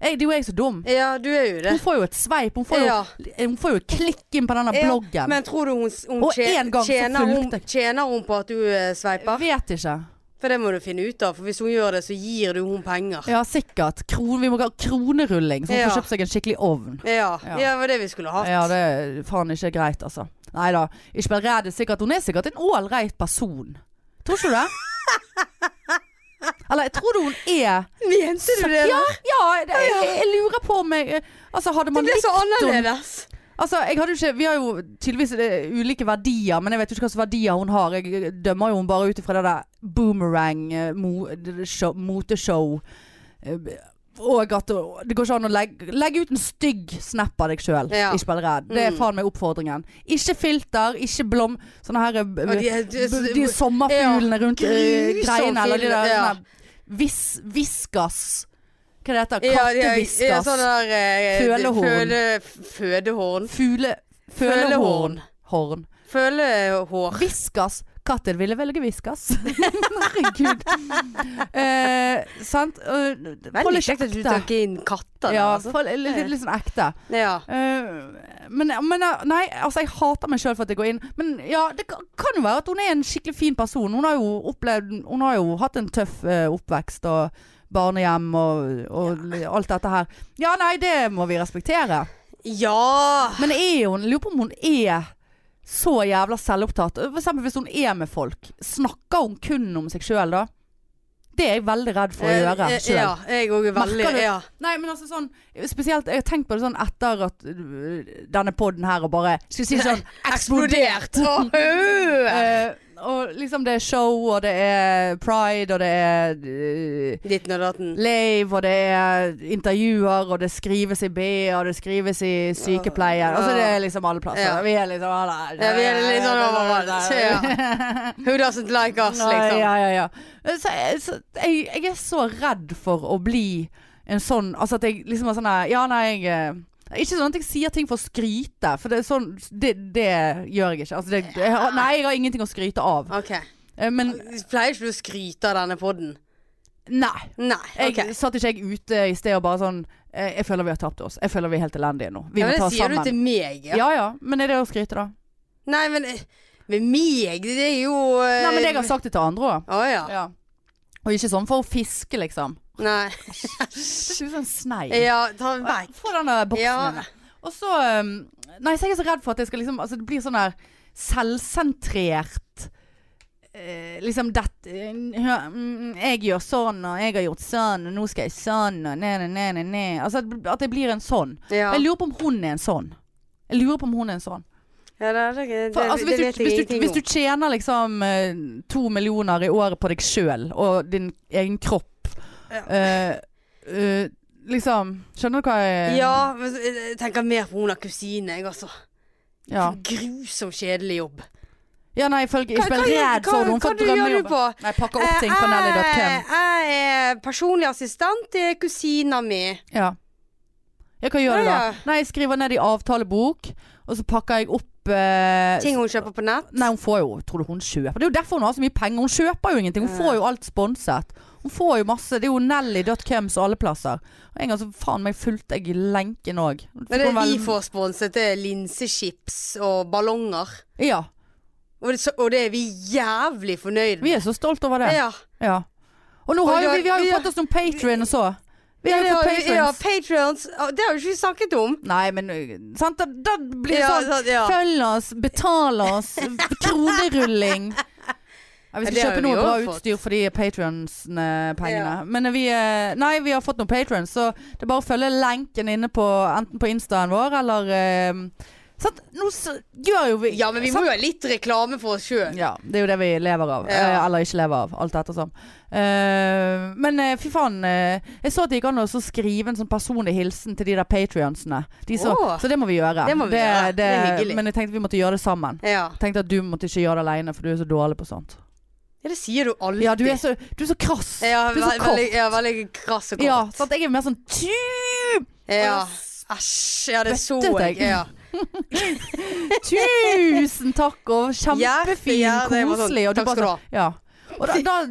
Speaker 1: Jeg, det er jo jeg så dum.
Speaker 2: må ikke- Ja, du er jo det.
Speaker 1: Hun får jo et sveip. Hun får jo,
Speaker 2: Ja.
Speaker 1: hun får jo et klikk inn på denne
Speaker 2: Ja,
Speaker 1: bloggen.
Speaker 2: Men tror du hun, s- hun
Speaker 1: Og
Speaker 2: tje-
Speaker 1: en gang så
Speaker 2: tjener, hun,
Speaker 1: fulgte jeg.
Speaker 2: tjener hun på at du eh, sveiper?
Speaker 1: Vet ikke.
Speaker 2: For det må du finne ut av. For hvis hun gjør det, så gir du hun penger.
Speaker 1: Ja, sikkert. Kron, vi må ha kronerulling, så hun
Speaker 2: Ja.
Speaker 1: får kjøpt seg en skikkelig ovn.
Speaker 2: Ja,
Speaker 1: Ja.
Speaker 2: ja. det var det vi skulle hatt.
Speaker 1: Ja, det er faen ikke greit, altså. Nei da. Ikke vær redd. Sikkert, hun er sikkert en ålreit person. Tror ikke du det? Eller tror du hun er
Speaker 2: Mente du det?
Speaker 1: Ja,
Speaker 2: da?
Speaker 1: ja det, jeg, jeg lurer på om jeg Altså, hadde
Speaker 2: Det
Speaker 1: man
Speaker 2: ble
Speaker 1: likt
Speaker 2: så
Speaker 1: henne
Speaker 2: annerledes.
Speaker 1: Altså, jeg hadde jo ikke Vi har jo tydeligvis eh, ulike verdier, men jeg vet jo ikke hva slags verdier hun har. Jeg dømmer jo henne bare ut ifra det der eh, boomerang-moteshow. Eh, og at å- det går ikke an å legge, legge ut en stygg snap av deg sjøl.
Speaker 2: Ja.
Speaker 1: Ikke vær redd. Det er
Speaker 2: Mm.
Speaker 1: faen meg oppfordringen. Ikke filter, ikke blom... Sånne her eh, b-
Speaker 2: Og de er-
Speaker 1: b- De sommerfuglene rundt eh,
Speaker 2: grusom
Speaker 1: greiene, eller de der
Speaker 2: fugler, ja.
Speaker 1: sånne vis, Viskas. Hva det heter det?
Speaker 2: Ja, de er-
Speaker 1: Katteviskas.
Speaker 2: ja, sånn der eh,
Speaker 1: Følehorn.
Speaker 2: føde- Fødehorn.
Speaker 1: Fugle...
Speaker 2: Følehorn.
Speaker 1: Følehorn. Horn.
Speaker 2: Følehår.
Speaker 1: Viskas. Katter ville velge viskas. Herregud. Eh, sant? Eh, få
Speaker 2: Veldig
Speaker 1: litt
Speaker 2: kjekt at du
Speaker 1: ekte.
Speaker 2: tar inn katter. altså.
Speaker 1: Ja,
Speaker 2: Ja,
Speaker 1: få litt, litt, litt sånn ekte.
Speaker 2: ja.
Speaker 1: Eh, men, men eh, nei, altså jeg hater meg sjøl for at jeg går inn. Men ja, det kan kan jo være at hun er en skikkelig fin person. Hun har jo opplevd Hun har jo hatt en tøff eh, oppvekst og barnehjem og, og alt dette her. Ja, nei, det må vi respektere.
Speaker 2: ja.
Speaker 1: Men er hun, lurer på om hun er så jævla selvopptatt. For eksempel hvis hun er med folk, snakker hun kun om seg sjøl da? Det er jeg veldig redd for å gjøre
Speaker 2: Eh, eh,
Speaker 1: sjøl.
Speaker 2: Ja, jeg òg er
Speaker 1: Merker du?
Speaker 2: veldig ja.
Speaker 1: Nei, men altså sånn Spesielt, jeg har tenkt på det sånn etter at øh, denne poden her og bare Skal vi si sånn eksplodert!
Speaker 2: Åh, øh.
Speaker 1: Eh, og liksom det er show, og det er pride, og det er øh,
Speaker 2: Ditten og datten.
Speaker 1: Lave, og det er intervjuer, og det skrives i B, og det skrives i sykepleien. Altså det er liksom alle plasser.
Speaker 2: Ja.
Speaker 1: Vi er liksom alle
Speaker 2: Ja, vi er litt sånn overalt. Ja. Who doesn't like us, liksom?
Speaker 1: Ja, ja, ja. Så, jeg- så jeg, jeg er så redd for å bli en sånn Altså at jeg liksom er sånn her, Ja, nei, jeg eh, ikke sånn at jeg sier ting for å skryte, for det, er sånn, det, det gjør jeg ikke. Altså, det, jeg har, nei, jeg har ingenting å skryte av.
Speaker 2: Ok.
Speaker 1: Eh, Men
Speaker 2: Pleier ikke du å skryte av denne podden?
Speaker 1: nei.
Speaker 2: Nei.
Speaker 1: Jeg
Speaker 2: ok.
Speaker 1: satt ikke jeg ute i sted og bare sånn eh, Jeg føler vi har tapt oss. Jeg føler vi er helt elendige nå. Vi
Speaker 2: Ja,
Speaker 1: må
Speaker 2: men
Speaker 1: ta
Speaker 2: det
Speaker 1: oss
Speaker 2: sier
Speaker 1: sammen.
Speaker 2: du til meg,
Speaker 1: ja.
Speaker 2: ja.
Speaker 1: ja men er det å skryte, da?
Speaker 2: Nei, men eh, Med meg? Det er jo eh,
Speaker 1: Nei, men jeg har sagt det til andre òg.
Speaker 2: Å ja.
Speaker 1: Ja. Og ikke sånn for å fiske, liksom.
Speaker 2: Nei.
Speaker 1: Det ser ut som en snei.
Speaker 2: Ja, ta den vekk.
Speaker 1: Få den der boksen
Speaker 2: Ja.
Speaker 1: din. Og så um, Nei, så er jeg så redd for at det skal liksom Altså, det blir sånn der selvsentrert eh, liksom dette eh, mm, Jeg gjør sånn, og jeg har gjort sånn, og nå skal jeg sånn, og ne, ne, ne, ne, ne. Altså at- at jeg blir en sånn.
Speaker 2: Ja.
Speaker 1: Jeg lurer på om hun er en sånn. Jeg lurer på om hun er en sånn.
Speaker 2: Ja, det, det, det,
Speaker 1: For, altså,
Speaker 2: det
Speaker 1: hvis,
Speaker 2: vet
Speaker 1: du,
Speaker 2: jeg
Speaker 1: hvis, du,
Speaker 2: ingenting
Speaker 1: hvis du
Speaker 2: om.
Speaker 1: tjener liksom eh, to millioner i året på deg sjøl og din egen kropp eh, eh, Liksom Skjønner du hva jeg
Speaker 2: Ja, men så- eh, jeg tenker mer på hun der kusine, jeg, altså.
Speaker 1: Ja,
Speaker 2: Grusom kjedelig jobb.
Speaker 1: ja nei, ifølge
Speaker 2: Hva-
Speaker 1: Isbel
Speaker 2: hva gjør-
Speaker 1: Red så
Speaker 2: hva-
Speaker 1: hadde hun
Speaker 2: hva
Speaker 1: fått
Speaker 2: du gjør du
Speaker 1: drømmejobben.
Speaker 2: på?
Speaker 1: Nei, pakke opp ting fra Nelly.com.
Speaker 2: Eh, Jeg er personlig assistent til kusina mi.
Speaker 1: Ja. ja, hva gjør du da?
Speaker 2: Ja, ja.
Speaker 1: Nei, jeg skriver ned i avtalebok, og så pakker jeg opp eh,
Speaker 2: Ting hun kjøper på nett.
Speaker 1: Nei, hun får jo Tror du hun kjøper? Det er jo derfor hun har så mye penger. Hun kjøper jo ingenting. Hun får jo alt sponset. Hun får jo masse Det er jo Nelly.coms og alle plasser. Og en gang så faen meg fulgte jeg lenken òg.
Speaker 2: Men det vi får sponset, det er linsechips og eh, ballonger.
Speaker 1: Ja.
Speaker 2: Og det, og det er vi jævlig fornøyd
Speaker 1: Vi
Speaker 2: med.
Speaker 1: er så stolt over det.
Speaker 2: Ja.
Speaker 1: Ja. Og nå
Speaker 2: Og
Speaker 1: har jo
Speaker 2: da-
Speaker 1: vi, vi har jo
Speaker 2: ja.
Speaker 1: fått oss noen Patrion og så. Vi har
Speaker 2: ja,
Speaker 1: jo fått
Speaker 2: det har- ja,
Speaker 1: Patrions.
Speaker 2: Patreons. Ah, Det har jo ikke vi snakket om.
Speaker 1: Nei, men øh, sant? Da, da blir det
Speaker 2: Sånn. Ja,
Speaker 1: sånn
Speaker 2: sant, ja.
Speaker 1: Følg oss, betal oss, kronerulling. Ja, vi
Speaker 2: Ja,
Speaker 1: skal
Speaker 2: det har
Speaker 1: kjøpe
Speaker 2: vi
Speaker 1: noe
Speaker 2: også
Speaker 1: bra
Speaker 2: fått.
Speaker 1: utstyr for de Patrions-pengene.
Speaker 2: Ja.
Speaker 1: Men vi, eh, nei, vi har fått noen Patrions, så det er bare å følge lenken inne på enten på instaen vår eller eh, sant? Nå s- gjør jo vi
Speaker 2: Ja, men vi må jo ha litt reklame for oss sjøl.
Speaker 1: ja, det er jo det vi lever av.
Speaker 2: Ja.
Speaker 1: Eh, Eller ikke lever av, alt ettersom. Eh, men eh, fy faen. eh, jeg så at det gikk an å så skrive en sånn personlig hilsen til de der patrionsene. De så,
Speaker 2: Åh.
Speaker 1: så det må vi gjøre.
Speaker 2: Det må vi gjøre. Det er hyggelig.
Speaker 1: men jeg tenkte vi måtte gjøre det sammen.
Speaker 2: Ja.
Speaker 1: Jeg tenkte at du måtte ikke gjøre det aleine, for du er så dårlig på sånt.
Speaker 2: ja, det sier du alltid.
Speaker 1: Ja, du er så, du er så krass.
Speaker 2: Ja,
Speaker 1: du er så
Speaker 2: ve-
Speaker 1: kort.
Speaker 2: veldig, ja, veldig krass og kort.
Speaker 1: Ja, sant? Jeg er mer sånn tu,
Speaker 2: Ja. Æsj. Ja, det så jeg.
Speaker 1: Spyttet jeg.
Speaker 2: Ja.
Speaker 1: Tusen takk, og kjempefin,
Speaker 2: Hjerte, hjerte, jeg var sånn,
Speaker 1: koselig. Og du
Speaker 2: takk
Speaker 1: bare
Speaker 2: skal du
Speaker 1: sånn- Ja. Og da, da,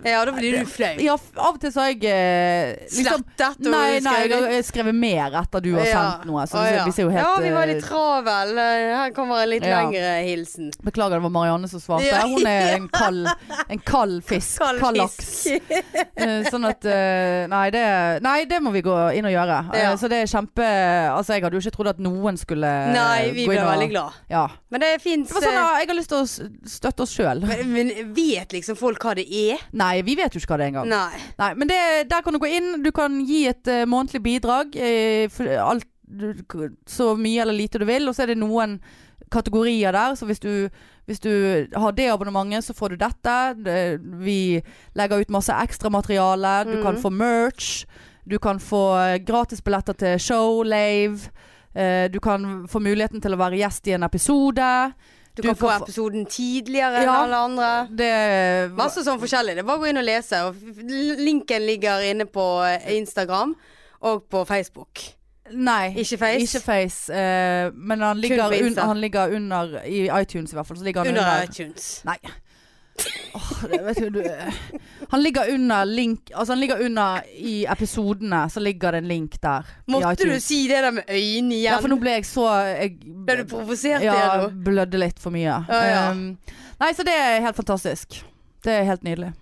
Speaker 1: da
Speaker 2: ja, da blir du flau.
Speaker 1: Ja, f- av og til så har jeg eh, liksom,
Speaker 2: Slettet og
Speaker 1: Nei, nei, jeg
Speaker 2: skrevet-
Speaker 1: har jeg har skrevet mer etter du har sendt noe. altså, Så
Speaker 2: Å,
Speaker 1: det,
Speaker 2: ja.
Speaker 1: vi ser jo helt
Speaker 2: ja, vi var
Speaker 1: eh,
Speaker 2: litt travel. Her kommer en litt
Speaker 1: Ja.
Speaker 2: lengre hilsen.
Speaker 1: Beklager, det var Marianne som svarte.
Speaker 2: Ja.
Speaker 1: Hun er en kald, en kald fisk. Kald, laks.
Speaker 2: fisk.
Speaker 1: Eh, Sånn at eh, nei det, nei, det må vi gå inn og gjøre. Eh,
Speaker 2: Ja.
Speaker 1: Så det er kjempe Altså, jeg hadde jo ikke trodd at noen skulle eh,
Speaker 2: Nei, vi
Speaker 1: gå
Speaker 2: ble
Speaker 1: inn og
Speaker 2: veldig glad.
Speaker 1: Ja.
Speaker 2: Men det fins
Speaker 1: Det eh, var sånn, ah, jeg har lyst til å s- støtte oss sjøl.
Speaker 2: men, men vet liksom folk hva det er?
Speaker 1: Nei, vi vet jo ikke hva det er engang.
Speaker 2: Nei.
Speaker 1: Nei, men det, der kan du gå inn. Du kan gi et eh, månedlig bidrag. eh, for alt, du, så mye eller lite du vil. Og så er det noen kategorier der. Så hvis du, hvis du har det abonnementet, så får du dette. Det- Vi legger ut masse ekstramateriale. Du kan
Speaker 2: Mhm.
Speaker 1: få merch. Du kan få gratisbilletter til show, lave. Eh, Du kan få muligheten til å være gjest i en episode.
Speaker 2: Du, kan,
Speaker 1: Du kan
Speaker 2: få
Speaker 1: få-
Speaker 2: episoden tidligere enn
Speaker 1: Ja.
Speaker 2: alle andre.
Speaker 1: Det
Speaker 2: Masse sånn forskjellig. Det er bare å gå inn og lese. Og f- linken ligger inne på eh, Instagram og på Facebook.
Speaker 1: Nei.
Speaker 2: Ikke Face?
Speaker 1: Ikke face eh, men han
Speaker 2: på
Speaker 1: ligger, un,
Speaker 2: Insta.
Speaker 1: han ligger under I iTunes i hvert fall. Så ligger han under,
Speaker 2: Under iTunes.
Speaker 1: Nei. Åh, det vet du, du eh. Han ligger under link Altså han ligger under i episodene, så ligger det en link der. i
Speaker 2: Måtte du
Speaker 1: iTunes.
Speaker 2: si det der med øynene igjen?
Speaker 1: Ja, for nå ble jeg så jeg,
Speaker 2: Ble du provosert
Speaker 1: Ja,
Speaker 2: igjen nå?
Speaker 1: blødde litt for mye.
Speaker 2: ja.
Speaker 1: Um, nei, så det er helt fantastisk. Det er helt nydelig.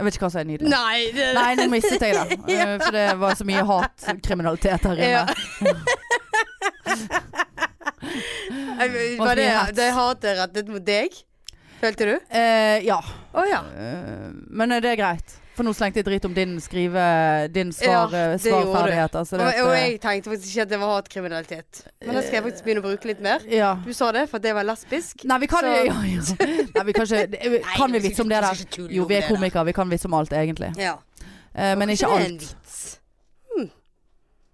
Speaker 1: Jeg vet ikke hva som er nydelig.
Speaker 2: Nei, det,
Speaker 1: Nei, nå mistet jeg det. Eh, For det var så mye hatkriminalitet her inne.
Speaker 2: Ja. Var det,
Speaker 1: hats.
Speaker 2: det hatet rettet mot deg? Følte du?
Speaker 1: Eh, ja.
Speaker 2: Å ja.
Speaker 1: Eh, men eh, det er greit. For nå slengte jeg drit om din skrive... Din
Speaker 2: Ja,
Speaker 1: svar, eh,
Speaker 2: det
Speaker 1: svarferdighet. Altså,
Speaker 2: Og,
Speaker 1: det, at,
Speaker 2: og
Speaker 1: eh,
Speaker 2: jeg tenkte faktisk ikke at det var hatkriminalitet. Men da skal jeg faktisk begynne å bruke litt mer.
Speaker 1: ja.
Speaker 2: Du sa det for at jeg var lesbisk.
Speaker 1: Nei, vi kan
Speaker 2: Så-
Speaker 1: ja, ja. Nei, vi kan ikke det-
Speaker 2: Nei,
Speaker 1: Kan vi
Speaker 2: vi skal
Speaker 1: vitse
Speaker 2: ikke-
Speaker 1: om det
Speaker 2: vi
Speaker 1: der?
Speaker 2: skal ikke tulle
Speaker 1: Jo,
Speaker 2: om
Speaker 1: vi er
Speaker 2: det der.
Speaker 1: komikere. Vi kan vitse om alt, egentlig.
Speaker 2: Ja.
Speaker 1: Eh, men ikke
Speaker 2: det er en
Speaker 1: alt.
Speaker 2: vits.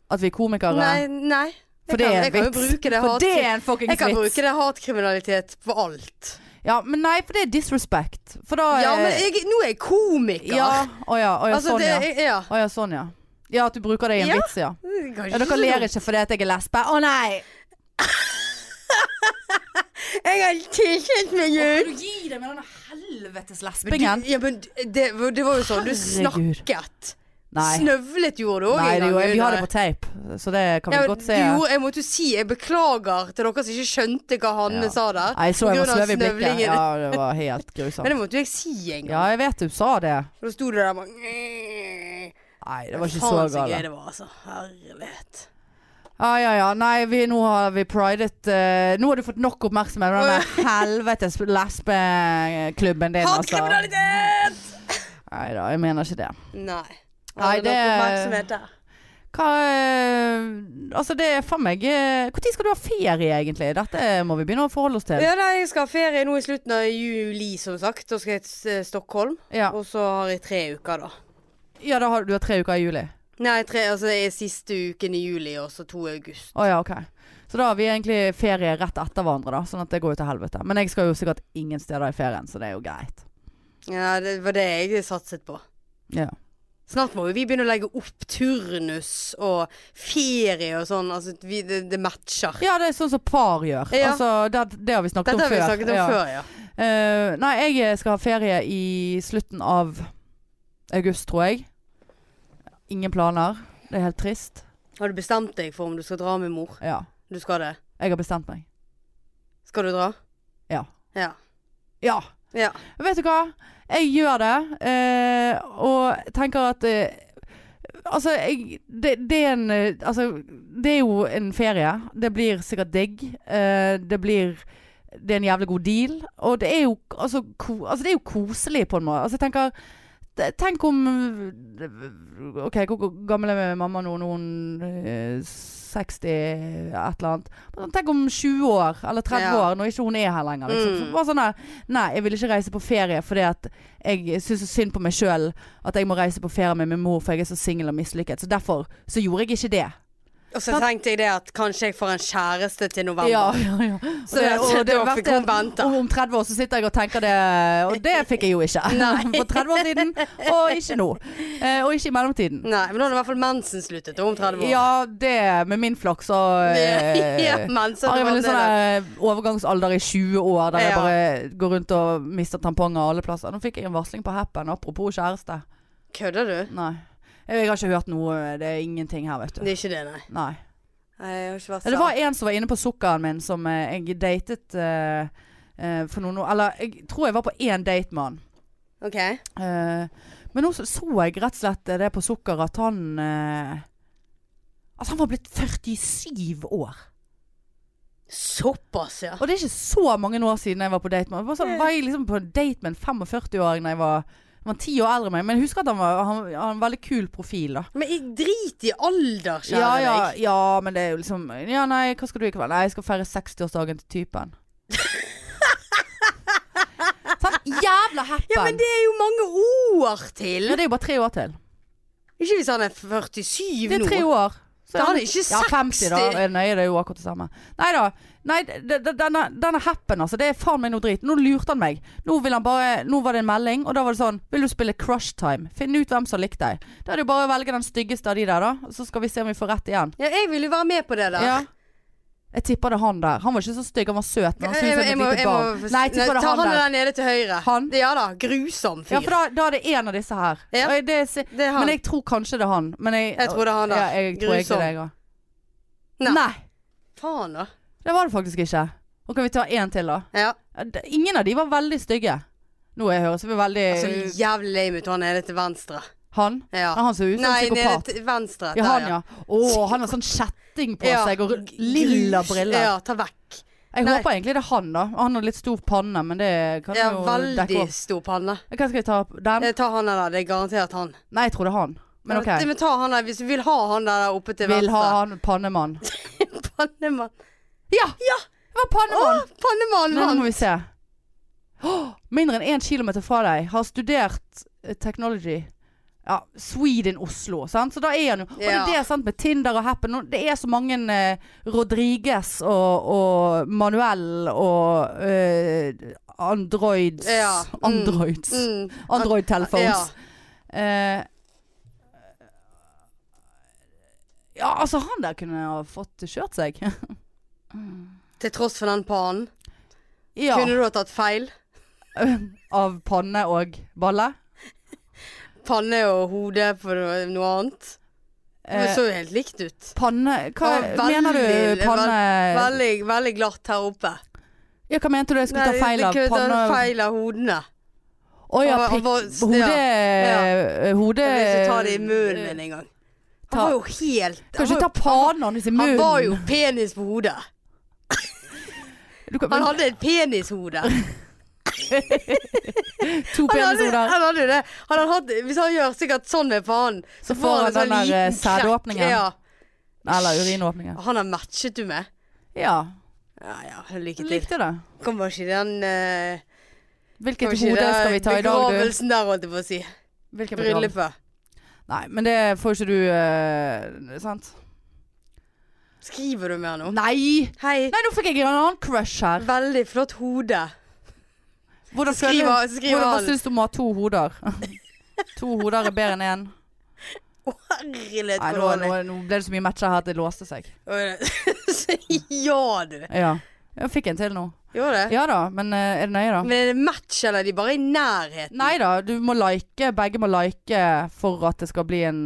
Speaker 1: At vi er komikere.
Speaker 2: Nei, nei. Jeg
Speaker 1: for det
Speaker 2: kan-
Speaker 1: er
Speaker 2: jeg
Speaker 1: en
Speaker 2: kan jo
Speaker 1: vits.
Speaker 2: bruke det
Speaker 1: for det
Speaker 2: hatkrim-
Speaker 1: er en
Speaker 2: Jeg
Speaker 1: fuckings
Speaker 2: kan
Speaker 1: vits.
Speaker 2: bruke det hatkriminalitet på alt.
Speaker 1: Ja, men nei, for det er disrespect. For da
Speaker 2: Ja,
Speaker 1: eh,
Speaker 2: men jeg, nå er jeg komiker.
Speaker 1: Ja, å ja, å ja,
Speaker 2: altså,
Speaker 1: sånn,
Speaker 2: det,
Speaker 1: ja.
Speaker 2: ja.
Speaker 1: Å ja, sånn, ja. Ja, at du bruker det i en
Speaker 2: Ja.
Speaker 1: vits, ja. Ja,
Speaker 2: Kanskje
Speaker 1: Dere
Speaker 2: ikke så
Speaker 1: ler ikke fordi at jeg er lesbe. Å nei!
Speaker 2: Jeg har tilkjent meg ut.
Speaker 1: gi deg med denne helvetes
Speaker 2: Men du- Ja, men det, det var jo sånn du
Speaker 1: Herregud.
Speaker 2: snakket.
Speaker 1: Nei.
Speaker 2: Snøvlet gjorde du òg.
Speaker 1: Nei, det gjorde jeg. Vi har det på tape, så det kan vi godt se.
Speaker 2: Du gjorde, jeg måtte jo si jeg beklager til dere som ikke skjønte hva Hanne
Speaker 1: Ja.
Speaker 2: sa der.
Speaker 1: Nei, jeg så jeg
Speaker 2: på
Speaker 1: var
Speaker 2: grunn av
Speaker 1: sløv i blikket.
Speaker 2: snøvlingen.
Speaker 1: Ja, det var helt
Speaker 2: Men
Speaker 1: grusomt.
Speaker 2: det måtte jo jeg si en gang.
Speaker 1: Ja, jeg vet du sa det.
Speaker 2: For Da sto du der bare Det
Speaker 1: Nei, det var ikke så galt.
Speaker 2: Det var altså herlighet.
Speaker 1: Ja, ja, ja. Nei, vi, nå har vi pridet eh, Nå har du fått nok oppmerksomhet med den der helvetes lesbeklubben din, altså.
Speaker 2: Hatkriminalitet!
Speaker 1: Nei da, jeg mener ikke det.
Speaker 2: Nei.
Speaker 1: altså- Nei,
Speaker 2: Har du nok
Speaker 1: det-
Speaker 2: oppmerksomhet der?
Speaker 1: Hva eh, Altså, det er faen meg eh, Når skal du ha ferie, egentlig? Dette må vi begynne å forholde oss til.
Speaker 2: Ja, nei, jeg skal ha ferie nå i slutten av juli, som sagt. Da skal jeg til eh, Stockholm.
Speaker 1: Ja,
Speaker 2: Og så har jeg tre uker, da.
Speaker 1: ja da har du har tre uker i juli.
Speaker 2: Nei, tre, altså det er siste uken i juli, og så to i august.
Speaker 1: Å ja, ok. Så da har vi egentlig ferie rett etter hverandre, da. Sånn at det går jo til helvete. Men jeg skal jo sikkert ingen steder i ferien, så det er jo greit.
Speaker 2: Ja, det var det jeg satset på.
Speaker 1: Ja.
Speaker 2: Snart må jo vi begynne å legge opp turnus og ferie og sånn. Altså, vi, det, det matcher.
Speaker 1: Ja, det er sånn som par gjør.
Speaker 2: Ja.
Speaker 1: Altså, det, det har vi snakket
Speaker 2: Dette
Speaker 1: om
Speaker 2: har
Speaker 1: før.
Speaker 2: vi snakket om
Speaker 1: Ja.
Speaker 2: før, ja.
Speaker 1: Eh, nei, jeg skal ha ferie i slutten av august, tror jeg. Ingen planer. Det er helt trist.
Speaker 2: Har du bestemt deg for om du skal dra med mor?
Speaker 1: Ja.
Speaker 2: Du skal det?
Speaker 1: Jeg har bestemt meg.
Speaker 2: Skal du dra?
Speaker 1: Ja.
Speaker 2: Ja.
Speaker 1: Ja.
Speaker 2: ja.
Speaker 1: Vet du hva? Jeg gjør det, eh, og tenker at eh, Altså, jeg, det, det er en eh, Altså, det er jo en ferie. Det blir sikkert digg. Eh, det blir Det er en jævlig god deal. Og det er jo altså, ko, altså det er jo koselig på en måte. Altså, jeg tenker te- Tenk om eh, OK, hvor gammel er mamma nå? Noen eh, 60, et eller annet. Men Tenk om 20 år, eller 30
Speaker 2: Ja.
Speaker 1: år, når ikke hun er her lenger. Liksom.
Speaker 2: Mm.
Speaker 1: Så Bare sånn der Nei, jeg vil ikke reise på ferie fordi at jeg syns så synd på meg sjøl at jeg må reise på ferie med min mor, for jeg er så singel og mislykket. Så derfor så gjorde jeg ikke det.
Speaker 2: Og så tenkte jeg det at kanskje jeg får en kjæreste til november.
Speaker 1: Ja, ja, ja. Og
Speaker 2: Så- så da
Speaker 1: verste
Speaker 2: fikk hun
Speaker 1: er at
Speaker 2: vente.
Speaker 1: Om, om 30 år så sitter jeg og tenker det Og det fikk jeg jo ikke. For 30 år siden, og ikke nå. Eh, og ikke i mellomtiden.
Speaker 2: Nei, men nå har i hvert fall mensen sluttet om 30 år.
Speaker 1: Ja, det med min flokk, så eh,
Speaker 2: ja mensen,
Speaker 1: har
Speaker 2: det var
Speaker 1: jeg vel en
Speaker 2: det
Speaker 1: sånn
Speaker 2: der.
Speaker 1: eh, overgangsalder i 20 år der jeg
Speaker 2: Ja.
Speaker 1: bare går rundt og mister tamponger alle plasser. Nå fikk jeg en varsling på Happen, apropos kjæreste.
Speaker 2: Kødder du?
Speaker 1: Nei. Jeg har ikke hørt noe. eh, Det er ingenting her, vet
Speaker 2: Det
Speaker 1: du.
Speaker 2: er ikke det, nei.
Speaker 1: Nei.
Speaker 2: nei jeg har ikke vært
Speaker 1: Ja, Det var en som var inne på sukkeren min, som eh, jeg datet eh, eh, for noen år Eller jeg tror jeg var på én date med han.
Speaker 2: sånn. Ok.
Speaker 1: Eh, men nå så, så jeg rett og slett eh, det på sukker at han eh, Altså, han var blitt 47 år.
Speaker 2: Såpass, ja.
Speaker 1: Og det er ikke så mange år siden jeg var på date med han. Bare sånn, Var jeg liksom på en date med en 45-åring da jeg var Han var ti år eldre enn meg, men jeg husker at han var han, han var en veldig kul profil, da.
Speaker 2: Men jeg drit i alder, kjære
Speaker 1: Ja, ja,
Speaker 2: deg.
Speaker 1: ja, men det er jo liksom Ja, nei, hva skal du i kveld? Nei, jeg skal feire 60-årsdagen til typen. Sånn jævla happen!
Speaker 2: Ja, men det er jo mange år til.
Speaker 1: Ja, det er jo bare tre år til.
Speaker 2: Ikke hvis han er 47
Speaker 1: Det er
Speaker 2: nå.
Speaker 1: tre år.
Speaker 2: Da er han ikke
Speaker 1: Ja, 50 da.
Speaker 2: 60.
Speaker 1: Eh, Nei, det er jo akkurat det samme. Nei da. Nei, d- d- denne, denne happen, altså. Det er faen meg noe drit. Nå lurte han meg. Nå, vil han bare, nå var det en melding, og da var det sånn Vil du spille Crush Time? Finn ut hvem som likte deg. Da er det jo bare å velge den styggeste av de der, da. Så skal vi se om vi får rett igjen.
Speaker 2: Ja, jeg vil jo være med på det Eh, der.
Speaker 1: Ja. Jeg tipper det er han der. Han var ikke så stygg, han var søt. Men han
Speaker 2: Jeg,
Speaker 1: synes
Speaker 2: jeg,
Speaker 1: jeg,
Speaker 2: jeg,
Speaker 1: var
Speaker 2: må, jeg
Speaker 1: et lite barn.
Speaker 2: må
Speaker 1: Nei, jeg tipper det er
Speaker 2: ta
Speaker 1: han der.
Speaker 2: der nede til høyre.
Speaker 1: Han?
Speaker 2: Ja da. Grusom fyr.
Speaker 1: Ja, for da, da er det en av disse her.
Speaker 2: Ja.
Speaker 1: Og Det, er-
Speaker 2: Det er han.
Speaker 1: Men jeg tror kanskje det er han. Men jeg,
Speaker 2: Jeg tror det er han der.
Speaker 1: Ja, jeg tror ikke
Speaker 2: Grusom.
Speaker 1: det, jeg òg.
Speaker 2: Nei.
Speaker 1: Nei.
Speaker 2: Faen, da.
Speaker 1: det var det faktisk ikke. Og kan vi ta én til, da?
Speaker 2: Ja.
Speaker 1: Ja, det- Ingen av de var veldig stygge. Nå jeg høres vi veldig
Speaker 2: Så Altså, jævlig lame ut han nede til venstre.
Speaker 1: Han?
Speaker 2: Ja.
Speaker 1: Ja, Ah, han ser ut som en
Speaker 2: Nei, nede
Speaker 1: psykopat.
Speaker 2: til venstre.
Speaker 1: Ja,
Speaker 2: der,
Speaker 1: han, ja. Å, han har sånn kjetting på
Speaker 2: Ja,
Speaker 1: seg og
Speaker 2: g-
Speaker 1: lilla
Speaker 2: grus-
Speaker 1: briller.
Speaker 2: Ja, ta vekk.
Speaker 1: Jeg
Speaker 2: Nei.
Speaker 1: håper egentlig det er han, da. Han har litt stor panne, men det kan
Speaker 2: Ja,
Speaker 1: jo dekke
Speaker 2: veldig
Speaker 1: opp.
Speaker 2: stor panne.
Speaker 1: Hva skal jeg ta? Den?
Speaker 2: Eh, Ta han der, det er garantert han.
Speaker 1: Nei, jeg tror det er han. Men OK.
Speaker 2: Men ta han der, hvis du vil ha han der oppe til
Speaker 1: Vil ha
Speaker 2: venstre.
Speaker 1: han pannemann.
Speaker 2: Pannemann.
Speaker 1: Ja! Det var pannemann!
Speaker 2: Pannemann,
Speaker 1: Nei, nå
Speaker 2: mann!
Speaker 1: må vi se. Åh, mindre enn én kilometer fra deg. Har studert eh, technology. Ja, Sweden, Oslo. Sant? Så da er han jo Og det
Speaker 2: Ja.
Speaker 1: er det sant, med Tinder og Happen. nå- Det er så mange eh, Rodriges og, og Manuel og eh, Androids
Speaker 2: Ja, mm,
Speaker 1: Androids.
Speaker 2: Mm.
Speaker 1: Android-telefons.
Speaker 2: Ja.
Speaker 1: Eh, ja, altså han der kunne ha fått kjørt seg.
Speaker 2: Til tross for den pannen.
Speaker 1: ja.
Speaker 2: Kunne du ha tatt feil?
Speaker 1: Av panne og balle.
Speaker 2: Panne og hode på noe annet? Det
Speaker 1: Eh,
Speaker 2: så jo helt likt ut.
Speaker 1: panne Hva
Speaker 2: Ja, veldig-
Speaker 1: mener du panne
Speaker 2: Veldig, veldig glatt her oppe.
Speaker 1: Ja, hva mente du jeg skulle
Speaker 2: Nei,
Speaker 1: ta feil av?
Speaker 2: kunne ta
Speaker 1: Panne
Speaker 2: Feil av hodene.
Speaker 1: Å ja,
Speaker 2: av- av
Speaker 1: pikk-
Speaker 2: vår-
Speaker 1: Hode Hode
Speaker 2: Jeg vil ikke ta det i munnen min engang. Han
Speaker 1: Eh, Ta-
Speaker 2: var jo helt
Speaker 1: Kan
Speaker 2: han,
Speaker 1: ikke ta panen hans i
Speaker 2: var- han var
Speaker 1: munnen.
Speaker 2: jo penis på hodet.
Speaker 1: Du kan-
Speaker 2: Han hadde et penishode.
Speaker 1: to
Speaker 2: Han hadde,
Speaker 1: penishoder.
Speaker 2: han hadde jo det. Han hadde hatt, hvis han gjør sikkert sånn med faen,
Speaker 1: Så får han den der eh, sædåpningen.
Speaker 2: sånn Ja.
Speaker 1: Eller urinåpningen.
Speaker 2: Han har matchet du med.
Speaker 1: Ja.
Speaker 2: Ja ja, lykke
Speaker 1: Jeg
Speaker 2: til.
Speaker 1: likte det.
Speaker 2: Kommer ikke den eh,
Speaker 1: Hvilket
Speaker 2: kommer ikke eh,
Speaker 1: hode
Speaker 2: den
Speaker 1: skal vi ta i dag, du?
Speaker 2: Begravelsen der, holdt jeg på å si.
Speaker 1: Hvilket begrav-
Speaker 2: Bryllupet.
Speaker 1: Nei, men det får ikke du eh, Sant?
Speaker 2: Skriver du mer nå?
Speaker 1: Nei!
Speaker 2: Hei.
Speaker 1: Nei, nå fikk jeg en annen crush her.
Speaker 2: Veldig flott hode.
Speaker 1: Hvordan
Speaker 2: Så skriver-
Speaker 1: føler-
Speaker 2: så skriver
Speaker 1: hvordan
Speaker 2: han.
Speaker 1: syns du om å ha to hoder? to hoder er bedre enn én.
Speaker 2: Å, herlighet,
Speaker 1: Nei,
Speaker 2: hvor
Speaker 1: nå, nå,
Speaker 2: dårlig.
Speaker 1: nå ble det så mye matcher her at det låste seg.
Speaker 2: Å, ja. Så Ja, du.
Speaker 1: Ja. Jeg fikk en til nå.
Speaker 2: Gjorde det?
Speaker 1: Ja da, men eh, er det nøye, da?
Speaker 2: Men er det match, eller er de bare i nærheten?
Speaker 1: Nei da, du må like. Begge må like for at det skal bli en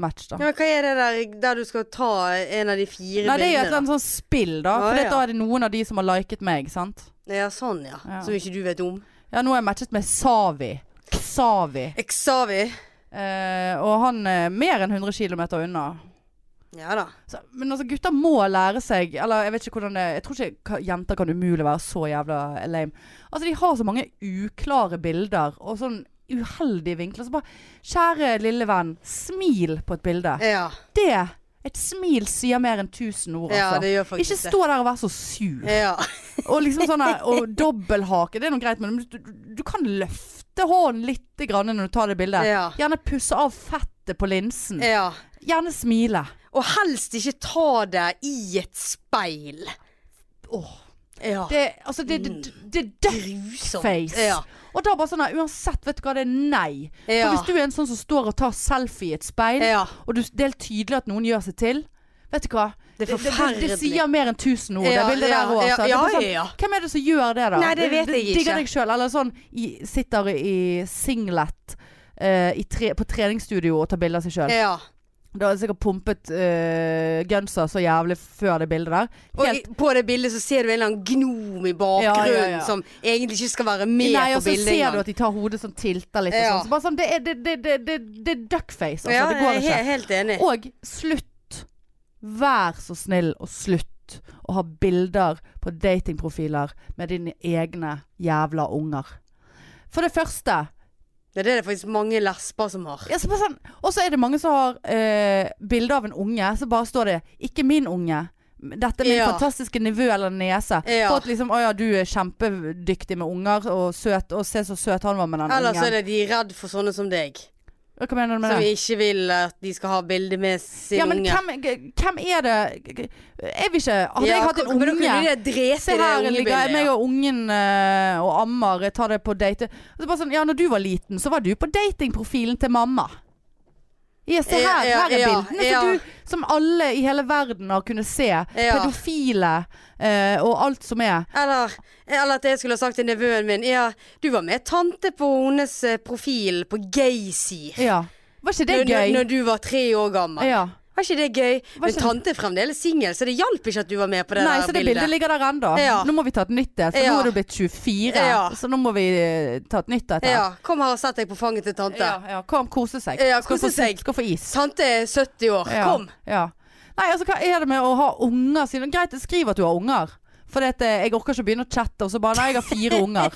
Speaker 1: match, da.
Speaker 2: Ja, men hva er det der, der du skal ta en av de fire
Speaker 1: Nei, det er jo et eller
Speaker 2: bildene?
Speaker 1: annet sånn spill, da.
Speaker 2: Ah,
Speaker 1: For
Speaker 2: ja.
Speaker 1: da er det noen av de som har liket meg, sant.
Speaker 2: Ja, sånn ja.
Speaker 1: Ja.
Speaker 2: Som ikke du vet om.
Speaker 1: Ja, nå har jeg matchet med Savi. Savi.
Speaker 2: Exavi.
Speaker 1: Eh, og han er mer enn 100 km unna.
Speaker 2: Ja da.
Speaker 1: Så, men altså, gutter må lære seg Eller jeg vet ikke hvordan det Jeg tror ikke ka- jenter kan umulig være så jævla lame. Altså, de har så mange uklare bilder og sånn uheldige vinkler. Så bare Kjære lille venn, smil på et bilde.
Speaker 2: Ja.
Speaker 1: Det Et smil sier mer enn tusen ord,
Speaker 2: ja,
Speaker 1: altså.
Speaker 2: det gjør faktisk
Speaker 1: ikke stå der og være så sur.
Speaker 2: det. Ja.
Speaker 1: Og liksom sånn her, og dobbelthake, det er noe greit, men du, du kan løfte hånden litt grann når du tar det bildet.
Speaker 2: Ja.
Speaker 1: Gjerne pusse av fettet på linsen.
Speaker 2: ja.
Speaker 1: Gjerne smile.
Speaker 2: Og helst ikke ta det i et speil.
Speaker 1: Åh,
Speaker 2: Ja.
Speaker 1: det, altså, det, det, det er duckface.
Speaker 2: mm. Ja.
Speaker 1: Og da bare sånn her, uansett, vet du hva, det er nei. For
Speaker 2: Ja.
Speaker 1: hvis du er en sånn som står og tar selfie i et speil,
Speaker 2: ja.
Speaker 1: og du, det er helt tydelig at noen gjør seg til, vet du hva?
Speaker 2: Det er
Speaker 1: Det, det, det
Speaker 2: forferdelig.
Speaker 1: sier mer enn tusen ord,
Speaker 2: Ja,
Speaker 1: det bildet
Speaker 2: ja,
Speaker 1: der
Speaker 2: ja,
Speaker 1: òg. det er bare
Speaker 2: ja,
Speaker 1: sånn,
Speaker 2: ja.
Speaker 1: Hvem er det som gjør det, da?
Speaker 2: Nei, det vet jeg
Speaker 1: Du- du
Speaker 2: ikke.
Speaker 1: Digger deg sjøl. Eller sånn i, sitter i singlet eh, i tre, på treningsstudio og tar bilde av seg sjøl.
Speaker 2: Ja.
Speaker 1: Da har jeg sikkert pumpet eh, gunser så jævlig før det bildet der.
Speaker 2: Og
Speaker 1: Helt-
Speaker 2: i- på det bildet så ser du en eller annen gnom i bakgrunnen
Speaker 1: Ja, ja, ja.
Speaker 2: som egentlig ikke skal være med
Speaker 1: Nei,
Speaker 2: E på
Speaker 1: og så
Speaker 2: bildet.
Speaker 1: ser du
Speaker 2: engang.
Speaker 1: at de tar hodet sånn tilter litt. Og
Speaker 2: Ja.
Speaker 1: sånn. så bare sånn, det er, det, det, det, det, det er duckface. Altså,
Speaker 2: ja,
Speaker 1: det går
Speaker 2: Jeg
Speaker 1: ikke.
Speaker 2: er helt enig.
Speaker 1: Og slutt. Vær så snill og slutt å ha bilder på datingprofiler med dine egne jævla unger. For det første
Speaker 2: Ja, det er det faktisk mange lesber som har.
Speaker 1: ja, så bare sånn, Og så er det mange som har eh, bilde av en unge, så bare står det 'ikke min unge'. Dette er min
Speaker 2: Ja.
Speaker 1: fantastiske nivå eller nese.
Speaker 2: Ja.
Speaker 1: For at liksom 'Å ja, du er kjempedyktig med unger, og søt, og se så søt han var med den
Speaker 2: Ellers er
Speaker 1: ungen'.
Speaker 2: det de redd for sånne som deg.
Speaker 1: Hva mener du med
Speaker 2: Som
Speaker 1: det?
Speaker 2: ikke vil at de skal ha bilde med sin
Speaker 1: Ja, men
Speaker 2: unge.
Speaker 1: hvem, hvem er det Jeg vil ikke Hadde jeg hatt en
Speaker 2: Men da
Speaker 1: unge
Speaker 2: kunne de drese
Speaker 1: Se
Speaker 2: i det
Speaker 1: her ligger jeg,
Speaker 2: ungebildet.
Speaker 1: meg
Speaker 2: Ja.
Speaker 1: og ungen eh, og ammer. Jeg tar det på date. Og så bare sånn, ja, når du var liten, så var du på datingprofilen til mamma. Ja, se
Speaker 2: Ja,
Speaker 1: her.
Speaker 2: ja,
Speaker 1: Her er
Speaker 2: ja,
Speaker 1: bildene
Speaker 2: ja.
Speaker 1: som, du, som alle i hele verden har kunnet se. Pedofile eh, og alt som er.
Speaker 2: Eller, eller at jeg skulle ha sagt til nevøen min Ja, du var med tante på hennes eh, profil på Gaysir.
Speaker 1: Ja. Var ikke
Speaker 2: Når,
Speaker 1: det
Speaker 2: når- når
Speaker 1: gøy?
Speaker 2: du var tre år gammel.
Speaker 1: Ja.
Speaker 2: Var ikke det gøy? Men
Speaker 1: ikke-
Speaker 2: tante er fremdeles singel, så det hjalp ikke at du var med på det
Speaker 1: Nei,
Speaker 2: der
Speaker 1: så det bildet ligger der ennå.
Speaker 2: Ja.
Speaker 1: Nå må vi ta et nytt et. For
Speaker 2: Ja.
Speaker 1: nå er du blitt 24,
Speaker 2: Ja.
Speaker 1: så nå må vi eh, ta et nytt et. her.
Speaker 2: Ja, kom her og sett deg på fanget til tante.
Speaker 1: Ja, ja. Kom, kose seg.
Speaker 2: Ja,
Speaker 1: Skal
Speaker 2: kose
Speaker 1: få-
Speaker 2: seg.
Speaker 1: Skal få is.
Speaker 2: Tante er 70 år.
Speaker 1: Ja,
Speaker 2: Kom!
Speaker 1: Ja. Nei, altså hva er det med å ha unger sine? Greit, skriv at du har unger. For det at, eh, jeg orker ikke å begynne å chatte og så bare Nei, jeg har fire unger.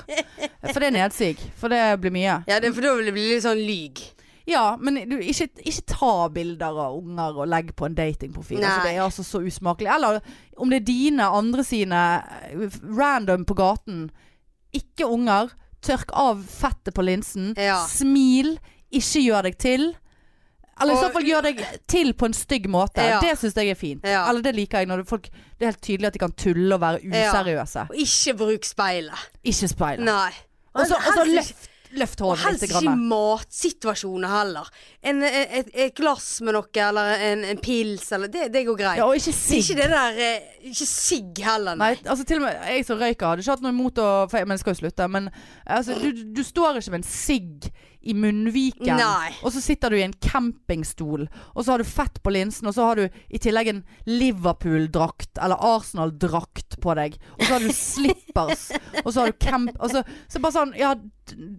Speaker 1: For det er nedsig. For det blir mye.
Speaker 2: Ja, det, for da vil det bli litt sånn lyg.
Speaker 1: Ja, men du, ikke, ikke ta bilder av unger og legg på en datingprofil.
Speaker 2: Nei.
Speaker 1: Altså, det er altså så usmakelig. Eller om det er dine, andre sine, eh, random på gaten. Ikke unger. Tørk av fettet på linsen.
Speaker 2: Ja.
Speaker 1: Smil. Ikke gjør deg til. Eller i
Speaker 2: Og-
Speaker 1: så fall gjør deg til på en stygg måte.
Speaker 2: Ja.
Speaker 1: Det syns jeg er fint.
Speaker 2: Ja.
Speaker 1: Eller det liker jeg når folk Det er helt tydelig at de kan tulle og være
Speaker 2: Ja.
Speaker 1: useriøse.
Speaker 2: Og ikke bruk speilet.
Speaker 1: Ikke speil.
Speaker 2: Nei.
Speaker 1: Og så og så
Speaker 2: Helst ikke-
Speaker 1: løft, løft
Speaker 2: Og
Speaker 1: hånden
Speaker 2: helst
Speaker 1: litt.
Speaker 2: ikke i
Speaker 1: Grann.
Speaker 2: matsituasjoner heller. En, eh, et, et glass med noe, eller en, en pils, eller Det, det går greit.
Speaker 1: Ja, og ikke sigg.
Speaker 2: Ikke det der eh, Ikke sigg heller, nei.
Speaker 1: Nei, altså til og med jeg som røyker hadde ikke hatt noe imot å for jeg- Men jeg skal jo slutte. Men altså, du, du står ikke med en sigg i munnviken,
Speaker 2: Nei.
Speaker 1: og så sitter du i en campingstol, og så har du fett på linsen, og så har du i tillegg en Liverpool-drakt eller Arsenal-drakt på deg, og så har du slippers, og så har du camp... Og så, så bare sånn Ja, d-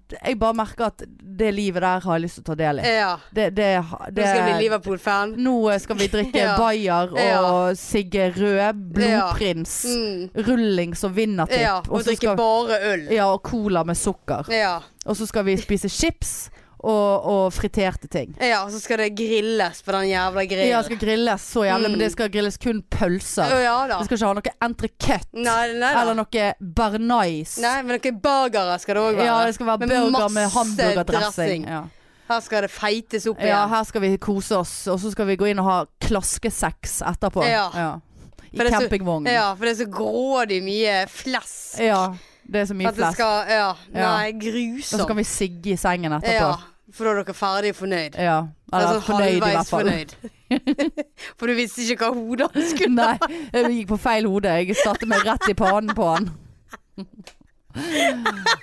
Speaker 1: d- jeg bare merker at det livet der har jeg lyst til å ta del i.
Speaker 2: Ja.
Speaker 1: Det, det,
Speaker 2: Eh, Nå
Speaker 1: det
Speaker 2: skal jeg bli Liverpool-fan.
Speaker 1: Nå skal vi drikke
Speaker 2: Ja.
Speaker 1: Bayer og
Speaker 2: Ja.
Speaker 1: Sigge Rød, Blodprins
Speaker 2: Mm.
Speaker 1: rullings og vinnertipp.
Speaker 2: Ja, og
Speaker 1: og, så
Speaker 2: drikke
Speaker 1: skal,
Speaker 2: bare øl.
Speaker 1: ja, og cola med sukker.
Speaker 2: Ja.
Speaker 1: Og så skal vi spise chips og, og friterte ting.
Speaker 2: ja, og så skal det grilles på den jævla grillen.
Speaker 1: Ja, det skal grilles så jævlig, men det skal grilles kun pølser.
Speaker 2: Å, Mm. ja da.
Speaker 1: Vi skal ikke ha noe entrecôte
Speaker 2: Nei, nei,
Speaker 1: eller
Speaker 2: da.
Speaker 1: noe barnais.
Speaker 2: nei, men noen burgere skal det òg være.
Speaker 1: Ja, det skal være
Speaker 2: Med
Speaker 1: burger med
Speaker 2: masse
Speaker 1: hamburgerdressing. Ja.
Speaker 2: Her skal det feites opp
Speaker 1: ja,
Speaker 2: igjen.
Speaker 1: her skal vi kose oss, og så skal vi gå inn og ha klaskesex etterpå.
Speaker 2: Ja.
Speaker 1: I
Speaker 2: For det er så-
Speaker 1: campingvognen.
Speaker 2: Ja, for det er så grådig mye flesk.
Speaker 1: Ja, Det er så mye
Speaker 2: At det
Speaker 1: flesk.
Speaker 2: skal Ja.
Speaker 1: Ja.
Speaker 2: Nei,
Speaker 1: Og så
Speaker 2: grusomt.
Speaker 1: kan vi sigge i sengen etterpå.
Speaker 2: Ja. For da er dere ferdig fornøyd.
Speaker 1: Ja. Eller
Speaker 2: Altså,
Speaker 1: fornøyd, i
Speaker 2: halvveis
Speaker 1: hvert fall.
Speaker 2: fornøyd. For du visste ikke hva hodet hans skulle
Speaker 1: Nei, jeg gikk på feil hode. Jeg satte meg rett i pannen på han.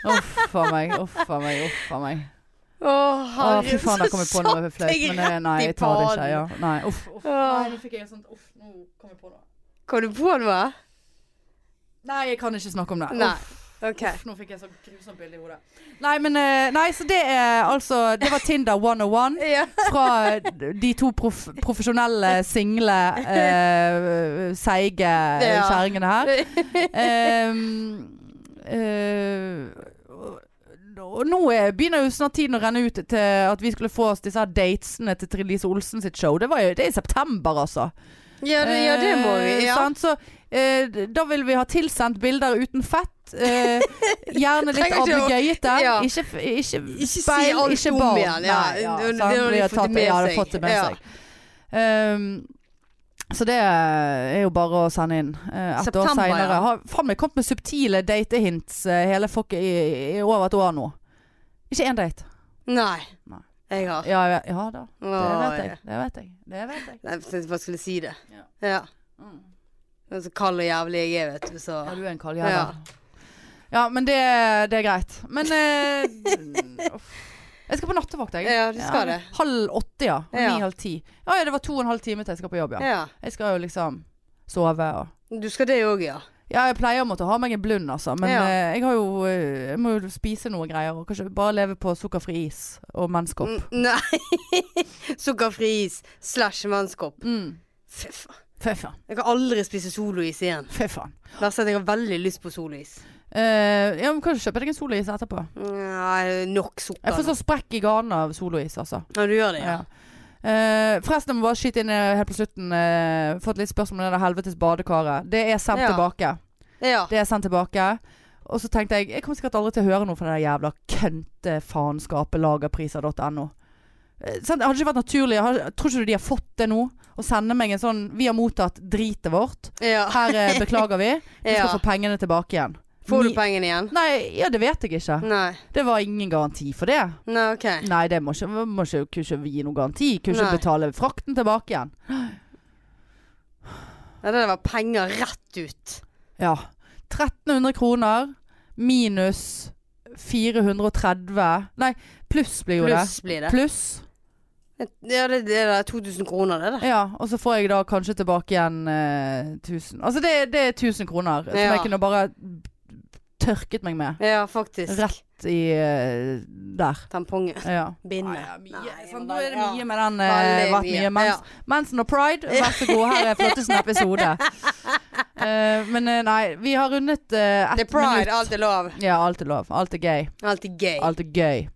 Speaker 1: Uff a meg, uff a meg, uff a meg.
Speaker 2: Å,
Speaker 1: Å, fy faen, da kom jeg på noe med flaut. Men det, nei, jeg tar det ikke. Ja. Nei, uff, uff.
Speaker 2: Åh.
Speaker 1: nå fikk jeg en sånn Uff, nå kom jeg på noe.
Speaker 2: Kom du på noe?
Speaker 1: Nei, jeg kan ikke snakke om det.
Speaker 2: Nei.
Speaker 1: Uff.
Speaker 2: OK.
Speaker 1: Uff, nå fikk jeg så grusomt bilde i hodet. Nei, men eh, Nei, så det er altså Det var Tinder 101
Speaker 2: Ja.
Speaker 1: fra de to proff, profesjonelle, single, eh, seige
Speaker 2: Ja.
Speaker 1: kjerringene her. Ehm, eh, og nå er, begynner jo snart tiden å renne ut til at vi skulle få oss disse her datesene til Trine Lise Olsen sitt show. Det, var jo, det er i september, altså.
Speaker 2: Ja, det, ja, det må vi.
Speaker 1: Eh,
Speaker 2: Ja.
Speaker 1: sant? Så eh, d- da vil vi ha tilsendt bilder uten fett. Eh, gjerne litt
Speaker 2: Trenger ikke å-
Speaker 1: ablegøyete.
Speaker 2: ja.
Speaker 1: Ikke, f- ikke,
Speaker 2: Ikke si
Speaker 1: speil,
Speaker 2: alt
Speaker 1: ikke
Speaker 2: om
Speaker 1: barn.
Speaker 2: igjen, ja.
Speaker 1: Nei, ja,
Speaker 2: Det- det
Speaker 1: sant?
Speaker 2: har de
Speaker 1: Vi
Speaker 2: fått det med
Speaker 1: ja, de har
Speaker 2: seg.
Speaker 1: fått det med
Speaker 2: Ja.
Speaker 1: seg. Ehm, så det er jo bare å sende inn. Uh, et år
Speaker 2: September,
Speaker 1: seinere.
Speaker 2: ja.
Speaker 1: Har faen meg kommet med subtile datehints eh, hele fucket i, i over et år nå. Ikke én date.
Speaker 2: Nei.
Speaker 1: Nei.
Speaker 2: Jeg har.
Speaker 1: Ja, ja, ja da. Det
Speaker 2: Å,
Speaker 1: vet
Speaker 2: ja.
Speaker 1: jeg. Det vet jeg. Det vet jeg.
Speaker 2: Nei, Jeg tenkte bare jeg skulle si det.
Speaker 1: Ja.
Speaker 2: Ja.
Speaker 1: Mm.
Speaker 2: Men så kald og jævlig jeg er, vet du, så
Speaker 1: Ja, du er en kald
Speaker 2: Ja.
Speaker 1: jævel. Ja, men det, det er greit. Men eh, uff. Jeg skal på nattevakt, jeg.
Speaker 2: Ja, du skal det.
Speaker 1: Halv åtte, ja. Og
Speaker 2: Ja.
Speaker 1: Ni, halv ti. Ja, ja, det var to og en halv time til jeg skal på jobb, ja.
Speaker 2: Ja.
Speaker 1: Jeg skal jo liksom sove og
Speaker 2: Du skal det òg, ja.
Speaker 1: Ja, jeg pleier å måtte ha meg en blund, altså. Men
Speaker 2: Ja.
Speaker 1: eh, jeg har jo eh, Jeg må jo spise noe greier. Og kanskje bare leve på sukkerfri is og menskopp.
Speaker 2: Mm, Nei. Sukkerfri is slash mannskopp.
Speaker 1: Mm.
Speaker 2: Fy faen.
Speaker 1: Fy faen.
Speaker 2: Jeg kan aldri spise solois igjen.
Speaker 1: Fy faen.
Speaker 2: Verst at jeg har veldig lyst på solois.
Speaker 1: Eh, ja, men kan du kjøpe deg en solois etterpå?
Speaker 2: Nei, nok
Speaker 1: Jeg får
Speaker 2: sukker. nå.
Speaker 1: så sprekk i ganen av solois, altså.
Speaker 2: Ja, du gjør det, ja.
Speaker 1: Ja. Eh, forresten, jeg må bare skyte inn eh, helt på slutten. eh, fått litt spørsmål om det der helvetes badekaret. Det er sendt
Speaker 2: Ja.
Speaker 1: tilbake.
Speaker 2: Ja.
Speaker 1: Det er sendt tilbake. Og så tenkte jeg jeg kommer sikkert aldri til å høre noe fra det der jævla køntefaenskapet lagerpriser.no. Eh, sant, Det hadde ikke vært naturlig. Jeg har, tror ikke du de har fått det nå? Å sende meg en sånn 'Vi har mottatt dritet vårt'.
Speaker 2: ja.
Speaker 1: Her eh, beklager vi. Du
Speaker 2: Ja.
Speaker 1: skal få pengene tilbake igjen.
Speaker 2: Får du
Speaker 1: Ni-
Speaker 2: pengene igjen?
Speaker 1: Nei, ja, det vet jeg ikke.
Speaker 2: Nei.
Speaker 1: Det var ingen garanti for det.
Speaker 2: Nei, OK.
Speaker 1: Nei, det må ikke, må ikke, kunne ikke vi gi noen garanti. Kunne
Speaker 2: Nei.
Speaker 1: ikke betale frakten tilbake igjen.
Speaker 2: Ja, det der var penger rett ut.
Speaker 1: Ja. 1300 kroner minus 430 Nei, pluss blir jo
Speaker 2: Pluss
Speaker 1: det.
Speaker 2: blir det.
Speaker 1: Pluss.
Speaker 2: Ja, det, det der er 2000 kroner, det der.
Speaker 1: Ja, og så får jeg da kanskje tilbake igjen eh, 1000 Altså det, det er 1000 kroner som
Speaker 2: Ja.
Speaker 1: jeg kunne bare tørket meg med.
Speaker 2: Ja, faktisk.
Speaker 1: Rett i eh, der.
Speaker 2: Tampongen.
Speaker 1: Ja.
Speaker 2: Binde.
Speaker 1: Nei, ja, mye,
Speaker 2: Nei, sånn,
Speaker 1: sant?
Speaker 2: men
Speaker 1: Nå er det
Speaker 2: ja.
Speaker 1: mye med den eh,
Speaker 2: Veldig
Speaker 1: vært
Speaker 2: mye,
Speaker 1: mye mens,
Speaker 2: ja.
Speaker 1: Mensen og pride, vær så god, her er flotteste episode. Eh, men eh, nei, vi har rundet uh,
Speaker 2: Det
Speaker 1: ett
Speaker 2: er pride,
Speaker 1: minutt.
Speaker 2: alt er lov.
Speaker 1: Ja, alt er lov. Alt er gøy.
Speaker 2: Alt er gøy.
Speaker 1: Alt er gøy.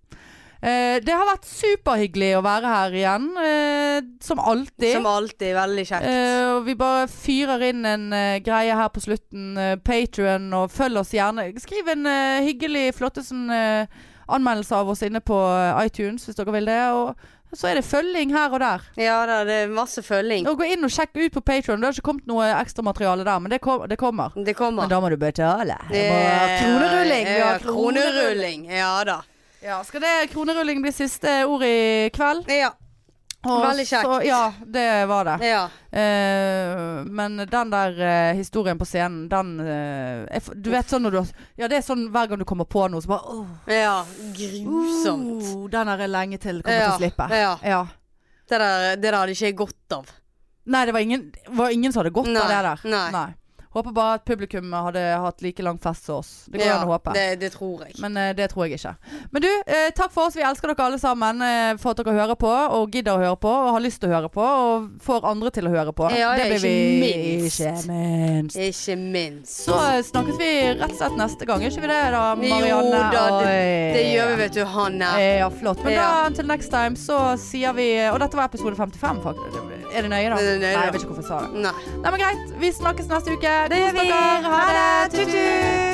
Speaker 1: Eh, det har vært superhyggelig å være her igjen, eh, som alltid.
Speaker 2: Som alltid, veldig kjekt.
Speaker 1: Eh, og vi bare fyrer inn en eh, greie her på slutten. Uh, Patrion, og følg oss gjerne. Skriv en eh, hyggelig, flotte sånn, eh, anmeldelse av oss inne på eh, iTunes, hvis dere vil det. Og så er det følging her og der.
Speaker 2: ja da, det er masse følging.
Speaker 1: Og Gå inn og sjekk ut på Patrion. Det har ikke kommet noe ekstramateriale der, men det, kom, det kommer.
Speaker 2: Det kommer.
Speaker 1: Men da må du betale. Det må-
Speaker 2: Eh,
Speaker 1: Kronerulling! Vi
Speaker 2: Ja,
Speaker 1: har kronerulling.
Speaker 2: kronerulling. Ja da.
Speaker 1: Ja, skal det kronerulling bli siste ord i kveld?
Speaker 2: Ja.
Speaker 1: Og
Speaker 2: Veldig kjekt.
Speaker 1: så- ja, det var det.
Speaker 2: ja.
Speaker 1: Eh, men den der eh, historien på scenen, den eh, jeg f- Du vet sånn når du har Ja, det er sånn hver gang du kommer på noe, så bare åh,
Speaker 2: Ja, grusomt.
Speaker 1: oh, Den her er lenge til kommer
Speaker 2: Ja,
Speaker 1: til å slippe.
Speaker 2: ja.
Speaker 1: Ja.
Speaker 2: Det der, det der hadde ikke jeg godt av.
Speaker 1: Nei, det var ingen, det var ingen som hadde godt av
Speaker 2: Nei,
Speaker 1: det der.
Speaker 2: nei.
Speaker 1: Håper bare at publikum hadde hatt like lang fest som oss. Det går
Speaker 2: ja,
Speaker 1: an å håpe.
Speaker 2: Det, det tror jeg.
Speaker 1: Men eh, det tror jeg ikke. Men du, eh, takk for oss. Vi elsker dere alle sammen eh, for at dere hører på, og gidder å høre på, og har lyst til å høre på, og får andre til å høre på.
Speaker 2: Ja, ja,
Speaker 1: det blir
Speaker 2: ikke
Speaker 1: vi
Speaker 2: minst.
Speaker 1: ikke minst.
Speaker 2: Ikke minst.
Speaker 1: Så eh, snakkes vi rett og slett neste gang, er ikke vi det da, Marianne?
Speaker 2: jo da,
Speaker 1: Og,
Speaker 2: det,
Speaker 1: eh,
Speaker 2: det gjør vi, vet du, Hanne.
Speaker 1: eh, Ja, flott. Men
Speaker 2: Ja.
Speaker 1: da, until next time, så sier vi Og dette var episode 55, faktisk. Er det nøye, da?
Speaker 2: Det er nøye,
Speaker 1: Nei,
Speaker 2: da.
Speaker 1: jeg vet ikke hvorfor jeg sa det.
Speaker 2: Nei.
Speaker 1: Nei, men greit. Vi snakkes neste uke.
Speaker 2: Det gjør
Speaker 1: Kos
Speaker 2: vi.
Speaker 1: dere. Ha det.
Speaker 2: Tut-tut.